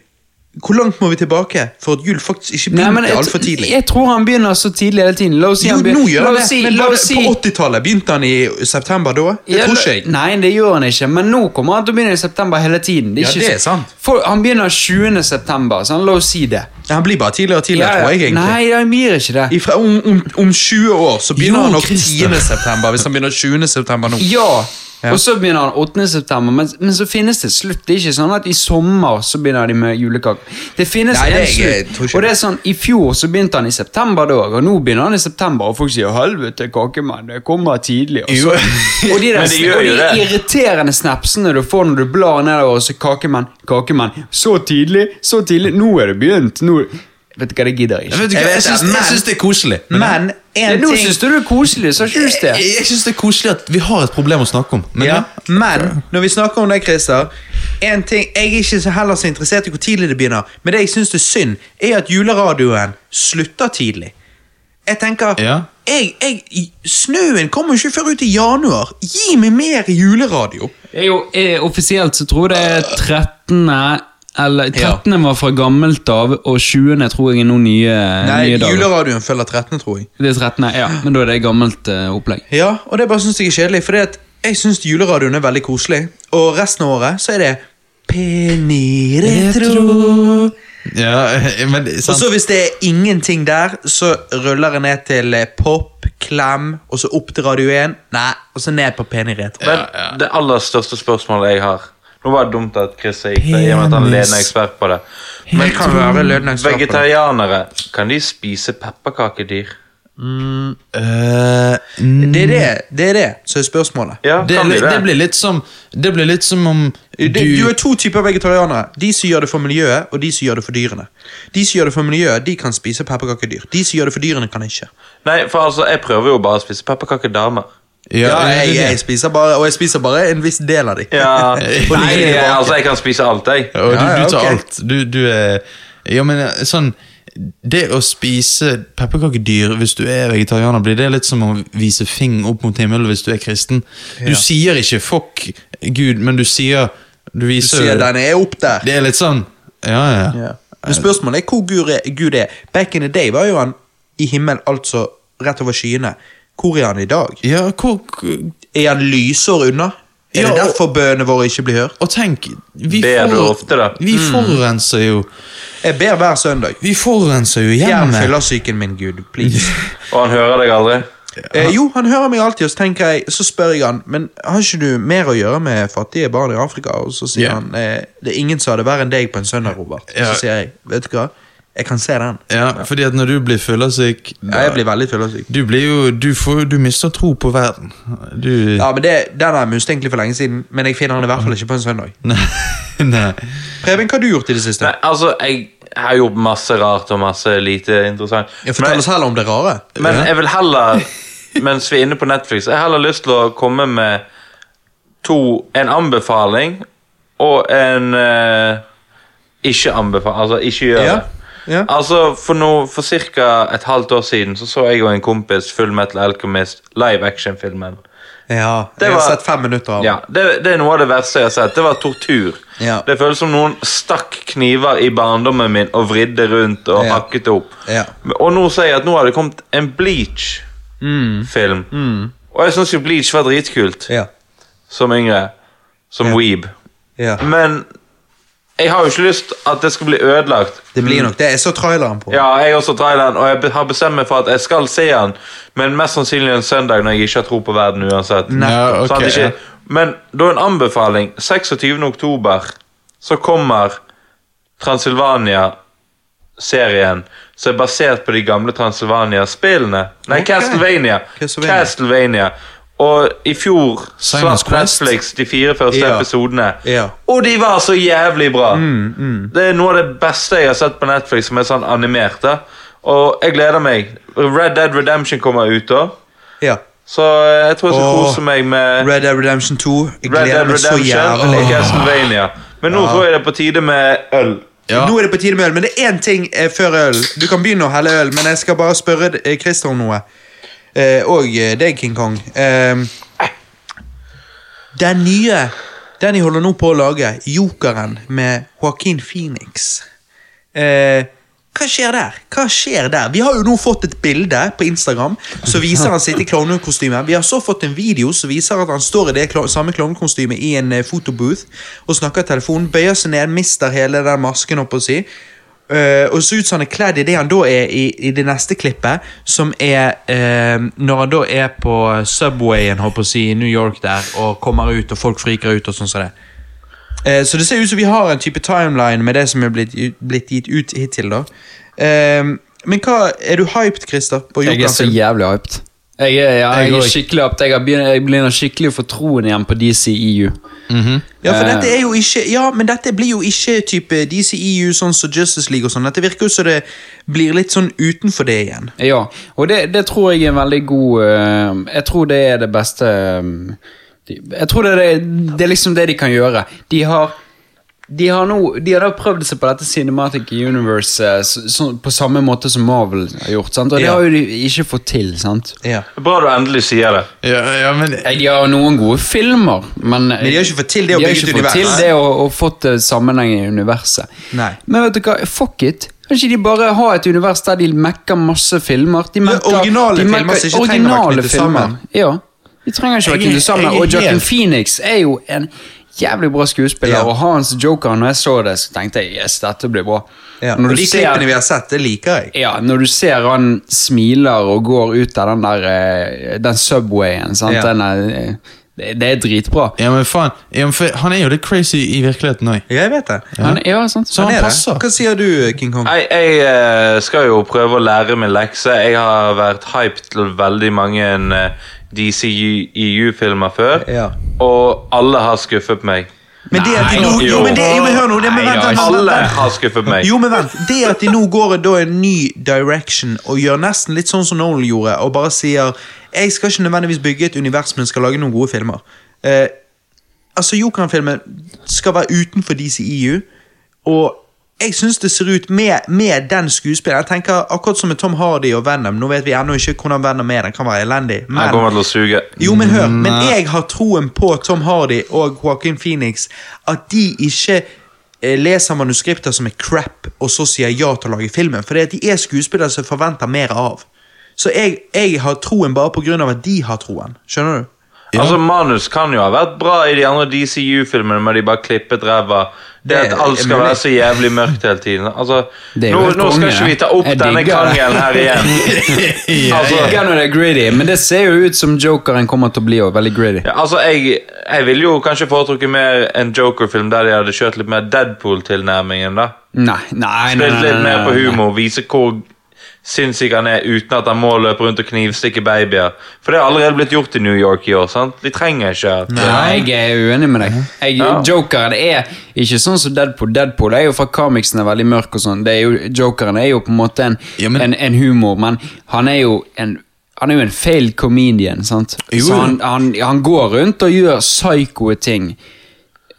Speaker 5: Hvor langt må vi tilbake for at jul faktisk ikke
Speaker 4: Nei, men
Speaker 5: begynte
Speaker 4: jeg,
Speaker 5: altfor tidlig?
Speaker 4: jeg tror han begynner så tidlig hele tiden. La oss si
Speaker 5: Jo,
Speaker 4: han
Speaker 5: nå
Speaker 4: begynner
Speaker 5: gjør
Speaker 4: la
Speaker 5: han
Speaker 4: oss
Speaker 5: det,
Speaker 4: si,
Speaker 5: men
Speaker 4: la
Speaker 5: bare
Speaker 4: oss si,
Speaker 5: på 80-tallet begynte han i september da? Det
Speaker 4: Ja,
Speaker 5: tror ikke jeg.
Speaker 4: la- Nei, det gjør han ikke, men nå kommer han til å begynne i september hele tiden.
Speaker 5: Ja,
Speaker 4: ikke
Speaker 5: det er
Speaker 4: så-
Speaker 5: sant.
Speaker 4: For, han begynner 20. september, så han la oss si det.
Speaker 5: Han blir bare tidligere og tidligere,
Speaker 4: Ja, ja.
Speaker 5: tror jeg. egentlig.
Speaker 4: Nei, han gir ikke det.
Speaker 5: Ifra om, om, om 20 år så begynner
Speaker 2: Jo,
Speaker 5: han nok
Speaker 2: Christer.
Speaker 5: 10. september, hvis han begynner 20. september nå.
Speaker 4: Ja, og så begynner han 8. september, men, men så finnes det slutt. Det er ikke sånn at i sommer så begynner de med julekaker. Det finnes
Speaker 5: Nei, det
Speaker 4: en
Speaker 5: er jeg- jeg tror
Speaker 4: slutt.
Speaker 5: ikke
Speaker 4: Og det
Speaker 5: det.
Speaker 4: er sånn, i fjor så begynte han i september da, og nå begynner han i september, og folk sier 'helvete, kakemann, det kommer tidlig'. Og, så, og de, der,
Speaker 3: Men de gjør
Speaker 4: og
Speaker 3: jo
Speaker 4: de
Speaker 3: det.
Speaker 4: irriterende snapsene du får når du blar nedover, og så 'kakemann, kakemann', så tidlig, så tidlig, nå er det begynt, nå Vet du hva, det gidder jeg
Speaker 2: Jeg
Speaker 4: ikke.
Speaker 2: vet ikke,
Speaker 5: Jeg vet
Speaker 2: jeg syns-
Speaker 5: det,
Speaker 2: jeg
Speaker 5: men-
Speaker 2: syns det er koselig.
Speaker 5: Men
Speaker 4: Ja,
Speaker 5: en
Speaker 4: Nå
Speaker 5: ting
Speaker 4: syns du det er koselig, så ikke du det?
Speaker 2: Jeg, jeg syns det er koselig at vi har et problem å snakke om. Men
Speaker 5: ja,
Speaker 2: ja.
Speaker 5: Men når vi snakker om det, Christer en ting, Jeg er ikke så heller så interessert i hvor tidlig det begynner, men det jeg syns er synd, er at juleradioen slutter tidlig. Jeg tenker
Speaker 2: Ja.
Speaker 5: jeg, jeg, Snøen kommer jo ikke før ut i januar. Gi meg mer juleradio!
Speaker 1: Det er jo, eh, offisielt så tror jeg det er 13. Eller 13. var fra gammelt av, og 20. tror jeg er noen nye,
Speaker 5: Nei,
Speaker 1: nye dager.
Speaker 5: juleradioen følger 13, tror jeg.
Speaker 1: Det er 13. Ja, men da er det gammelt eh, opplegg.
Speaker 5: Ja, og det bare syns jeg er kjedelig, for jeg syns juleradioen er veldig koselig. Og resten av året så er det Penny retro.
Speaker 2: ja, men
Speaker 5: Og
Speaker 2: sant.
Speaker 5: så hvis det er ingenting der, så ruller jeg ned til eh, pop, klem, og så opp til Radio 1. Nei, og så ned på Penny retro.
Speaker 3: Men det aller største spørsmålet jeg har Nå var det dumt at Chris er gikk der, i og med at han er ledende ekspert på det.
Speaker 5: Men kan være lønnekstrappe.
Speaker 3: Vegetarianere, kan de spise pepperkakedyr?
Speaker 2: Eh,
Speaker 5: Det er det, det er det som er spørsmålet.
Speaker 3: Ja,
Speaker 2: det,
Speaker 3: kan de
Speaker 2: det
Speaker 3: det?
Speaker 2: blir litt som Det blir litt som om du
Speaker 5: Det, du er to typer vegetarianere. De som gjør det for miljøet, og de som gjør det for dyrene. De som gjør det for miljøet, de kan spise pepperkakedyr. De som gjør det for dyrene, kan ikke.
Speaker 3: Nei, for altså, jeg prøver jo bare å spise pepperkakedamer.
Speaker 2: Ja,
Speaker 5: Ja,
Speaker 2: det er
Speaker 5: jeg,
Speaker 2: det.
Speaker 5: jeg spiser bare, og jeg spiser bare en viss del av de.
Speaker 3: Ja, Nei, jeg, altså, jeg kan spise alt, jeg.
Speaker 2: Og du,
Speaker 5: Ja, ja,
Speaker 2: du tar
Speaker 5: ok.
Speaker 2: alt. Du, du er Ja, men eh, sånn Det å spise pepperkakedyr hvis du er vegetarianer, blir det litt som å vise fing opp mot himmelen hvis du er kristen? Du sier ikke 'fuck Gud', men du sier Du
Speaker 5: Du
Speaker 2: viser
Speaker 5: sier den er opp der.
Speaker 2: Det er litt sånn Ja, ja. ja.
Speaker 5: Men spørsmålet er hvor Gud er, Gud er. Back in the day var jo han i himmel, altså rett over skyene. Hvor er han i dag?
Speaker 2: ja hvor, hvor-
Speaker 5: Er han lysår unna? Er
Speaker 2: Ja,
Speaker 5: det
Speaker 2: og-
Speaker 5: derfor bønene våre ikke blir hørt?
Speaker 2: og tenk vi,
Speaker 3: Ber du ofte, da?
Speaker 2: vi
Speaker 5: Mm.
Speaker 2: forurenser jo
Speaker 5: Jeg ber hver søndag.
Speaker 2: Vi forurenser jo
Speaker 5: Fjern
Speaker 2: hjemmet.
Speaker 5: fyllersyken min, Gud. Please.
Speaker 3: Og han hører deg aldri.
Speaker 5: Eh, jo, han hører meg alltid, og så tenker jeg, så spør jeg han Men har ikke du mer å gjøre med fattige barn i Afrika? Og så sier
Speaker 2: Ja.
Speaker 5: han eh, det er ingen som har det verre enn deg på en søndag, Robert.
Speaker 2: Ja.
Speaker 5: Så sier jeg, vet du hva, jeg kan se den.
Speaker 2: Ja, fordi at når du blir fyllesyk
Speaker 5: Ja, jeg blir veldig fyllersyk.
Speaker 2: Du blir jo Du, får, du mister tro på verden. Du
Speaker 5: Ja, men det, Den har jeg must egentlig for lenge siden, men jeg finner den i hvert fall ikke på en søndag.
Speaker 2: Nei. Nei.
Speaker 5: Preben, hva har du gjort i det siste?
Speaker 3: Nei, altså, jeg har gjort masse rart og masse lite interessant.
Speaker 5: Jeg
Speaker 3: Men-
Speaker 5: Fortell oss heller om det rare.
Speaker 3: Men jeg vil heller, mens vi er inne på Netflix, jeg har heller lyst til å komme med to En anbefaling og en eh, ikke-anbefaling. Altså, ikke gjør
Speaker 5: Ja,
Speaker 3: det.
Speaker 5: ja.
Speaker 3: Altså, for, no, for ca. et halvt år siden så, så jeg og en kompis Full Metal Alchemist live action-filmen.
Speaker 5: Ja,
Speaker 3: Det
Speaker 5: jeg har
Speaker 3: var-
Speaker 5: sett fem minutter av den.
Speaker 3: Ja, det, det er noe av det verste jeg har sett. Det var tortur.
Speaker 5: Ja.
Speaker 3: Det føles som noen stakk kniver i barndommen min og vridde rundt og
Speaker 5: Ja.
Speaker 3: hakket det opp.
Speaker 5: Ja.
Speaker 3: Men- Og nå sier jeg at nå har det kommet en Bleach-film. Og jeg syns jo Bleach var dritkult
Speaker 5: Mm. Ja.
Speaker 3: som yngre. Som weeb.
Speaker 5: Ja.
Speaker 3: Men jeg har jo ikke lyst at det skal bli ødelagt.
Speaker 5: Det blir nok det. Jeg så traileren på.
Speaker 3: Ja, jeg er også traileren, og jeg be- har bestemt meg for at jeg skal se den, men mest sannsynlig en søndag når jeg ikke har tro på verden uansett.
Speaker 2: Ja, ok,
Speaker 3: Sånn at
Speaker 2: ja.
Speaker 3: ikke, men da en anbefaling. 26. oktober så kommer Transylvania-serien som er basert på de gamle Transylvania-spillene. Nei,
Speaker 5: Ok.
Speaker 3: Castlevania.
Speaker 5: Castlevania.
Speaker 3: Castlevania. Og i fjor
Speaker 2: Simon's
Speaker 3: slapp
Speaker 2: Quest.
Speaker 3: Netflix de fire første
Speaker 5: Ja.
Speaker 3: episodene.
Speaker 5: Ja. Mm,
Speaker 3: Og de var så jævlig bra! Det er noe av det beste jeg har sett på Netflix som er sånn animert. da. Og jeg gleder meg. Red Dead Redemption kommer ut da.
Speaker 5: Ja.
Speaker 3: Så eh, jeg tror jeg skal
Speaker 5: Åh,
Speaker 3: kose meg med
Speaker 5: Red Dead Redemption 2. Jeg
Speaker 3: Red
Speaker 5: gleder
Speaker 3: Dead
Speaker 5: meg så
Speaker 3: Redemption
Speaker 5: jævlig.
Speaker 3: og Castlevania. Men nå tror jeg det er på tide med øl.
Speaker 2: Ja.
Speaker 5: Nå er det på tide med øl, men det er én ting eh, før øl. Du kan begynne å helle øl, men jeg skal bare spørre eh, Christer om noe. Eh, og eh, deg, King Kong. Eh, den nye Den jeg holder nå på å lage, Jokeren med Joaquin Phoenix. Eh, hva skjer der? Hva skjer der? Vi har jo nå fått et bilde på Instagram som viser han sitter i klovnekostyme. Vi har så fått en video som viser at han står i det klo samme klovnekostymet i en eh, photobooth og snakker i telefonen, bøyer seg ned, mister hele den masken, opp å si. Eh, og ser ut som han er kledd i det han da er i, i det neste klippet, som er eh, når han da er på Subwayen håper jeg å si, i New York der og kommer ut, og folk friker ut og sånn som det. Eh, Så det ser ut som vi har en type timeline med det som er blitt, blitt gitt ut hittil. da. Eh, men hva, er du hyped, Christer? På
Speaker 4: Jeg er så
Speaker 5: Joker-film?
Speaker 4: jævlig hyped. Jeg er, ja, jeg er
Speaker 2: går ikke.
Speaker 4: skikkelig hyped. Jeg, har begynt, jeg begynner skikkelig å få troen igjen på
Speaker 1: E
Speaker 4: DCEU.
Speaker 5: Ja, for dette er jo ikke, ja, men dette blir jo ikke type DCEU, sånn som Justice League og sånn. Dette virker jo som det blir litt sånn utenfor det igjen.
Speaker 4: Ja, og det, det tror jeg er en veldig god eh, Jeg tror det er det beste eh, de- Jeg tror det er, det, det er liksom det de kan gjøre. De har de har, nå, de har da prøvd seg på dette Cinematic Universe eh, så, så, på samme måte som Marvel har gjort. sant? Og det
Speaker 5: Ja.
Speaker 4: har jo de ikke fått til. sant?
Speaker 5: Ja.
Speaker 3: Bra du endelig sier det.
Speaker 2: Ja, ja, men
Speaker 4: Nei, Eh, De har noen gode filmer, men,
Speaker 5: Men de har ikke fått til det å
Speaker 4: de har
Speaker 5: bygge et
Speaker 4: ikke fått
Speaker 5: univers.
Speaker 4: til det og, og fått det sammenheng i universet.
Speaker 5: Nei.
Speaker 4: Men vet du hva, fuck it. Kan ikke de bare ha et univers der de mekker masse filmer? De mekker,
Speaker 5: originale
Speaker 4: de
Speaker 5: filmer
Speaker 4: mekker
Speaker 5: som ikke trenger å være
Speaker 4: originale
Speaker 5: knyttet
Speaker 4: filmer.
Speaker 5: sammen.
Speaker 4: Ja, de trenger ikke å
Speaker 2: Jeg
Speaker 4: være
Speaker 2: er-
Speaker 4: knyttet sammen.
Speaker 2: jeg er
Speaker 4: Og Joaquin
Speaker 2: helt-
Speaker 4: Phoenix er jo en jævlig bra skuespiller,
Speaker 5: Ja.
Speaker 4: og hans joker, når jeg så det, så tenkte jeg yes, dette blir bra.
Speaker 5: Ja.
Speaker 4: Når
Speaker 5: Og
Speaker 4: du
Speaker 5: de
Speaker 4: ser-
Speaker 5: klippene vi har sett, det liker jeg.
Speaker 4: ja, når du ser han smiler og går ut av den der eh, Den Subwayen, sant?
Speaker 5: Ja.
Speaker 4: Den, eh, Det, det er dritbra.
Speaker 2: Ja, men faen. Ja, men for, han er jo litt crazy i virkeligheten òg.
Speaker 5: Jeg vet det.
Speaker 4: Han, ja, sant?
Speaker 2: Så han,
Speaker 5: er
Speaker 2: passer.
Speaker 5: det. Hva sier du, King Kong?
Speaker 3: Nei, jeg eh, skal jo prøve å lære min lekse. Jeg har vært hyped til veldig mange eh, DCEU-filmer E før,
Speaker 5: Ja.
Speaker 3: og alle har skuffet meg.
Speaker 5: Men det at de nå,
Speaker 3: Nei,
Speaker 5: jo, men det, jo, men hør nå. Det, men
Speaker 4: Nei,
Speaker 5: vent,
Speaker 4: da,
Speaker 5: vent, vent,
Speaker 3: Alle
Speaker 5: vent.
Speaker 3: har skuffet meg.
Speaker 5: Jo, men vent. Det at de nå går i da en ny direction og gjør nesten litt sånn som Nolan gjorde, og bare sier Jeg skal ikke nødvendigvis bygge et univers, men skal lage noen gode filmer. Eh, altså, Jokan-filmen skal være utenfor DCEU, og jeg syns det ser ut med, med den skuespilleren Jeg tenker Akkurat som med Tom Hardy og Venom. Nå vet vi ennå ikke hvordan Venom er. Den kan være elendig.
Speaker 3: Jeg
Speaker 5: Men
Speaker 3: kommer til å suge.
Speaker 5: jo, men hør, men jeg har troen på Tom Hardy og Joaquin Phoenix at de ikke eh, leser manuskripter som er crap, og så sier ja til å lage filmen. For de er skuespillere som forventer mer av. Så jeg, jeg har troen bare på grunn av at de har troen. Skjønner du?
Speaker 3: Altså, Manus kan jo ha vært bra i de andre DCU-filmene, men de bare klippet ræva. Det
Speaker 5: Det
Speaker 3: at
Speaker 5: er
Speaker 3: alt skal
Speaker 5: mulig.
Speaker 3: være så jævlig mørkt hele tiden. Altså,
Speaker 4: Det er jo
Speaker 3: nå,
Speaker 4: helt
Speaker 3: nå skal
Speaker 4: konge.
Speaker 3: ikke vi ta opp
Speaker 4: Jeg
Speaker 3: denne
Speaker 4: digger det.
Speaker 3: krangelen her igjen.
Speaker 4: Jeg
Speaker 3: Altså,
Speaker 4: liker når det er gritty, men det ser jo ut som jokeren kommer til å bli. Også, veldig gritty.
Speaker 3: Ja, altså, jeg, jeg ville jo kanskje foretrukket mer en Joker-film der de hadde kjørt litt mer Deadpool-tilnærmingen. da.
Speaker 4: Nei, nei, nei,
Speaker 3: Spilt
Speaker 4: nei,
Speaker 3: litt
Speaker 4: nei,
Speaker 3: mer på
Speaker 4: nei.
Speaker 3: humor, vise hvor sinnssyk han er uten at han må løpe rundt og knivstikke babyer. For det har allerede blitt gjort i New York i år. sant? De trenger ikke at
Speaker 4: Nei, jeg er uenig med deg. Jeg,
Speaker 3: Ja.
Speaker 4: Jokeren er ikke sånn som Deadpool. Deadpool er jo fra comicsene veldig mørk og sånn. Det er jo, jokeren er jo på en måte en,
Speaker 2: Ja, men-
Speaker 4: en, en humor, men han er jo en han er jo en failed comedian, sant?
Speaker 2: Jo,
Speaker 4: Så
Speaker 2: jo.
Speaker 4: han, han, han går rundt og gjør psykoe ting.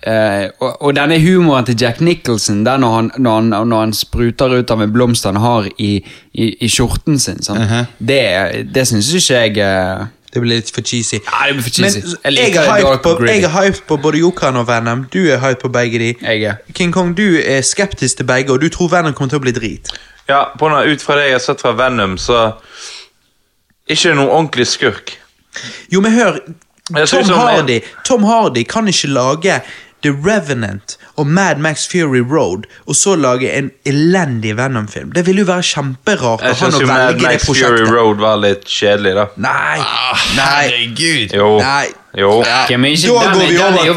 Speaker 4: Eh, og, og denne humoren til Jack Nicholson, der når han, når han, når han spruter ut av en blomst han har i, i, i skjorten sin, sant? Det, det syns ikke jeg eh,
Speaker 5: Det blir litt for cheesy.
Speaker 4: Nei, det blir for
Speaker 5: Men
Speaker 4: cheesy. Jeg
Speaker 5: jeg
Speaker 4: liker
Speaker 5: er hyped
Speaker 4: dark
Speaker 5: på,
Speaker 4: og gritty.
Speaker 5: jeg er hyped på både Jokeren og Venom. Du er hyped på begge de.
Speaker 4: Jeg er.
Speaker 5: King Kong, du er skeptisk til begge, og du tror Venom kommer til å bli drit.
Speaker 3: Ja, på noe, Ut fra det jeg har sett fra Venom, så Ikke noen ordentlig skurk.
Speaker 5: Jo, men hør
Speaker 3: Jeg sånn, synes
Speaker 5: Tom
Speaker 3: om-
Speaker 5: Hardy, Tom Hardy kan ikke lage The Revenant og Mad Max Fury Road og så lage en elendig Venom-film. Det ville jo være kjemperart
Speaker 3: Jeg
Speaker 5: av han
Speaker 3: syns
Speaker 5: å
Speaker 3: jo Mad
Speaker 5: velge det
Speaker 3: Max Fury
Speaker 5: prosjektet.
Speaker 3: Road var litt kjedelig, da.
Speaker 5: Nei, nei,
Speaker 2: Herregud.
Speaker 3: Jo.
Speaker 5: Nei.
Speaker 3: Jo.
Speaker 4: Ok, men ikke,
Speaker 5: Da
Speaker 4: den,
Speaker 5: går
Speaker 4: er-
Speaker 5: vi
Speaker 4: den
Speaker 5: over.
Speaker 4: er jo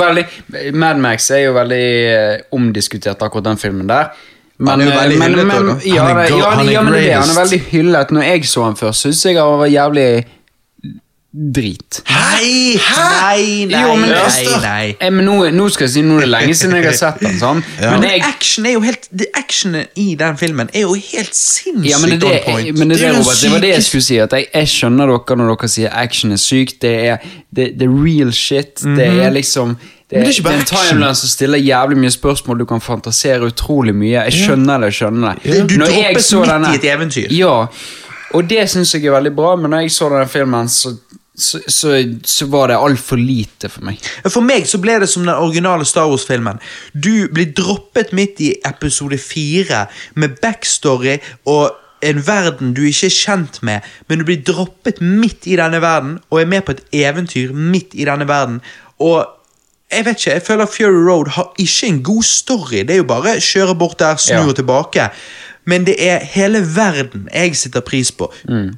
Speaker 4: veldig, Mad Max er jo veldig eh, omdiskutert, akkurat den filmen der. Men,
Speaker 5: Han er jo
Speaker 4: eh,
Speaker 5: veldig
Speaker 4: men,
Speaker 5: hyllet
Speaker 4: men,
Speaker 5: også,
Speaker 4: ja,
Speaker 2: Han er
Speaker 4: det-
Speaker 2: go-
Speaker 4: ja,
Speaker 2: han er
Speaker 4: det- ja, men det er det. Han er
Speaker 2: greatest.
Speaker 4: veldig hyllet. Når jeg så han først, syntes jeg han var jævlig drit.
Speaker 5: Nei, nei, nei,
Speaker 4: Jo, men det er
Speaker 5: nei,
Speaker 4: stort.
Speaker 5: nei.
Speaker 4: Eh, men nå, nå skal jeg si noe det er lenge siden jeg har sett han sånn. Men
Speaker 5: Men
Speaker 4: jeg,
Speaker 5: action er jo helt, det- actionen i den filmen er jo helt sinnssykt
Speaker 4: ja, men det,
Speaker 5: on
Speaker 4: er det,
Speaker 5: point.
Speaker 4: men det,
Speaker 2: Det er
Speaker 4: er det,
Speaker 2: den
Speaker 4: Robert, det var det jeg skulle si. At jeg, jeg skjønner dere når dere sier action er sykt. Det er det, det er real shit. Det er liksom
Speaker 2: Mhm.
Speaker 4: det
Speaker 2: Men det
Speaker 4: er,
Speaker 2: er ikke bare
Speaker 4: en
Speaker 2: action.
Speaker 4: timeline som stiller jævlig mye spørsmål. Du kan fantasere utrolig mye. Jeg skjønner det. jeg skjønner
Speaker 5: Ja.
Speaker 4: det.
Speaker 5: Du
Speaker 4: Når jeg
Speaker 5: droppes
Speaker 4: så
Speaker 5: midt i
Speaker 4: denne-
Speaker 5: et eventyr.
Speaker 4: Ja, og det syns jeg er veldig bra, men når jeg så denne filmen, så, så, så, så var det altfor lite for meg.
Speaker 5: For meg så ble det som den originale Star Wars-filmen. Du blir droppet midt i episode fire med backstory og en verden du ikke er kjent med, men du blir droppet midt i denne verden og er med på et eventyr midt i denne verden. Og jeg vet ikke, jeg føler Fury Road har ikke en god story. Det er jo bare kjøre bort der, snu
Speaker 4: Ja.
Speaker 5: og tilbake. Men det er hele verden jeg setter pris på,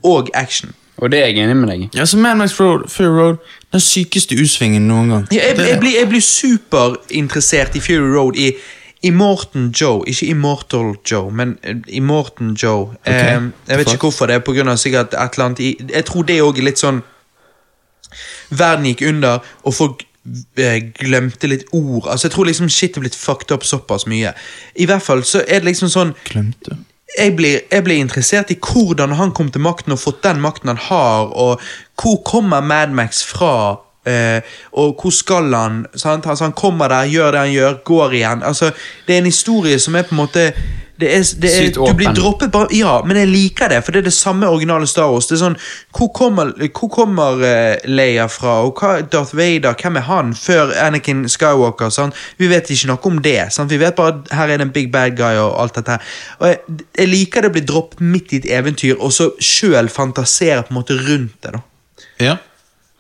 Speaker 5: og action.
Speaker 4: Og det er jeg enig med deg i.
Speaker 2: Ja, så Mad Max Road, Fury Road, den sykeste U-svingen noen gang.
Speaker 5: Ja, Jeg,
Speaker 2: Det-
Speaker 5: jeg, blir, jeg blir superinteressert i Fury Road i Immortan Joe. Ikke Immortal Joe, men eh, Immortan Joe. Eh, jeg vet ikke hvorfor det er på grunn av sikkert et eller annet i, Jeg tror det òg er litt sånn Verden gikk under, og folk eh, glemte litt ord. Altså Jeg tror liksom shit er blitt fucked up såpass mye. I hvert fall så er det liksom sånn
Speaker 2: Glemte.
Speaker 5: jeg blir, jeg blir interessert i hvordan han kom til makten og fått den makten han har, og hvor kommer Mad Max fra, eh, og hvor skal han? Sant? Altså, han kommer der, gjør det han gjør, går igjen. Altså, det er en historie som er på en måte det er, det er,
Speaker 4: Sykt
Speaker 5: du blir
Speaker 4: åpen.
Speaker 5: droppet bare, Ja, men jeg liker det, for det er det samme originale Star Wars. Det er sånn, Hvor kommer, hvor kommer eh, Leia fra, og hva Darth Vader, hvem er han, før Anakin Skywalker? Sant? Vi vet ikke noe om det. Sant? Vi vet bare at her er det en big bad guy og alt dette her. Og jeg, jeg liker det å bli droppet midt i et eventyr, og så sjøl fantasere på en måte rundt det. da.
Speaker 2: Ja.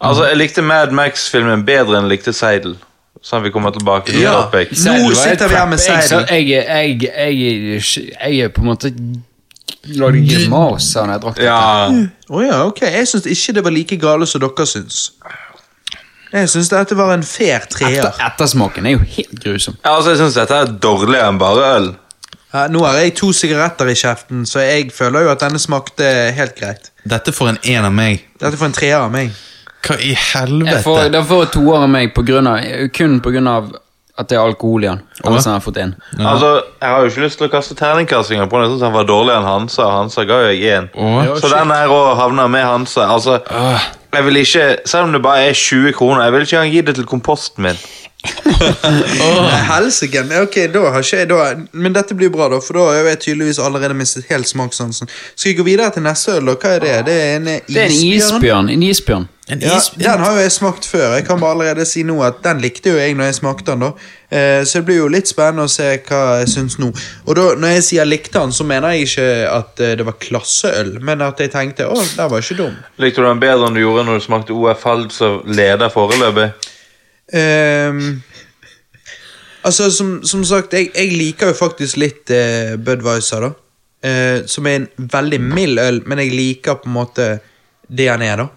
Speaker 3: Altså, Jeg likte Mad Max-filmen bedre enn jeg likte Seidel. Sånn vi kommer tilbake til
Speaker 5: Ja.
Speaker 3: topic.
Speaker 5: Nå
Speaker 4: Seidel var
Speaker 5: sitter
Speaker 4: helt
Speaker 5: vi her med
Speaker 4: crap.
Speaker 5: Seidel.
Speaker 4: Jeg, jeg, jeg, jeg, jeg er på en måte Lagde grimaser når jeg drakk det.
Speaker 3: Ja.
Speaker 5: Å ja, ok. Jeg syns ikke det var like gale som dere syns. Jeg syns dette var en fair treer.
Speaker 1: Etter, ettersmaken er jo helt grusom.
Speaker 3: Ja, altså, jeg syns dette er dårligere enn bare øl.
Speaker 5: Ja, nå har jeg to sigaretter i kjeften, så jeg føler jo at denne smakte helt greit.
Speaker 2: Dette får en én av meg.
Speaker 5: Dette får en treer av meg.
Speaker 2: Hva i
Speaker 1: Jeg får,
Speaker 2: helvete?
Speaker 1: den får et toer av meg på grunn av, kun pga. at det er alkohol i den. Ellers hadde jeg fått en.
Speaker 3: Altså, Jeg har jo ikke lyst til å kaste terningkastinger på den. Jeg synes han var dårligere enn Hansa. og Hansa ga jo jeg én.
Speaker 2: Åh.
Speaker 3: Så den her òg havner med Hansa. Altså,
Speaker 2: Ah.
Speaker 3: jeg vil ikke, Selv om det bare er 20 kroner, jeg vil ikke engang gi det til komposten min.
Speaker 5: Nei, Helsike. men Ok, da har ikke jeg da Men dette blir bra, da, for da har jeg tydeligvis allerede mistet helt smakssansen. Skal vi gå videre til neste øl, da? Hva er det? Det er en eh, isbjørn.
Speaker 1: Det er en isbjørn. En isbjørn.
Speaker 2: En
Speaker 5: Ja,
Speaker 2: is...
Speaker 5: den har jo jeg smakt før. Jeg kan bare allerede si nå at Den likte jo jeg når jeg smakte den. da eh, Så det blir jo litt spennende å se hva jeg syns nå. Og da, Når jeg sier likte den, så mener jeg ikke at eh, det var klasseøl, men at jeg tenkte å, den var ikke dum.
Speaker 3: Likte du den bedre enn du gjorde når du smakte OF Hald som leder foreløpig?
Speaker 5: Ehm, altså, som, som sagt, jeg, jeg liker jo faktisk litt eh, Budwiser, da. Eh, som er en veldig mild øl, men jeg liker på en måte det han er, da.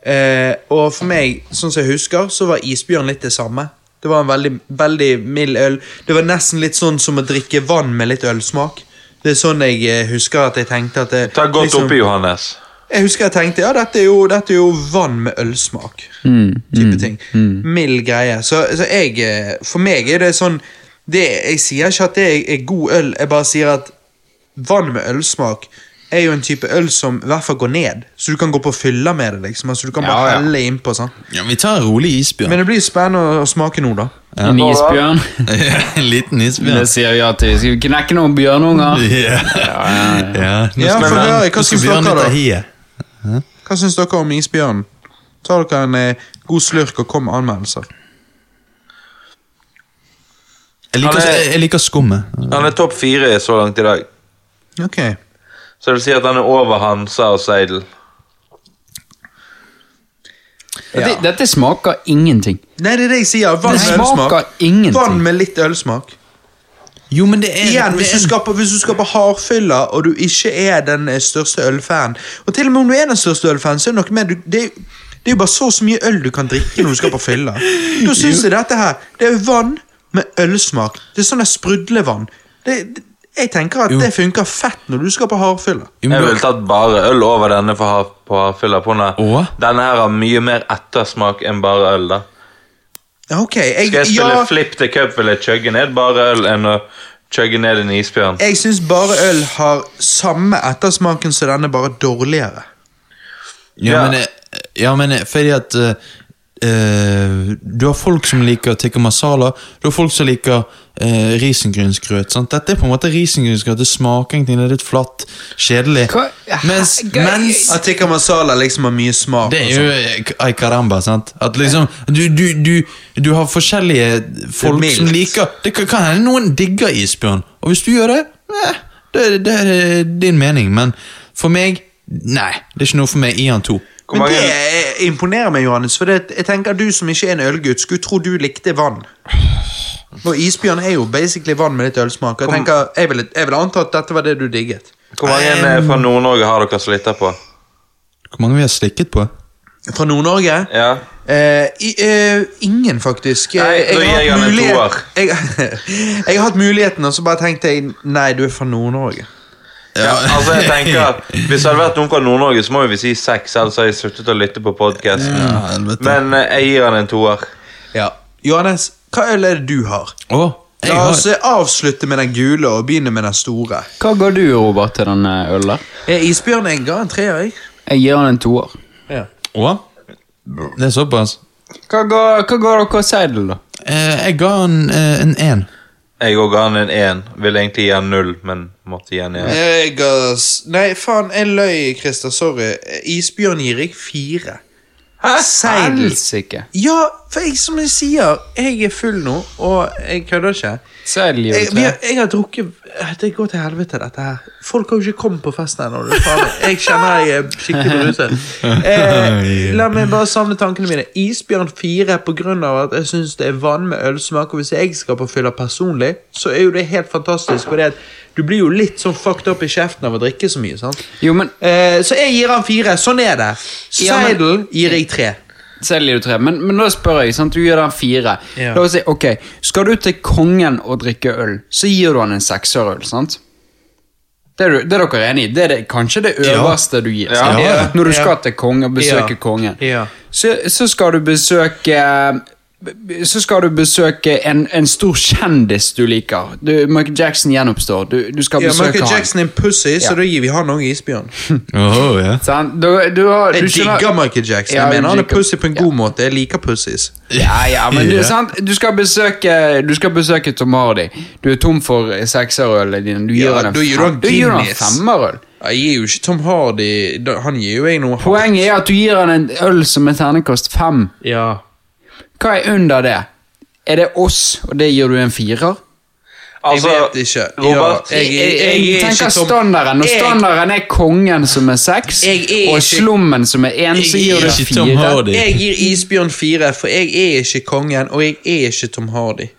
Speaker 5: Eh, og for meg, sånn som jeg husker, så var isbjørn litt det samme. Det var en veldig, veldig mild øl. Det var nesten litt sånn som å drikke vann med litt ølsmak. Det er sånn jeg eh, husker at jeg tenkte at det,
Speaker 3: Ta godt
Speaker 5: liksom-
Speaker 3: oppi, Johannes.
Speaker 5: jeg husker jeg tenkte ja, dette er jo, dette er jo vann med ølsmak.
Speaker 1: Mm,
Speaker 5: type ting. Mild greie. Så, så jeg eh, For meg er det sånn det, Jeg sier ikke at det er, er god øl, jeg bare sier at vann med ølsmak er jo en type øl som i hvert fall går ned. Så du kan gå på fylla med det. liksom Altså Du kan bare
Speaker 1: Ja, ja.
Speaker 5: helle innpå. sånn
Speaker 2: Ja, vi tar en rolig isbjørn.
Speaker 5: Men det blir spennende å, å smake nå, da.
Speaker 1: En
Speaker 3: Hva da?
Speaker 1: isbjørn.
Speaker 2: en liten
Speaker 1: Det
Speaker 2: isbjørn.
Speaker 1: sier vi ja til. Skal vi knekke noen bjørnunger?
Speaker 2: Ja, ja. Nå
Speaker 5: Ja,
Speaker 2: skal vi-
Speaker 5: for det er- hva
Speaker 2: nå skal
Speaker 5: synes
Speaker 2: bjørnen
Speaker 5: dere da?
Speaker 2: ta hiet.
Speaker 5: Hva syns dere om isbjørnen? Ta dere en eh, god slurk og kom med anmeldelser.
Speaker 2: Jeg liker,
Speaker 3: Han er-
Speaker 2: jeg liker skummet.
Speaker 3: Han er topp fire så langt i dag.
Speaker 5: Ok
Speaker 3: Så det vil si at han er over Hansa og Seidel.
Speaker 1: Dette, dette smaker ingenting.
Speaker 5: Nei, det er det jeg sier. Vann
Speaker 1: Det
Speaker 5: med ølsmak.
Speaker 1: smaker ingenting.
Speaker 5: Vann med litt ølsmak.
Speaker 2: Jo, men det er,
Speaker 5: Igjen,
Speaker 2: det
Speaker 5: hvis
Speaker 2: er
Speaker 5: du skal på, hvis du skal på hardfylla, og du ikke er den eh, største ølfan Og til og med om du er den største ølfan, så er det noe med du, det, er- det er jo bare så, og så mye øl du kan drikke når du skal på fylla. Da syns jeg dette her Det er vann med ølsmak. Det er sånn der sprudlevann. Det, det, jeg tenker at det funker fett når du skal på hardfylla.
Speaker 2: Jo, men
Speaker 3: Jeg
Speaker 2: da-
Speaker 3: ville tatt bare øl over denne for har, på hardfylla. på Denne
Speaker 2: Åh?
Speaker 3: Denne her har mye mer ettersmak enn bare øl. da.
Speaker 5: Ja, Ok, jeg,
Speaker 3: Skal jeg spille
Speaker 5: ja,
Speaker 3: flip the cup, vil jeg chugge ned bare øl enn å chugge ned en isbjørn.
Speaker 5: jeg syns bare øl har samme ettersmaken som denne, bare dårligere.
Speaker 2: Ja,
Speaker 3: Ja.
Speaker 2: men, eh, ja, men eh, fordi at eh, eh, Du har folk som liker tikka masala, du har folk som liker uh, risengrynsgrøt. sant? Dette er på en måte risengrynsgrøt. Det smaker ingenting, det er litt flatt, kjedelig.
Speaker 1: Hva-
Speaker 2: Mens,
Speaker 1: Hva-
Speaker 2: mens
Speaker 5: At tikka masala liksom har mye smak.
Speaker 2: det
Speaker 5: og
Speaker 2: er jo eh, ay caramba, sant? At liksom Du, du, du, du har forskjellige folk
Speaker 5: mildt.
Speaker 2: som liker Det kan, kan hende noen digger isbjørn, og hvis du gjør det, eh, det, det er eh, din mening, men for meg Nei, det er ikke noe for meg i han to.
Speaker 3: Hvor
Speaker 5: Men
Speaker 3: mange-
Speaker 5: det eh, imponerer meg, Johannes. For det, jeg tenker Du som ikke er en ølgutt, skulle tro du likte vann. Og isbjørn er jo basically vann med litt ølsmak. og Jeg tenker, jeg vil, jeg vil anta at dette var det du digget.
Speaker 3: Hvor mange eh, fra Nord-Norge har dere som lytter på?
Speaker 2: Hvor mange vi har slikket på?
Speaker 5: Fra Nord-Norge?
Speaker 3: Ja.
Speaker 5: Eh, i- eh, ingen, faktisk. Eh,
Speaker 3: Nei, da gir jeg
Speaker 5: hatt
Speaker 3: han en
Speaker 5: mulighet-
Speaker 3: toer.
Speaker 5: Jeg, jeg har hatt muligheten, og så bare tenkte jeg nei, du er fra Nord-Norge.
Speaker 3: ja. Altså, jeg tenker at Hvis det hadde vært noen fra Nord-Norge, så må vi si seks, ellers har jeg sluttet å lytte på podkasten.
Speaker 2: helvete.
Speaker 3: Men eh, jeg gir han en toer.
Speaker 5: Ja. Johannes, hva øl er det du har?
Speaker 2: Å, jeg
Speaker 5: La
Speaker 2: har
Speaker 5: oss eh, avslutte med den gule og begynne med den store.
Speaker 1: Hva ga du, Robert, til den eh, ølen der?
Speaker 5: Eh, Isbjørn jeg ga en treer, jeg.
Speaker 1: Jeg gir den en toer.
Speaker 2: Å? Det er såpass.
Speaker 1: Hva ga, hva ga dere Seidel, da?
Speaker 2: Eh, jeg ga han eh, en én.
Speaker 3: Jeg òg ga han en én. Ville egentlig gi han null, men måtte gi han en.
Speaker 5: Jeg ga s- Nei, faen, jeg løy, Christer. Sorry. Isbjørn gir jeg fire. Hæ? Seidel.
Speaker 1: Helsike.
Speaker 5: Ja, for jeg, som jeg sier, jeg er full nå, og jeg kødder ikke.
Speaker 1: Seidel gir du
Speaker 5: Jeg, Eh, vi
Speaker 1: tre.
Speaker 5: har, jeg har drukket Eh, Det går til helvete, dette her. Folk har jo ikke kommet på fest ennå. du. Faen, Jeg kjenner jeg er skikkelig beruset. Eh, la meg bare samle tankene mine. Isbjørn 4 pga. at jeg syns det er vann med ølsmak. Og hvis jeg skal på fylla personlig, så er jo det helt fantastisk. For du blir jo litt sånn fucked up i kjeften av å drikke så mye. sant?
Speaker 1: Jo, men
Speaker 5: Eh, så jeg gir han fire. Sånn er det.
Speaker 1: Ja, men-
Speaker 5: Seidel gir jeg tre.
Speaker 4: Selger du tre? Men, men da spør jeg, sant? du gir den fire.
Speaker 5: Ja.
Speaker 4: La oss si, ok, Skal du til kongen og drikke øl, så gir du han en seksørøl, sant? Det er, du, det er dere enig i? Det er det, kanskje det øverste du gir? sant?
Speaker 5: Ja.
Speaker 4: Når du skal
Speaker 5: Ja.
Speaker 4: til kongen og besøke
Speaker 5: Ja.
Speaker 4: kongen.
Speaker 5: Ja.
Speaker 4: Så, så skal du besøke så skal du besøke en, en stor kjendis du liker. Du, Michael Jackson gjenoppstår. Du, du skal
Speaker 5: Ja,
Speaker 4: besøke
Speaker 5: Michael
Speaker 4: han.
Speaker 5: Jackson er en pussy,
Speaker 4: Ja.
Speaker 5: så da gir vi han òg isbjørn.
Speaker 2: Åh, ja.
Speaker 4: Sant? Du, du, har- du
Speaker 5: Jeg
Speaker 4: skjønner-
Speaker 5: digger Michael Jackson.
Speaker 4: Ja,
Speaker 5: Jeg mener han er
Speaker 4: digger-
Speaker 5: pussy på en god måte. Jeg liker pussies.
Speaker 4: Ja, ja, men du,
Speaker 2: Ja.
Speaker 4: sant? du skal besøke Du skal besøke Tom Hardy. Du er tom for sekserølet din. Du gir
Speaker 5: Ja,
Speaker 4: han en
Speaker 5: da gir du
Speaker 4: fem-
Speaker 5: han
Speaker 4: da gir han en
Speaker 5: Guinness.
Speaker 4: femmerøl.
Speaker 5: Jeg gir jo ikke Tom Hardy da- Han gir jo jeg noe hardt.
Speaker 4: Poenget er at du gir han en øl som er terningkast fem.
Speaker 5: Ja.
Speaker 4: Hva er under det? Er det oss, og det gir du en firer?
Speaker 5: Jeg
Speaker 3: Altså,
Speaker 5: vet ikke.
Speaker 3: Robert,
Speaker 5: Ja, jeg, jeg, jeg, er
Speaker 4: tenker
Speaker 5: ikke Tom
Speaker 4: standarden, og
Speaker 5: Jeg-
Speaker 4: standarden er kongen som er seks,
Speaker 5: Jeg er
Speaker 4: og
Speaker 5: ikke-
Speaker 4: slummen som er én, så
Speaker 5: Jeg
Speaker 4: gir
Speaker 5: er
Speaker 4: du
Speaker 2: ikke Tom
Speaker 4: fire.
Speaker 2: Hardy.
Speaker 5: Jeg gir Isbjørn fire, for jeg er ikke kongen, og jeg er ikke Tom Hardy.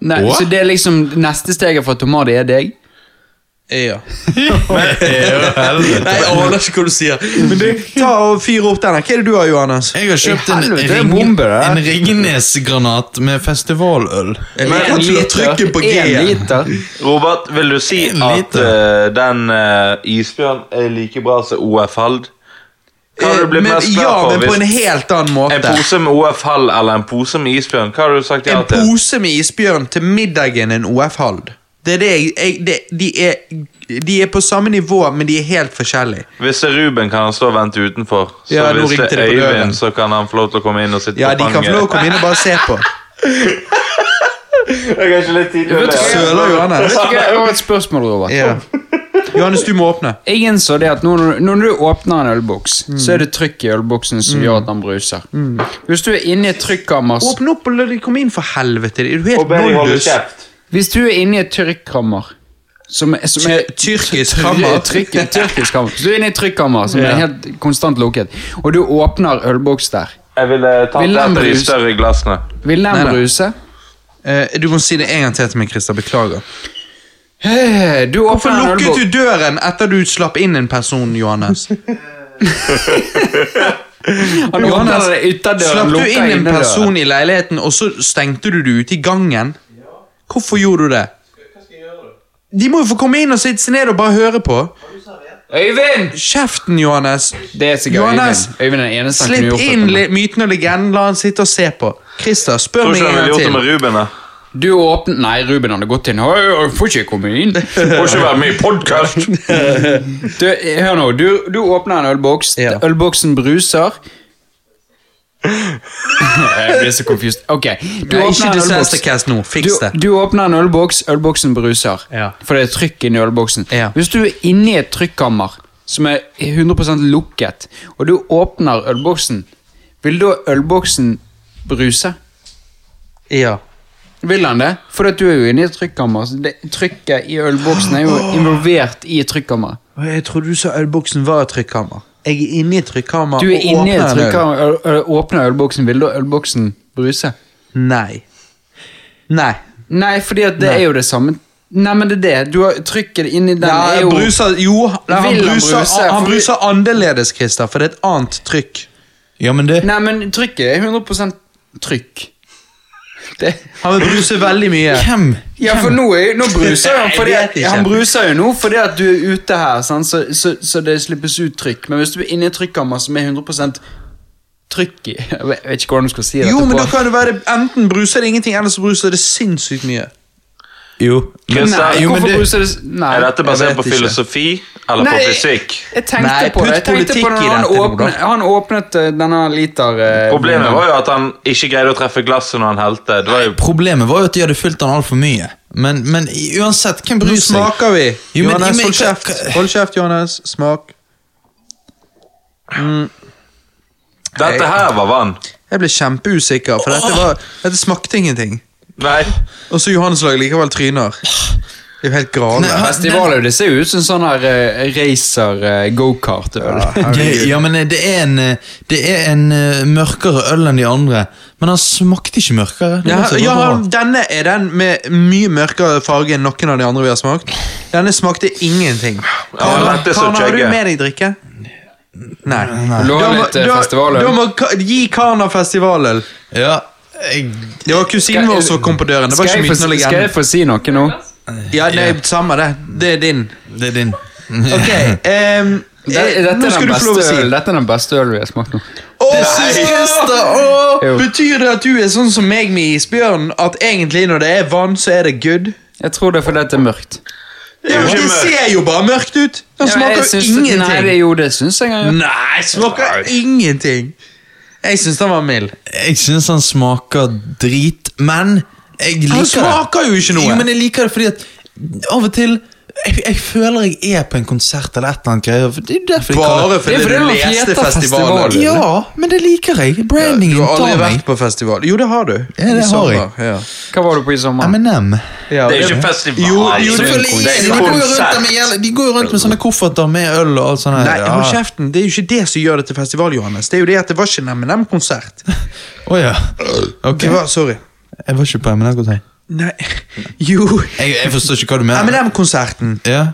Speaker 4: Nei,
Speaker 2: Hva?
Speaker 4: så det er liksom neste steget fra Tom Hardy er deg?
Speaker 5: Ja.
Speaker 2: Jeg
Speaker 5: Nei, jeg aner ikke hva du sier. Men du, ta og fyr opp den her. Hva er det du har, Johannes?
Speaker 2: har kjøpt en,
Speaker 4: Helvete, det er
Speaker 2: ring,
Speaker 4: bombe,
Speaker 2: en
Speaker 4: det.
Speaker 2: Ringnes-granat med festivaløl.
Speaker 5: Jeg liker
Speaker 4: En
Speaker 5: at du har
Speaker 4: liter.
Speaker 5: trykket på
Speaker 4: En
Speaker 5: G-en.
Speaker 4: liter.
Speaker 3: Robert, vil du si
Speaker 2: En
Speaker 3: at
Speaker 2: liter.
Speaker 3: eh, den eh, isbjørn er like bra som OF Hald? Hva hadde du blitt
Speaker 5: Men,
Speaker 3: mest glad
Speaker 5: ja,
Speaker 3: for
Speaker 5: men på en
Speaker 3: hvis
Speaker 5: helt annen
Speaker 3: en
Speaker 5: måte.
Speaker 3: pose med OF Hald eller en pose med isbjørn? Hva hadde du sagt ja
Speaker 5: En
Speaker 3: til?
Speaker 5: pose med isbjørn til middagen en OF-hald. Det er det jeg, jeg det, de, er, de er på samme nivå, men de er helt forskjellige.
Speaker 3: Hvis det er Ruben, kan han stå og vente utenfor. Så
Speaker 5: Ja, nå
Speaker 3: hvis det
Speaker 5: ringte
Speaker 3: er
Speaker 5: det på døren.
Speaker 3: Øyvind, så kan han få lov til å komme inn og sitte
Speaker 5: Ja,
Speaker 3: på
Speaker 5: de kan få
Speaker 3: fanget.
Speaker 5: lov å komme inn og bare se på.
Speaker 3: Jeg har ikke litt tid til å
Speaker 4: Vet du hva?
Speaker 3: le.
Speaker 5: Søler Johannes.
Speaker 4: Vet du hva, Jeg har et spørsmål, Robert.
Speaker 5: Ja. Johannes, du må åpne.
Speaker 4: Jeg innså det at når, når du åpner en ølboks,
Speaker 5: Mm.
Speaker 4: så er det trykk i ølboksen som gjør at den bruser. Hvis du er inne i et trykkammer s-
Speaker 5: Åpne opp og la de komme inn, for helvete. Er du
Speaker 3: Og
Speaker 5: helt
Speaker 3: be de holde
Speaker 5: nondus?
Speaker 3: kjeft.
Speaker 4: Hvis du er inne i et trykkammer som, er- som er
Speaker 5: Tyrkisk
Speaker 4: try-
Speaker 5: kammer.
Speaker 4: Trykk, tyrkisk kammer. Hvis du er inne i et trykkammer som
Speaker 5: Ja.
Speaker 4: er helt konstant lukket, og du åpner ølboks der,
Speaker 3: Jeg ville tatt
Speaker 4: Vil han
Speaker 3: etter de
Speaker 4: bruse?
Speaker 3: større glassene.
Speaker 4: vil den
Speaker 5: Nei, nei.
Speaker 4: bruse?
Speaker 5: Eh, du må si det en gang til til meg, Christer. Beklager.
Speaker 4: Eh, Du
Speaker 5: Hvorfor
Speaker 4: åpner en
Speaker 5: lukket
Speaker 4: ølboks
Speaker 5: du døren etter du slapp inn en person, Johannes?
Speaker 4: Han åpner det ytterdøren,
Speaker 5: slapp du
Speaker 4: lukker
Speaker 5: inn en
Speaker 4: innedøren.
Speaker 5: person i leiligheten, og så stengte du det ute i gangen? Hvorfor gjorde du det? De må jo få komme inn og sitte seg ned og bare høre på.
Speaker 4: Øyvind!
Speaker 5: Kjeften, Johannes.
Speaker 4: Det er sikkert
Speaker 5: Johannes,
Speaker 4: Øyvind. Øyvind er den eneste han kunne
Speaker 5: Slipp
Speaker 4: gjort
Speaker 5: inn
Speaker 4: dette med.
Speaker 5: le- myten og legenden. La han sitte og se på. Christer, spør
Speaker 3: Tror
Speaker 5: meg
Speaker 3: ikke han
Speaker 5: en
Speaker 3: ville gjort det
Speaker 5: gang
Speaker 3: med
Speaker 5: til.
Speaker 3: Ruben. da.
Speaker 4: Du åpner Nei, Ruben hadde gått inn. Høy, høy, får ikke komme inn.
Speaker 3: Må ikke være med i podkast!
Speaker 4: Du, hør nå, du, du åpner en ølboks.
Speaker 5: Ja.
Speaker 4: Ølboksen bruser. Jeg blir så confused. Ok, du
Speaker 5: Nei,
Speaker 4: åpner
Speaker 5: ikke
Speaker 4: en
Speaker 5: Disaster
Speaker 4: ølboks.
Speaker 5: Cast nå. Fiks det.
Speaker 4: Du, du åpner en ølboks, ølboksen bruser.
Speaker 5: Ja.
Speaker 4: For det er trykk inni ølboksen.
Speaker 5: Ja.
Speaker 4: Hvis du er inni et trykkammer som er 100 lukket, og du åpner ølboksen, vil da ølboksen bruse?
Speaker 5: Ja.
Speaker 4: Vil han det? For at du er jo inne i et trykkammer. så Det, trykket i ølboksen er jo involvert i trykkammeret.
Speaker 5: Og Jeg trodde du sa ølboksen var et trykkammer. Jeg er inne i et trykkammer
Speaker 4: Du er
Speaker 5: og
Speaker 4: inne i et
Speaker 5: åpner en øl.
Speaker 4: trykkammer, øl- øl- åpner ølboksen. Vil da ølboksen bruse?
Speaker 5: Nei. Nei.
Speaker 4: Nei, fordi at det
Speaker 5: Nei.
Speaker 4: er jo det samme. Nei, men det er det. Du har trykket inni den
Speaker 5: Nei,
Speaker 4: er jo
Speaker 5: bruser, jo, nei, han,
Speaker 4: Vil han
Speaker 5: bruser,
Speaker 4: bruse?
Speaker 5: han
Speaker 4: For vi-
Speaker 5: bruser annerledes, Christer, for det er et annet trykk.
Speaker 2: Ja, men det
Speaker 4: Nei, men trykket er 100 trykk. Det...
Speaker 5: Han vil bruse veldig mye.
Speaker 2: Hvem?
Speaker 4: Ja, for nå, er, nå bruser han
Speaker 5: Jeg
Speaker 4: fordi
Speaker 5: vet
Speaker 4: at,
Speaker 5: ikke.
Speaker 4: Han bruser jo nå fordi at du er ute her, sant? Så, så, så det slippes ut trykk. Men hvis du er inne i et trykkammer som er 100 trykk i Jeg vet jeg vet ikke hvordan du skal si dette
Speaker 5: Jo, men
Speaker 4: på.
Speaker 5: da kan det være enten bruser det ingenting, eller så bruser det sinnssykt mye.
Speaker 2: Jo.
Speaker 3: Christer,
Speaker 4: Nei,
Speaker 2: Jo, men
Speaker 4: hvorfor
Speaker 2: det-
Speaker 4: bruser det s- Nei.
Speaker 3: Er dette
Speaker 5: jeg
Speaker 3: basert
Speaker 5: vet
Speaker 3: på
Speaker 5: ikke.
Speaker 3: filosofi eller
Speaker 4: Nei,
Speaker 3: på
Speaker 4: jeg-
Speaker 3: fysikk?
Speaker 4: Jeg tenkte
Speaker 5: Nei,
Speaker 4: på det. Jeg tenkte
Speaker 5: putt
Speaker 4: på
Speaker 5: politikk
Speaker 4: når
Speaker 5: i
Speaker 4: han
Speaker 5: dette nå, da.
Speaker 4: åpnet, han åpnet eh, denne liter... eh,
Speaker 3: Problemet
Speaker 4: vinden.
Speaker 3: var jo at han ikke greide å treffe glasset når han helte. Det var jo
Speaker 2: Problemet var jo at de hadde fylt den altfor mye. Men, men i- uansett, hvem
Speaker 5: Nå
Speaker 2: bryr seg?
Speaker 5: smaker vi.
Speaker 2: Jo, men-
Speaker 5: Johannes,
Speaker 2: men-
Speaker 5: hold kjeft. Hold kjeft, Johannes. Smak.
Speaker 3: Dette her var vann.
Speaker 5: Jeg ble kjempeusikker, for dette, var, dette smakte ingenting.
Speaker 3: Nei.
Speaker 5: Og så Johannes lager likevel tryner. Det er jo helt
Speaker 2: Nei,
Speaker 5: grale.
Speaker 2: han-
Speaker 4: Festivalen, det ser jo ut som sånn her eh, racer eh, go-kart-øl.
Speaker 2: Det, ja, men det er en, eh, det er en eh, mørkere øl enn de andre. Men han smakte ikke mørkere. Det sånn-
Speaker 5: Ja,
Speaker 2: var så
Speaker 5: ja,
Speaker 2: bra.
Speaker 5: denne er den med mye mørkere farge enn noen av de andre vi har smakt. Denne smakte ingenting.
Speaker 3: Ja,
Speaker 5: Tana,
Speaker 3: dette er så
Speaker 5: Tana, har du
Speaker 3: kjegge.
Speaker 5: med deg drikke? Nei.
Speaker 1: Du
Speaker 5: Da
Speaker 1: har
Speaker 5: må,
Speaker 1: litt eh,
Speaker 5: da,
Speaker 1: festivaløl.
Speaker 5: da må ka, gi Kana festivaløl.
Speaker 2: Ja, jeg,
Speaker 5: Det var kusinen
Speaker 1: Skal-
Speaker 5: vår som kom på døren. Det var
Speaker 1: Skal jeg,
Speaker 5: ikke
Speaker 1: få,
Speaker 5: myten og
Speaker 1: skal jeg
Speaker 5: legenden.
Speaker 1: få si noe nå?
Speaker 5: Eh, Ja, nei, samme det. Det er din.
Speaker 2: det er din.
Speaker 5: Ok, ehm,
Speaker 1: Det,
Speaker 5: eh,
Speaker 1: dette,
Speaker 5: nå
Speaker 1: er
Speaker 5: skal
Speaker 1: den
Speaker 5: du få lov å
Speaker 1: beste
Speaker 5: si.
Speaker 1: øl, dette er den beste ølen vi har smakt nå.
Speaker 5: Å, søster! Å,
Speaker 1: Jo.
Speaker 5: Betyr det at du er sånn som meg med isbjørnen? At egentlig når det er vann, så er det good?
Speaker 1: Jeg tror det er fordi det er mørkt.
Speaker 5: Det,
Speaker 3: jo ikke mørkt.
Speaker 5: ser jo bare mørkt ut! Den
Speaker 1: Ja,
Speaker 5: smaker
Speaker 1: jeg syns-
Speaker 5: jo
Speaker 1: Nei,
Speaker 5: ingenting.
Speaker 1: det, jo, det syns jeg. Ja.
Speaker 5: Nei, smaker ingenting. Jeg syns den var mild.
Speaker 2: Jeg syns han smaker drit, men jeg liker
Speaker 5: Han
Speaker 2: det.
Speaker 5: smaker jo ikke
Speaker 2: Jo,
Speaker 5: noe.
Speaker 2: men jeg liker det fordi at av og til jeg, jeg føler jeg er på en konsert eller et eller annet greier. for Det er jo derfor de kaller
Speaker 5: Bare
Speaker 2: det-
Speaker 5: fordi
Speaker 1: Det er fordi
Speaker 5: du
Speaker 1: det var
Speaker 5: leste
Speaker 1: Fiesta
Speaker 5: festivalen.
Speaker 1: festival.
Speaker 2: Ja, men det liker jeg. Brandingen
Speaker 5: Du har aldri
Speaker 2: tar meg.
Speaker 5: vært på festival. Jo, det har du.
Speaker 2: Ja, det
Speaker 5: I
Speaker 2: har jeg.
Speaker 5: sommer, Ja.
Speaker 1: Hva var du på i sommer?
Speaker 2: M&M.
Speaker 5: Ja,
Speaker 3: Det er jo ikke festival.
Speaker 5: Jo, jo,
Speaker 3: det er en
Speaker 5: selvfølgelig er
Speaker 2: De
Speaker 5: det.
Speaker 2: går jo rundt
Speaker 3: konsert.
Speaker 2: der med jævla- de går jo rundt med sånne kofferter med øl og alt sånt. her.
Speaker 5: Nei,
Speaker 2: Ja.
Speaker 5: hold kjeften. Det er jo ikke det som gjør det til festival, Johannes. Det er jo det at det var ikke en M&M-konsert.
Speaker 2: Å ja. Ok.
Speaker 5: Det var, sorry.
Speaker 2: Jeg var ikke på M&M-konsert.
Speaker 5: Nei, jo
Speaker 2: Jeg, jeg forstår ikke hva du mener.
Speaker 5: M&M-konserten,
Speaker 2: Ja.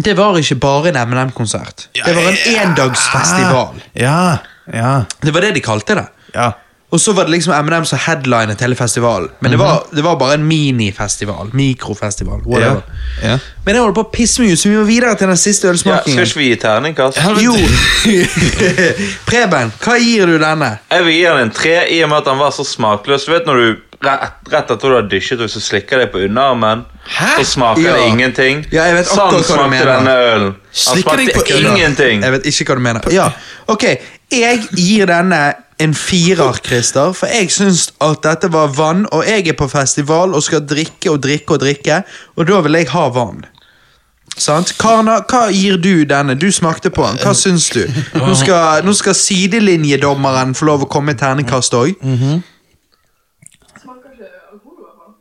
Speaker 5: det var ikke bare en M&M-konsert. Det var en endagsfestival.
Speaker 2: Ja. Ja.
Speaker 5: Det var det de kalte det.
Speaker 2: ja.
Speaker 5: Og så var det liksom M&M som headlinet hele festivalen. Men det var, det var bare en minifestival. Mikrofestival.
Speaker 2: ja.
Speaker 5: Whatever.
Speaker 2: ja.
Speaker 5: Men jeg holder på å pisse meg ut, så vi må videre til den siste
Speaker 3: Ja, skal
Speaker 5: ølsmakingen.
Speaker 3: ikke vi gi terningkast?
Speaker 5: jo. Preben, hva gir du denne?
Speaker 3: Jeg vil gi han en tre i og med at han var så smakløs. Du vet når du rett, rett etter du har dysjet og så slikker deg på underarmen, så smaker
Speaker 5: Ja.
Speaker 3: det ingenting.
Speaker 5: Ja, jeg vet akkurat
Speaker 3: sånn
Speaker 5: hva du
Speaker 3: smakte
Speaker 5: mener.
Speaker 3: denne ølen. Han
Speaker 2: Slikker deg
Speaker 3: smakte
Speaker 2: på underarmen.
Speaker 3: ingenting.
Speaker 5: Jeg vet ikke hva du mener. Ja, ok. Jeg gir denne en firer, Christer, for jeg syns at dette var vann, og jeg er på festival og skal drikke og drikke og drikke, og da vil jeg ha vann. Sant? Karna, hva gir du denne? Du smakte på den. Hva syns du? Nå skal, nå skal sidelinjedommeren få lov å komme med terningkast òg.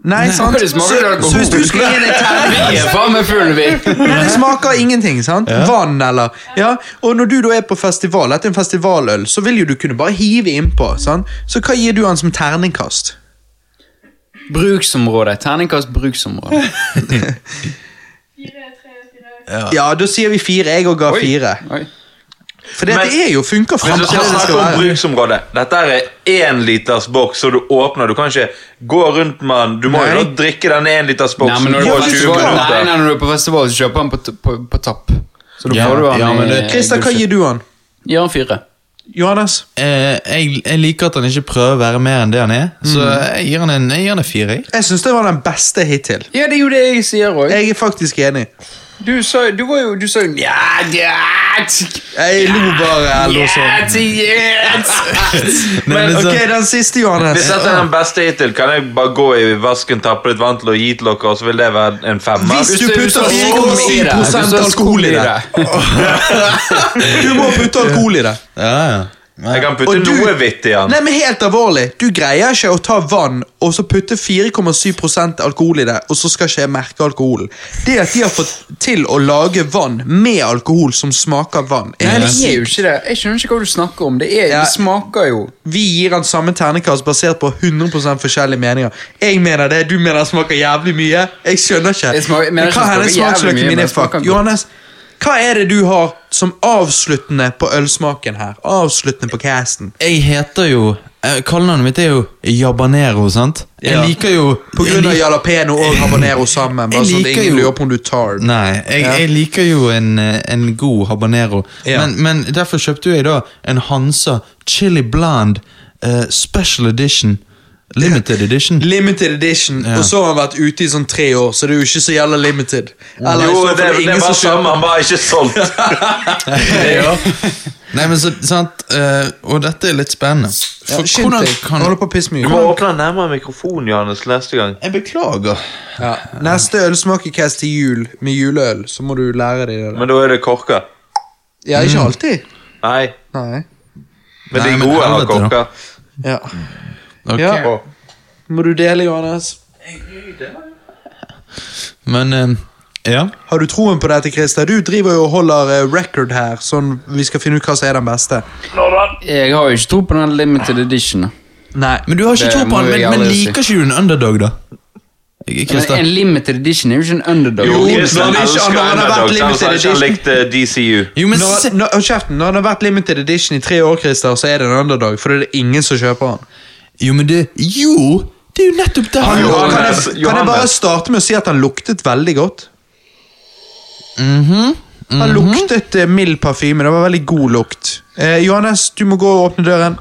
Speaker 5: Nei, sant?
Speaker 1: det smaker ikke
Speaker 5: Så,
Speaker 1: alkohol.
Speaker 5: så hvis du skal gi den en terning
Speaker 1: Vi er faen meg fulle, vi!
Speaker 5: men det smaker ingenting, sant? Vann eller ja. Og når du da er på festival, dette er en festivaløl, så vil jo du kunne bare hive innpå. sant? Så hva gir du han som terningkast?
Speaker 1: Bruksområde. Terningkast bruksområde.
Speaker 5: Ja, da sier vi fire. Jeg òg ga fire.
Speaker 1: Oi.
Speaker 5: For det,
Speaker 3: Men-
Speaker 5: det er jo funker for
Speaker 3: Hvis du skal snakke om bruksområde Dette er én liters boks som du åpner. Du kan ikke gå rundt med den. Du må jo da
Speaker 5: Nei.
Speaker 3: drikke denne én liters
Speaker 1: Nei, men
Speaker 3: boksen
Speaker 1: når du
Speaker 5: Jo,
Speaker 1: er
Speaker 3: på
Speaker 1: på
Speaker 5: du
Speaker 3: 20
Speaker 5: skal.
Speaker 1: festival, nei, nei,
Speaker 3: minutter.
Speaker 1: når du er på festival så kjøper han på, t- på, på tapp. Så da
Speaker 2: Ja,
Speaker 1: får du han
Speaker 2: ja, men det-
Speaker 5: Christer, hva gir du han?
Speaker 1: Gir han fire.
Speaker 5: Johannes?
Speaker 2: Eh, jeg, jeg liker at han ikke prøver å være mer enn det han er, så
Speaker 5: Mm.
Speaker 2: jeg gir han en, jeg gir han en fire. jeg.
Speaker 5: Jeg syns det var den beste hittil.
Speaker 1: Ja, det er jo det jeg sier òg.
Speaker 5: Jeg er faktisk enig.
Speaker 1: Du sa du var jo Du sa jo ja, ja, tsk,
Speaker 5: Jeg lo bare.
Speaker 1: ja,
Speaker 5: eller noe sånt.
Speaker 1: tsk, ja, tsk.
Speaker 2: Men
Speaker 5: Men
Speaker 2: liksom-
Speaker 5: ok, den siste, Johannes.
Speaker 3: Hvis dette er den beste hittil, kan jeg bare gå i vasken, tappe litt vann til og gi til dere, og så vil det være en femmer?
Speaker 5: Hvis du
Speaker 1: Hvis du- hvis du
Speaker 5: putter
Speaker 1: har skum i det,
Speaker 5: 4,7
Speaker 1: hvis du har
Speaker 5: alkohol i
Speaker 1: skum i
Speaker 5: det Du må putte alkohol i det.
Speaker 2: Ja, ja. Nei.
Speaker 3: Jeg kan putte
Speaker 5: Og du-
Speaker 3: noe vitt i den.
Speaker 5: Nei, men helt alvorlig. Du greier ikke å ta vann og så putte 4,7 alkohol i det, og så skal ikke jeg merke alkoholen. Det at de har fått til å lage vann med alkohol som smaker vann er
Speaker 1: Nei, det
Speaker 5: helt
Speaker 1: er jo
Speaker 5: sykt.
Speaker 1: ikke det. Jeg skjønner ikke hva du snakker om. Det, er,
Speaker 5: Ja.
Speaker 1: det smaker jo
Speaker 5: Vi gir han samme ternekast basert på 100 forskjellige meninger. Jeg mener det, du mener det smaker jævlig mye. Jeg skjønner ikke.
Speaker 1: Jeg smaker- jeg mener
Speaker 5: men
Speaker 1: ikke
Speaker 5: hva
Speaker 1: det
Speaker 5: hennes
Speaker 1: smaker jævlig
Speaker 5: smaksløker
Speaker 1: mye,
Speaker 5: mine
Speaker 1: men
Speaker 5: er
Speaker 1: det smaker
Speaker 5: fuck?
Speaker 1: godt.
Speaker 5: Johannes, hva er det du har som avsluttende på ølsmaken her? Avsluttende på casten?
Speaker 2: Jeg heter jo eh, Kallenavnet mitt er jo Jabanero, sant?
Speaker 5: Ja.
Speaker 2: Jeg liker jo
Speaker 5: På grunn av
Speaker 2: jeg lik-
Speaker 5: jalapeno og habanero sammen. Bare
Speaker 2: Jeg
Speaker 5: sånn at
Speaker 2: liker
Speaker 5: ingen
Speaker 2: jo-
Speaker 5: lurer på om du tar den.
Speaker 2: Nei, jeg,
Speaker 5: Ja.
Speaker 2: jeg liker jo en, eh, en god habanero.
Speaker 5: Ja.
Speaker 2: Men, men derfor kjøpte jo jeg da en Hansa Chili Blonde eh, Special Edition. Limited Edition.
Speaker 5: Limited edition, og så har han vært ute i sånn tre år, så det er jo ikke så jævla limited. Eller, i
Speaker 3: Jo,
Speaker 5: så fall
Speaker 3: det,
Speaker 5: er
Speaker 3: det
Speaker 5: ingen
Speaker 3: var
Speaker 5: som kjøper
Speaker 3: samme, han var ikke solgt.
Speaker 2: Nei, men så, sant eh, Og dette er litt spennende. For
Speaker 5: Skynd
Speaker 2: hvordan
Speaker 5: deg.
Speaker 2: kan
Speaker 5: Holder på å pisse meg
Speaker 3: Du
Speaker 5: ut.
Speaker 3: må åpne den nærmere mikrofonen, Johannes, neste gang.
Speaker 2: Jeg beklager.
Speaker 5: Ja. Neste ølsmakecast til jul med juleøl, så må du lære deg det. der.
Speaker 3: Men da er det korker.
Speaker 5: Ja, ikke alltid.
Speaker 3: Nei,
Speaker 5: Mm. Nei.
Speaker 3: men
Speaker 2: Nei,
Speaker 3: de
Speaker 2: men
Speaker 3: gode har
Speaker 2: helvete, da.
Speaker 3: korker.
Speaker 5: Ja.
Speaker 2: Ok.
Speaker 5: ja. Må du dele, Johannes?
Speaker 2: Men eh, ja.
Speaker 5: Har du troen på dette, Christer? Du driver jo og holder eh, record her, sånn vi skal finne ut hva som er den beste.
Speaker 1: Jeg har jo ikke tro på den limited edition. da.
Speaker 5: Nei.
Speaker 2: Men du har ikke
Speaker 1: Det
Speaker 2: tro på
Speaker 1: må
Speaker 2: han,
Speaker 1: jeg
Speaker 2: men, men
Speaker 1: aldri si.
Speaker 2: liker ikke du en underdog, da? Christer.
Speaker 4: Men en limited edition er jo ikke en underdog.
Speaker 5: Jo,
Speaker 4: Limited-
Speaker 5: når han ikke- når han har vært
Speaker 3: Ellers
Speaker 5: limited
Speaker 3: hadde ikke
Speaker 5: edition.
Speaker 3: han likt eh, DCU.
Speaker 2: Jo, men
Speaker 5: Når,
Speaker 2: se-
Speaker 5: når, hold kjeften, når han har vært limited edition i tre år, Christer, så er det en underdog, for det er ingen som kjøper han.
Speaker 2: Jo, men det Jo! Det er jo nettopp det
Speaker 5: Kan
Speaker 3: jo-
Speaker 5: jeg, kan
Speaker 3: Johannes,
Speaker 5: jeg bare
Speaker 3: Johannes.
Speaker 5: starte med å si at han luktet veldig godt?
Speaker 2: Mhm,
Speaker 5: Han luktet eh, mild parfyme. Det var veldig god lukt. Eh, Johannes, du må gå og åpne døren.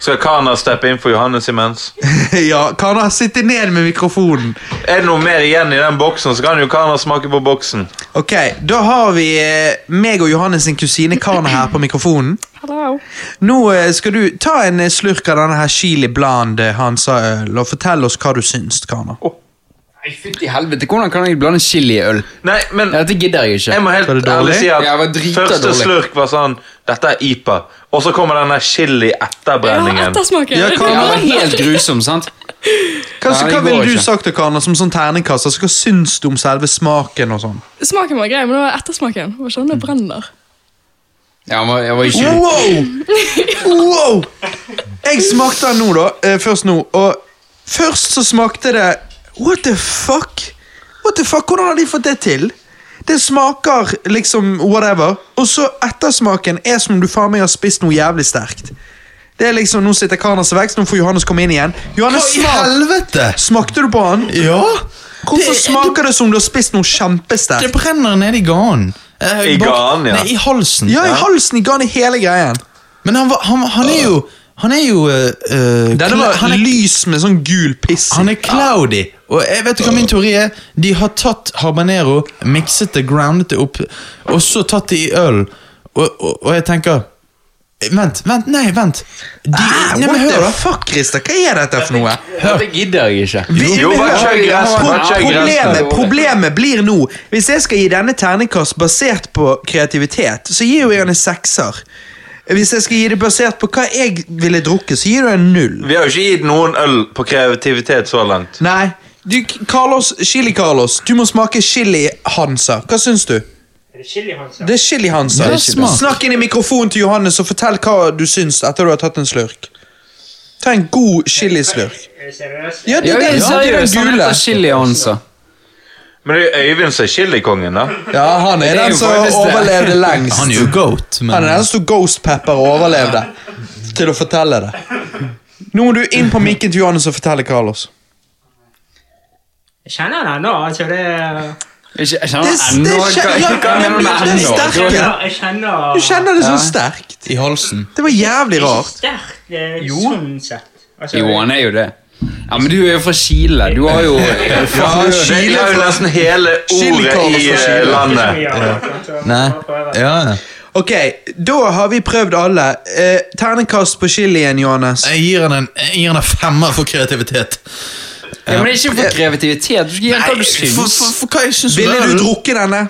Speaker 3: Skal Kana steppe inn for Johannes imens?
Speaker 5: ja, Kana, sitte ned med mikrofonen.
Speaker 3: Er det noe mer igjen i den boksen, så kan jo Kana smake på boksen.
Speaker 5: Ok, Da har vi eh, meg og Johannes sin kusine Kana her på mikrofonen. Nå eh, skal du ta en eh, slurk av denne her Chili Blande Hansa-øl og fortell oss hva du syns, Kana.
Speaker 4: Nei, Fytti helvete, hvordan kan jeg blande chili i øl?
Speaker 3: Nei, men
Speaker 4: Dette gidder jeg ikke.
Speaker 3: jeg må
Speaker 5: Var det
Speaker 3: helt ærlig
Speaker 5: dårlig?
Speaker 3: si at
Speaker 4: Ja, det var drita
Speaker 3: første
Speaker 4: dårlig.
Speaker 3: slurk var sånn Dette er IPA. Og så kommer den der chili-etterbrenningen.
Speaker 6: Ja, ettersmaken.
Speaker 5: Ja,
Speaker 4: Ja,
Speaker 5: hva-
Speaker 4: det var helt grusom, sant?
Speaker 5: Hva, så,
Speaker 4: Nei,
Speaker 5: hva
Speaker 4: det
Speaker 5: ville
Speaker 4: går
Speaker 5: du
Speaker 4: ikke.
Speaker 5: sagt til Kana som sånn terningkaster? Så hva syns du om selve smaken og sånn?
Speaker 6: Smaken var grei, men det var ettersmaken. Det var ikke den det brenner.
Speaker 4: Ja, men jeg var ikke
Speaker 5: Wow! wow! Jeg smakte den nå, da. eh, Først nå. Og først så smakte det What the fuck? What the fuck? Hvordan har de fått det til? Det smaker liksom whatever. Og så ettersmaken er som om du faen meg har spist noe jævlig sterkt. Det er liksom, Nå sitter Kana seg vekk, så nå får Johannes komme inn igjen. Johannes,
Speaker 2: I
Speaker 5: smak,
Speaker 2: helvete!
Speaker 5: Smakte du på den?
Speaker 2: Ja!
Speaker 5: Hvorfor
Speaker 2: det-
Speaker 5: smaker det som om du har spist noe
Speaker 2: Det
Speaker 5: kjempesterkt?
Speaker 2: brenner nede i ganen. Eh,
Speaker 3: I
Speaker 2: bak-
Speaker 3: ganen, ja.
Speaker 2: Nei, i halsen.
Speaker 5: Ja, i halsen, i garn, i hele greien.
Speaker 2: Men han, var- han, han er jo Han er jo eh, eh,
Speaker 5: Denne
Speaker 2: kla-
Speaker 5: var
Speaker 2: han, er,
Speaker 5: lys med sånn gul piss.
Speaker 2: han er cloudy. Og jeg vet du hva min teori er? De har tatt habanero, mikset det, groundet det opp, og så tatt det i øl. Og, og, og jeg tenker Vent, vent, nei, vent. De,
Speaker 5: Ah,
Speaker 2: nei, men
Speaker 5: what
Speaker 2: hør,
Speaker 5: the
Speaker 2: da.
Speaker 5: fuck, Christer? Hva er dette for noe?
Speaker 4: Dette gidder jeg ikke.
Speaker 3: Jo, hva
Speaker 5: Hør,
Speaker 3: skjer i gresset? Hva skjer i
Speaker 5: Problemet,
Speaker 3: gresset?
Speaker 5: problemet blir nå Hvis jeg skal gi denne terningkast basert på kreativitet, så gir jo jeg den en sekser. Hvis jeg skal gi det basert på hva jeg ville drukket, så gir du en null.
Speaker 3: Vi har jo ikke gitt noen øl på kreativitet så langt.
Speaker 5: Nei. Du, Carlos, Chili Carlos, du må smake chili Hansa. Hva syns du? Det er chili Hansa.
Speaker 2: Ja, smak.
Speaker 5: Snakk inn i mikrofonen til Johannes og fortell hva du syns etter du har tatt en slurk. Ta en god chilislurk.
Speaker 7: Seriøst?
Speaker 5: Ja, det,
Speaker 4: Ja,
Speaker 5: er den-
Speaker 4: jeg
Speaker 5: det er
Speaker 4: seriøst,
Speaker 5: den
Speaker 4: han
Speaker 5: gule.
Speaker 4: heter Chili sånn Hansa.
Speaker 3: Men det er jo Øyvind som er chilikongen, da.
Speaker 5: Ja, han er,
Speaker 4: er
Speaker 5: den
Speaker 4: jo
Speaker 5: som
Speaker 4: faktisk det.
Speaker 5: overlevde lengst.
Speaker 2: Han er jo goat, men
Speaker 5: Han er den som Ghost Pepper og overlevde. Til å fortelle det. Nå må du inn på mikken til Johannes og fortelle Carlos.
Speaker 7: Jeg kjenner den nå, altså det
Speaker 4: Jeg kjenner
Speaker 5: Det,
Speaker 4: han
Speaker 5: det,
Speaker 4: ennå.
Speaker 5: det,
Speaker 4: Hva-
Speaker 5: ja,
Speaker 4: hva- hva
Speaker 5: det,
Speaker 4: mener du med
Speaker 5: det er
Speaker 4: ennå?
Speaker 5: sterke.
Speaker 7: Jeg kjenner
Speaker 5: Du kjenner det så sterkt.
Speaker 2: i halsen.
Speaker 5: Det var jævlig rart.
Speaker 7: Sterkt eh, sånn sett. Altså,
Speaker 4: Jo, han er jo det. Ja, men du er jo fra Chile. Du har jo
Speaker 5: Ja,
Speaker 3: Vi har jo nesten hele ordet
Speaker 5: Chili-Carlos
Speaker 3: i
Speaker 5: fra
Speaker 3: eh,
Speaker 5: Chile.
Speaker 3: landet.
Speaker 7: altså.
Speaker 2: Nei. Ja, ja.
Speaker 5: Ok, da har vi prøvd alle. Eh, ternekast på chilien, Johannes.
Speaker 2: Jeg gir han en, jeg gir han en femmer for kreativitet.
Speaker 4: Ja, men det er ikke for kreativitet. Du skal gjøre hva du syns.
Speaker 2: for, for, for hva jeg syns om
Speaker 5: Ville
Speaker 2: øl?
Speaker 5: du drukke denne?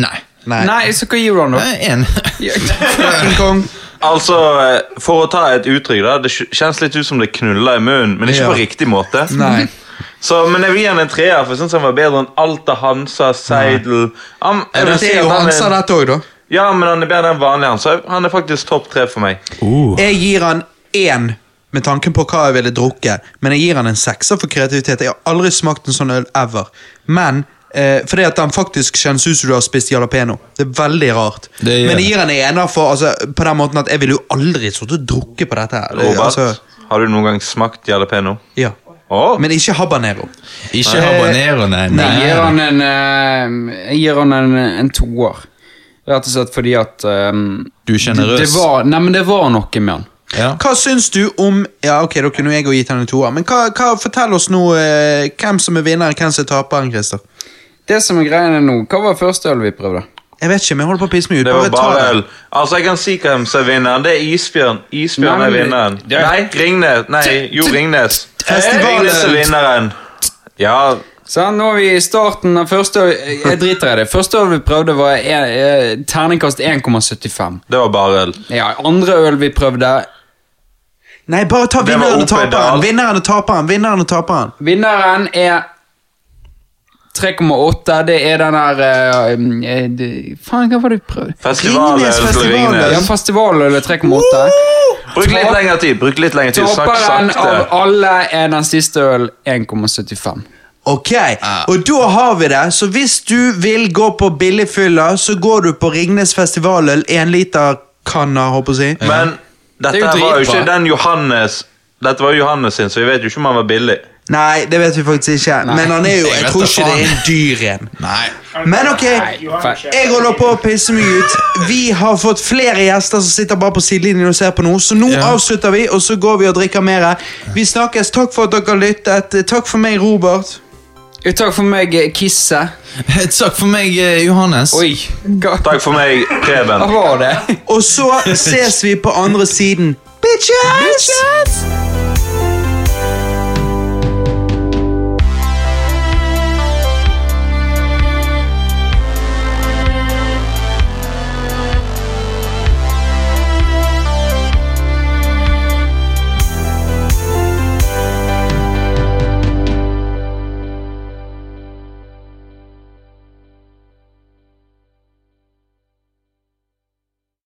Speaker 2: Nei.
Speaker 4: Nei, så hva gir du han da?
Speaker 2: Eh, En.
Speaker 5: King Kong.
Speaker 3: Altså, eh, for å ta et uttrykk, da. Det kj- kjennes litt ut som det knuller i munnen, men ikke
Speaker 5: Ja.
Speaker 3: på riktig måte.
Speaker 5: Nei.
Speaker 3: Så, men jeg vil gi han en treer, for jeg syns han var bedre enn Alta Hansa, Seidel han, jeg vil
Speaker 5: Dette
Speaker 3: si
Speaker 5: er
Speaker 3: at
Speaker 5: jo
Speaker 3: han
Speaker 5: Hansa,
Speaker 3: er,
Speaker 5: dette òg, da.
Speaker 3: Ja, men han er bedre enn vanlig Hansa. Han er faktisk topp tre for meg.
Speaker 5: Jeg gir han én med tanken på hva jeg ville drukke, men jeg gir han en sekser for kreativitet. Jeg har aldri smakt en sånn øl ever. Men eh, fordi at den faktisk kjennes ut som du har spist jalapeño. Det er veldig rart.
Speaker 2: Det gjør
Speaker 5: men jeg
Speaker 2: det.
Speaker 5: gir han en ener for, altså, på den måten at jeg ville jo aldri sittet og drukket på dette. her. Det-
Speaker 3: Robert,
Speaker 5: Altså,
Speaker 3: har du noen gang smakt jalapeño?
Speaker 5: ja.
Speaker 3: Å,
Speaker 5: Men ikke habanero.
Speaker 2: Ikke habanero, nei.
Speaker 4: Nei, Jeg gir han en, eh, jeg gir han en, en toer. Rett og slett fordi at ehm,
Speaker 2: Du er sjenerøs.
Speaker 4: Det, det var, nei, men det var noe med han.
Speaker 2: Ja.
Speaker 5: Hva syns du om Ja, ok, da kunne jo jeg jo gitt han en toer, men hva, hva, fortell oss nå eh, hvem som er vinneren, hvem som er taperen, Christer.
Speaker 4: Det som er greiene nå, hva var første øl vi prøvde?
Speaker 5: Jeg vet ikke, men jeg holder på å pisse meg ut.
Speaker 3: det var
Speaker 5: ta
Speaker 3: bare
Speaker 5: det.
Speaker 3: øl. Altså, jeg kan si hvem som er vinneren. Det er Isbjørn. Isbjørn
Speaker 4: Nei,
Speaker 3: er
Speaker 4: men-
Speaker 3: vinneren.
Speaker 4: Ja.
Speaker 3: Nei, Ringnes. Nei, jo, Ringnes.
Speaker 5: Festivalen.
Speaker 3: Ringnes er vinneren. Ja,
Speaker 4: Sånn, nå er vi i starten av første øl Jeg driter i det. Første øl vi prøvde, var en, eh, terningkast 1,75.
Speaker 3: det var bare øl.
Speaker 4: Ja, andre øl vi prøvde
Speaker 5: Nei, bare ta
Speaker 3: var
Speaker 5: vinneren og
Speaker 3: oppedal.
Speaker 5: taperen. Vinneren og taperen. vinneren og taperen.
Speaker 4: Vinneren er 3,8. Det er den der eh, eh, de- Faen, hva var det vi prøvde?
Speaker 3: Festivalen
Speaker 5: Ringnes,
Speaker 3: til
Speaker 5: festivalen.
Speaker 4: Ja,
Speaker 3: Ringnes.
Speaker 4: Festivaløl er 3,8.
Speaker 3: Bruk litt lengre tid. bruk litt lengre tid. Snakk
Speaker 4: Topperen
Speaker 3: sakte.
Speaker 4: av alle er den siste øl 1,75.
Speaker 5: Ok, og da har vi det. Så hvis du vil gå på billigfylla, så går du på Ringnes Festivaløl, én liter kanna, håper jeg å si.
Speaker 3: Men dette
Speaker 1: jo
Speaker 3: var jo
Speaker 1: dritbra.
Speaker 3: ikke den Johannes Dette var jo Johannes sin, så vi vet jo ikke om han var billig.
Speaker 5: Nei, det vet vi faktisk ikke. Men han er jo,
Speaker 2: Jeg
Speaker 5: jeg
Speaker 2: vet
Speaker 5: tror
Speaker 2: da
Speaker 5: ikke det er en dyr en.
Speaker 2: Nei.
Speaker 5: Men ok, jeg holder på å pisse meg ut. Vi har fått flere gjester som sitter bare på sidelinjen og ser på noe, så nå
Speaker 2: Ja.
Speaker 5: avslutter vi, og så går vi og drikker mer. Vi snakkes. Takk for at dere lyttet. Takk for meg, Robert.
Speaker 1: Takk for meg, eh, Kisse.
Speaker 2: Takk for meg, eh, Johannes.
Speaker 1: Oi, hva
Speaker 3: Takk for meg, Preben.
Speaker 1: var det?
Speaker 5: Og så ses vi på andre siden. Bitches!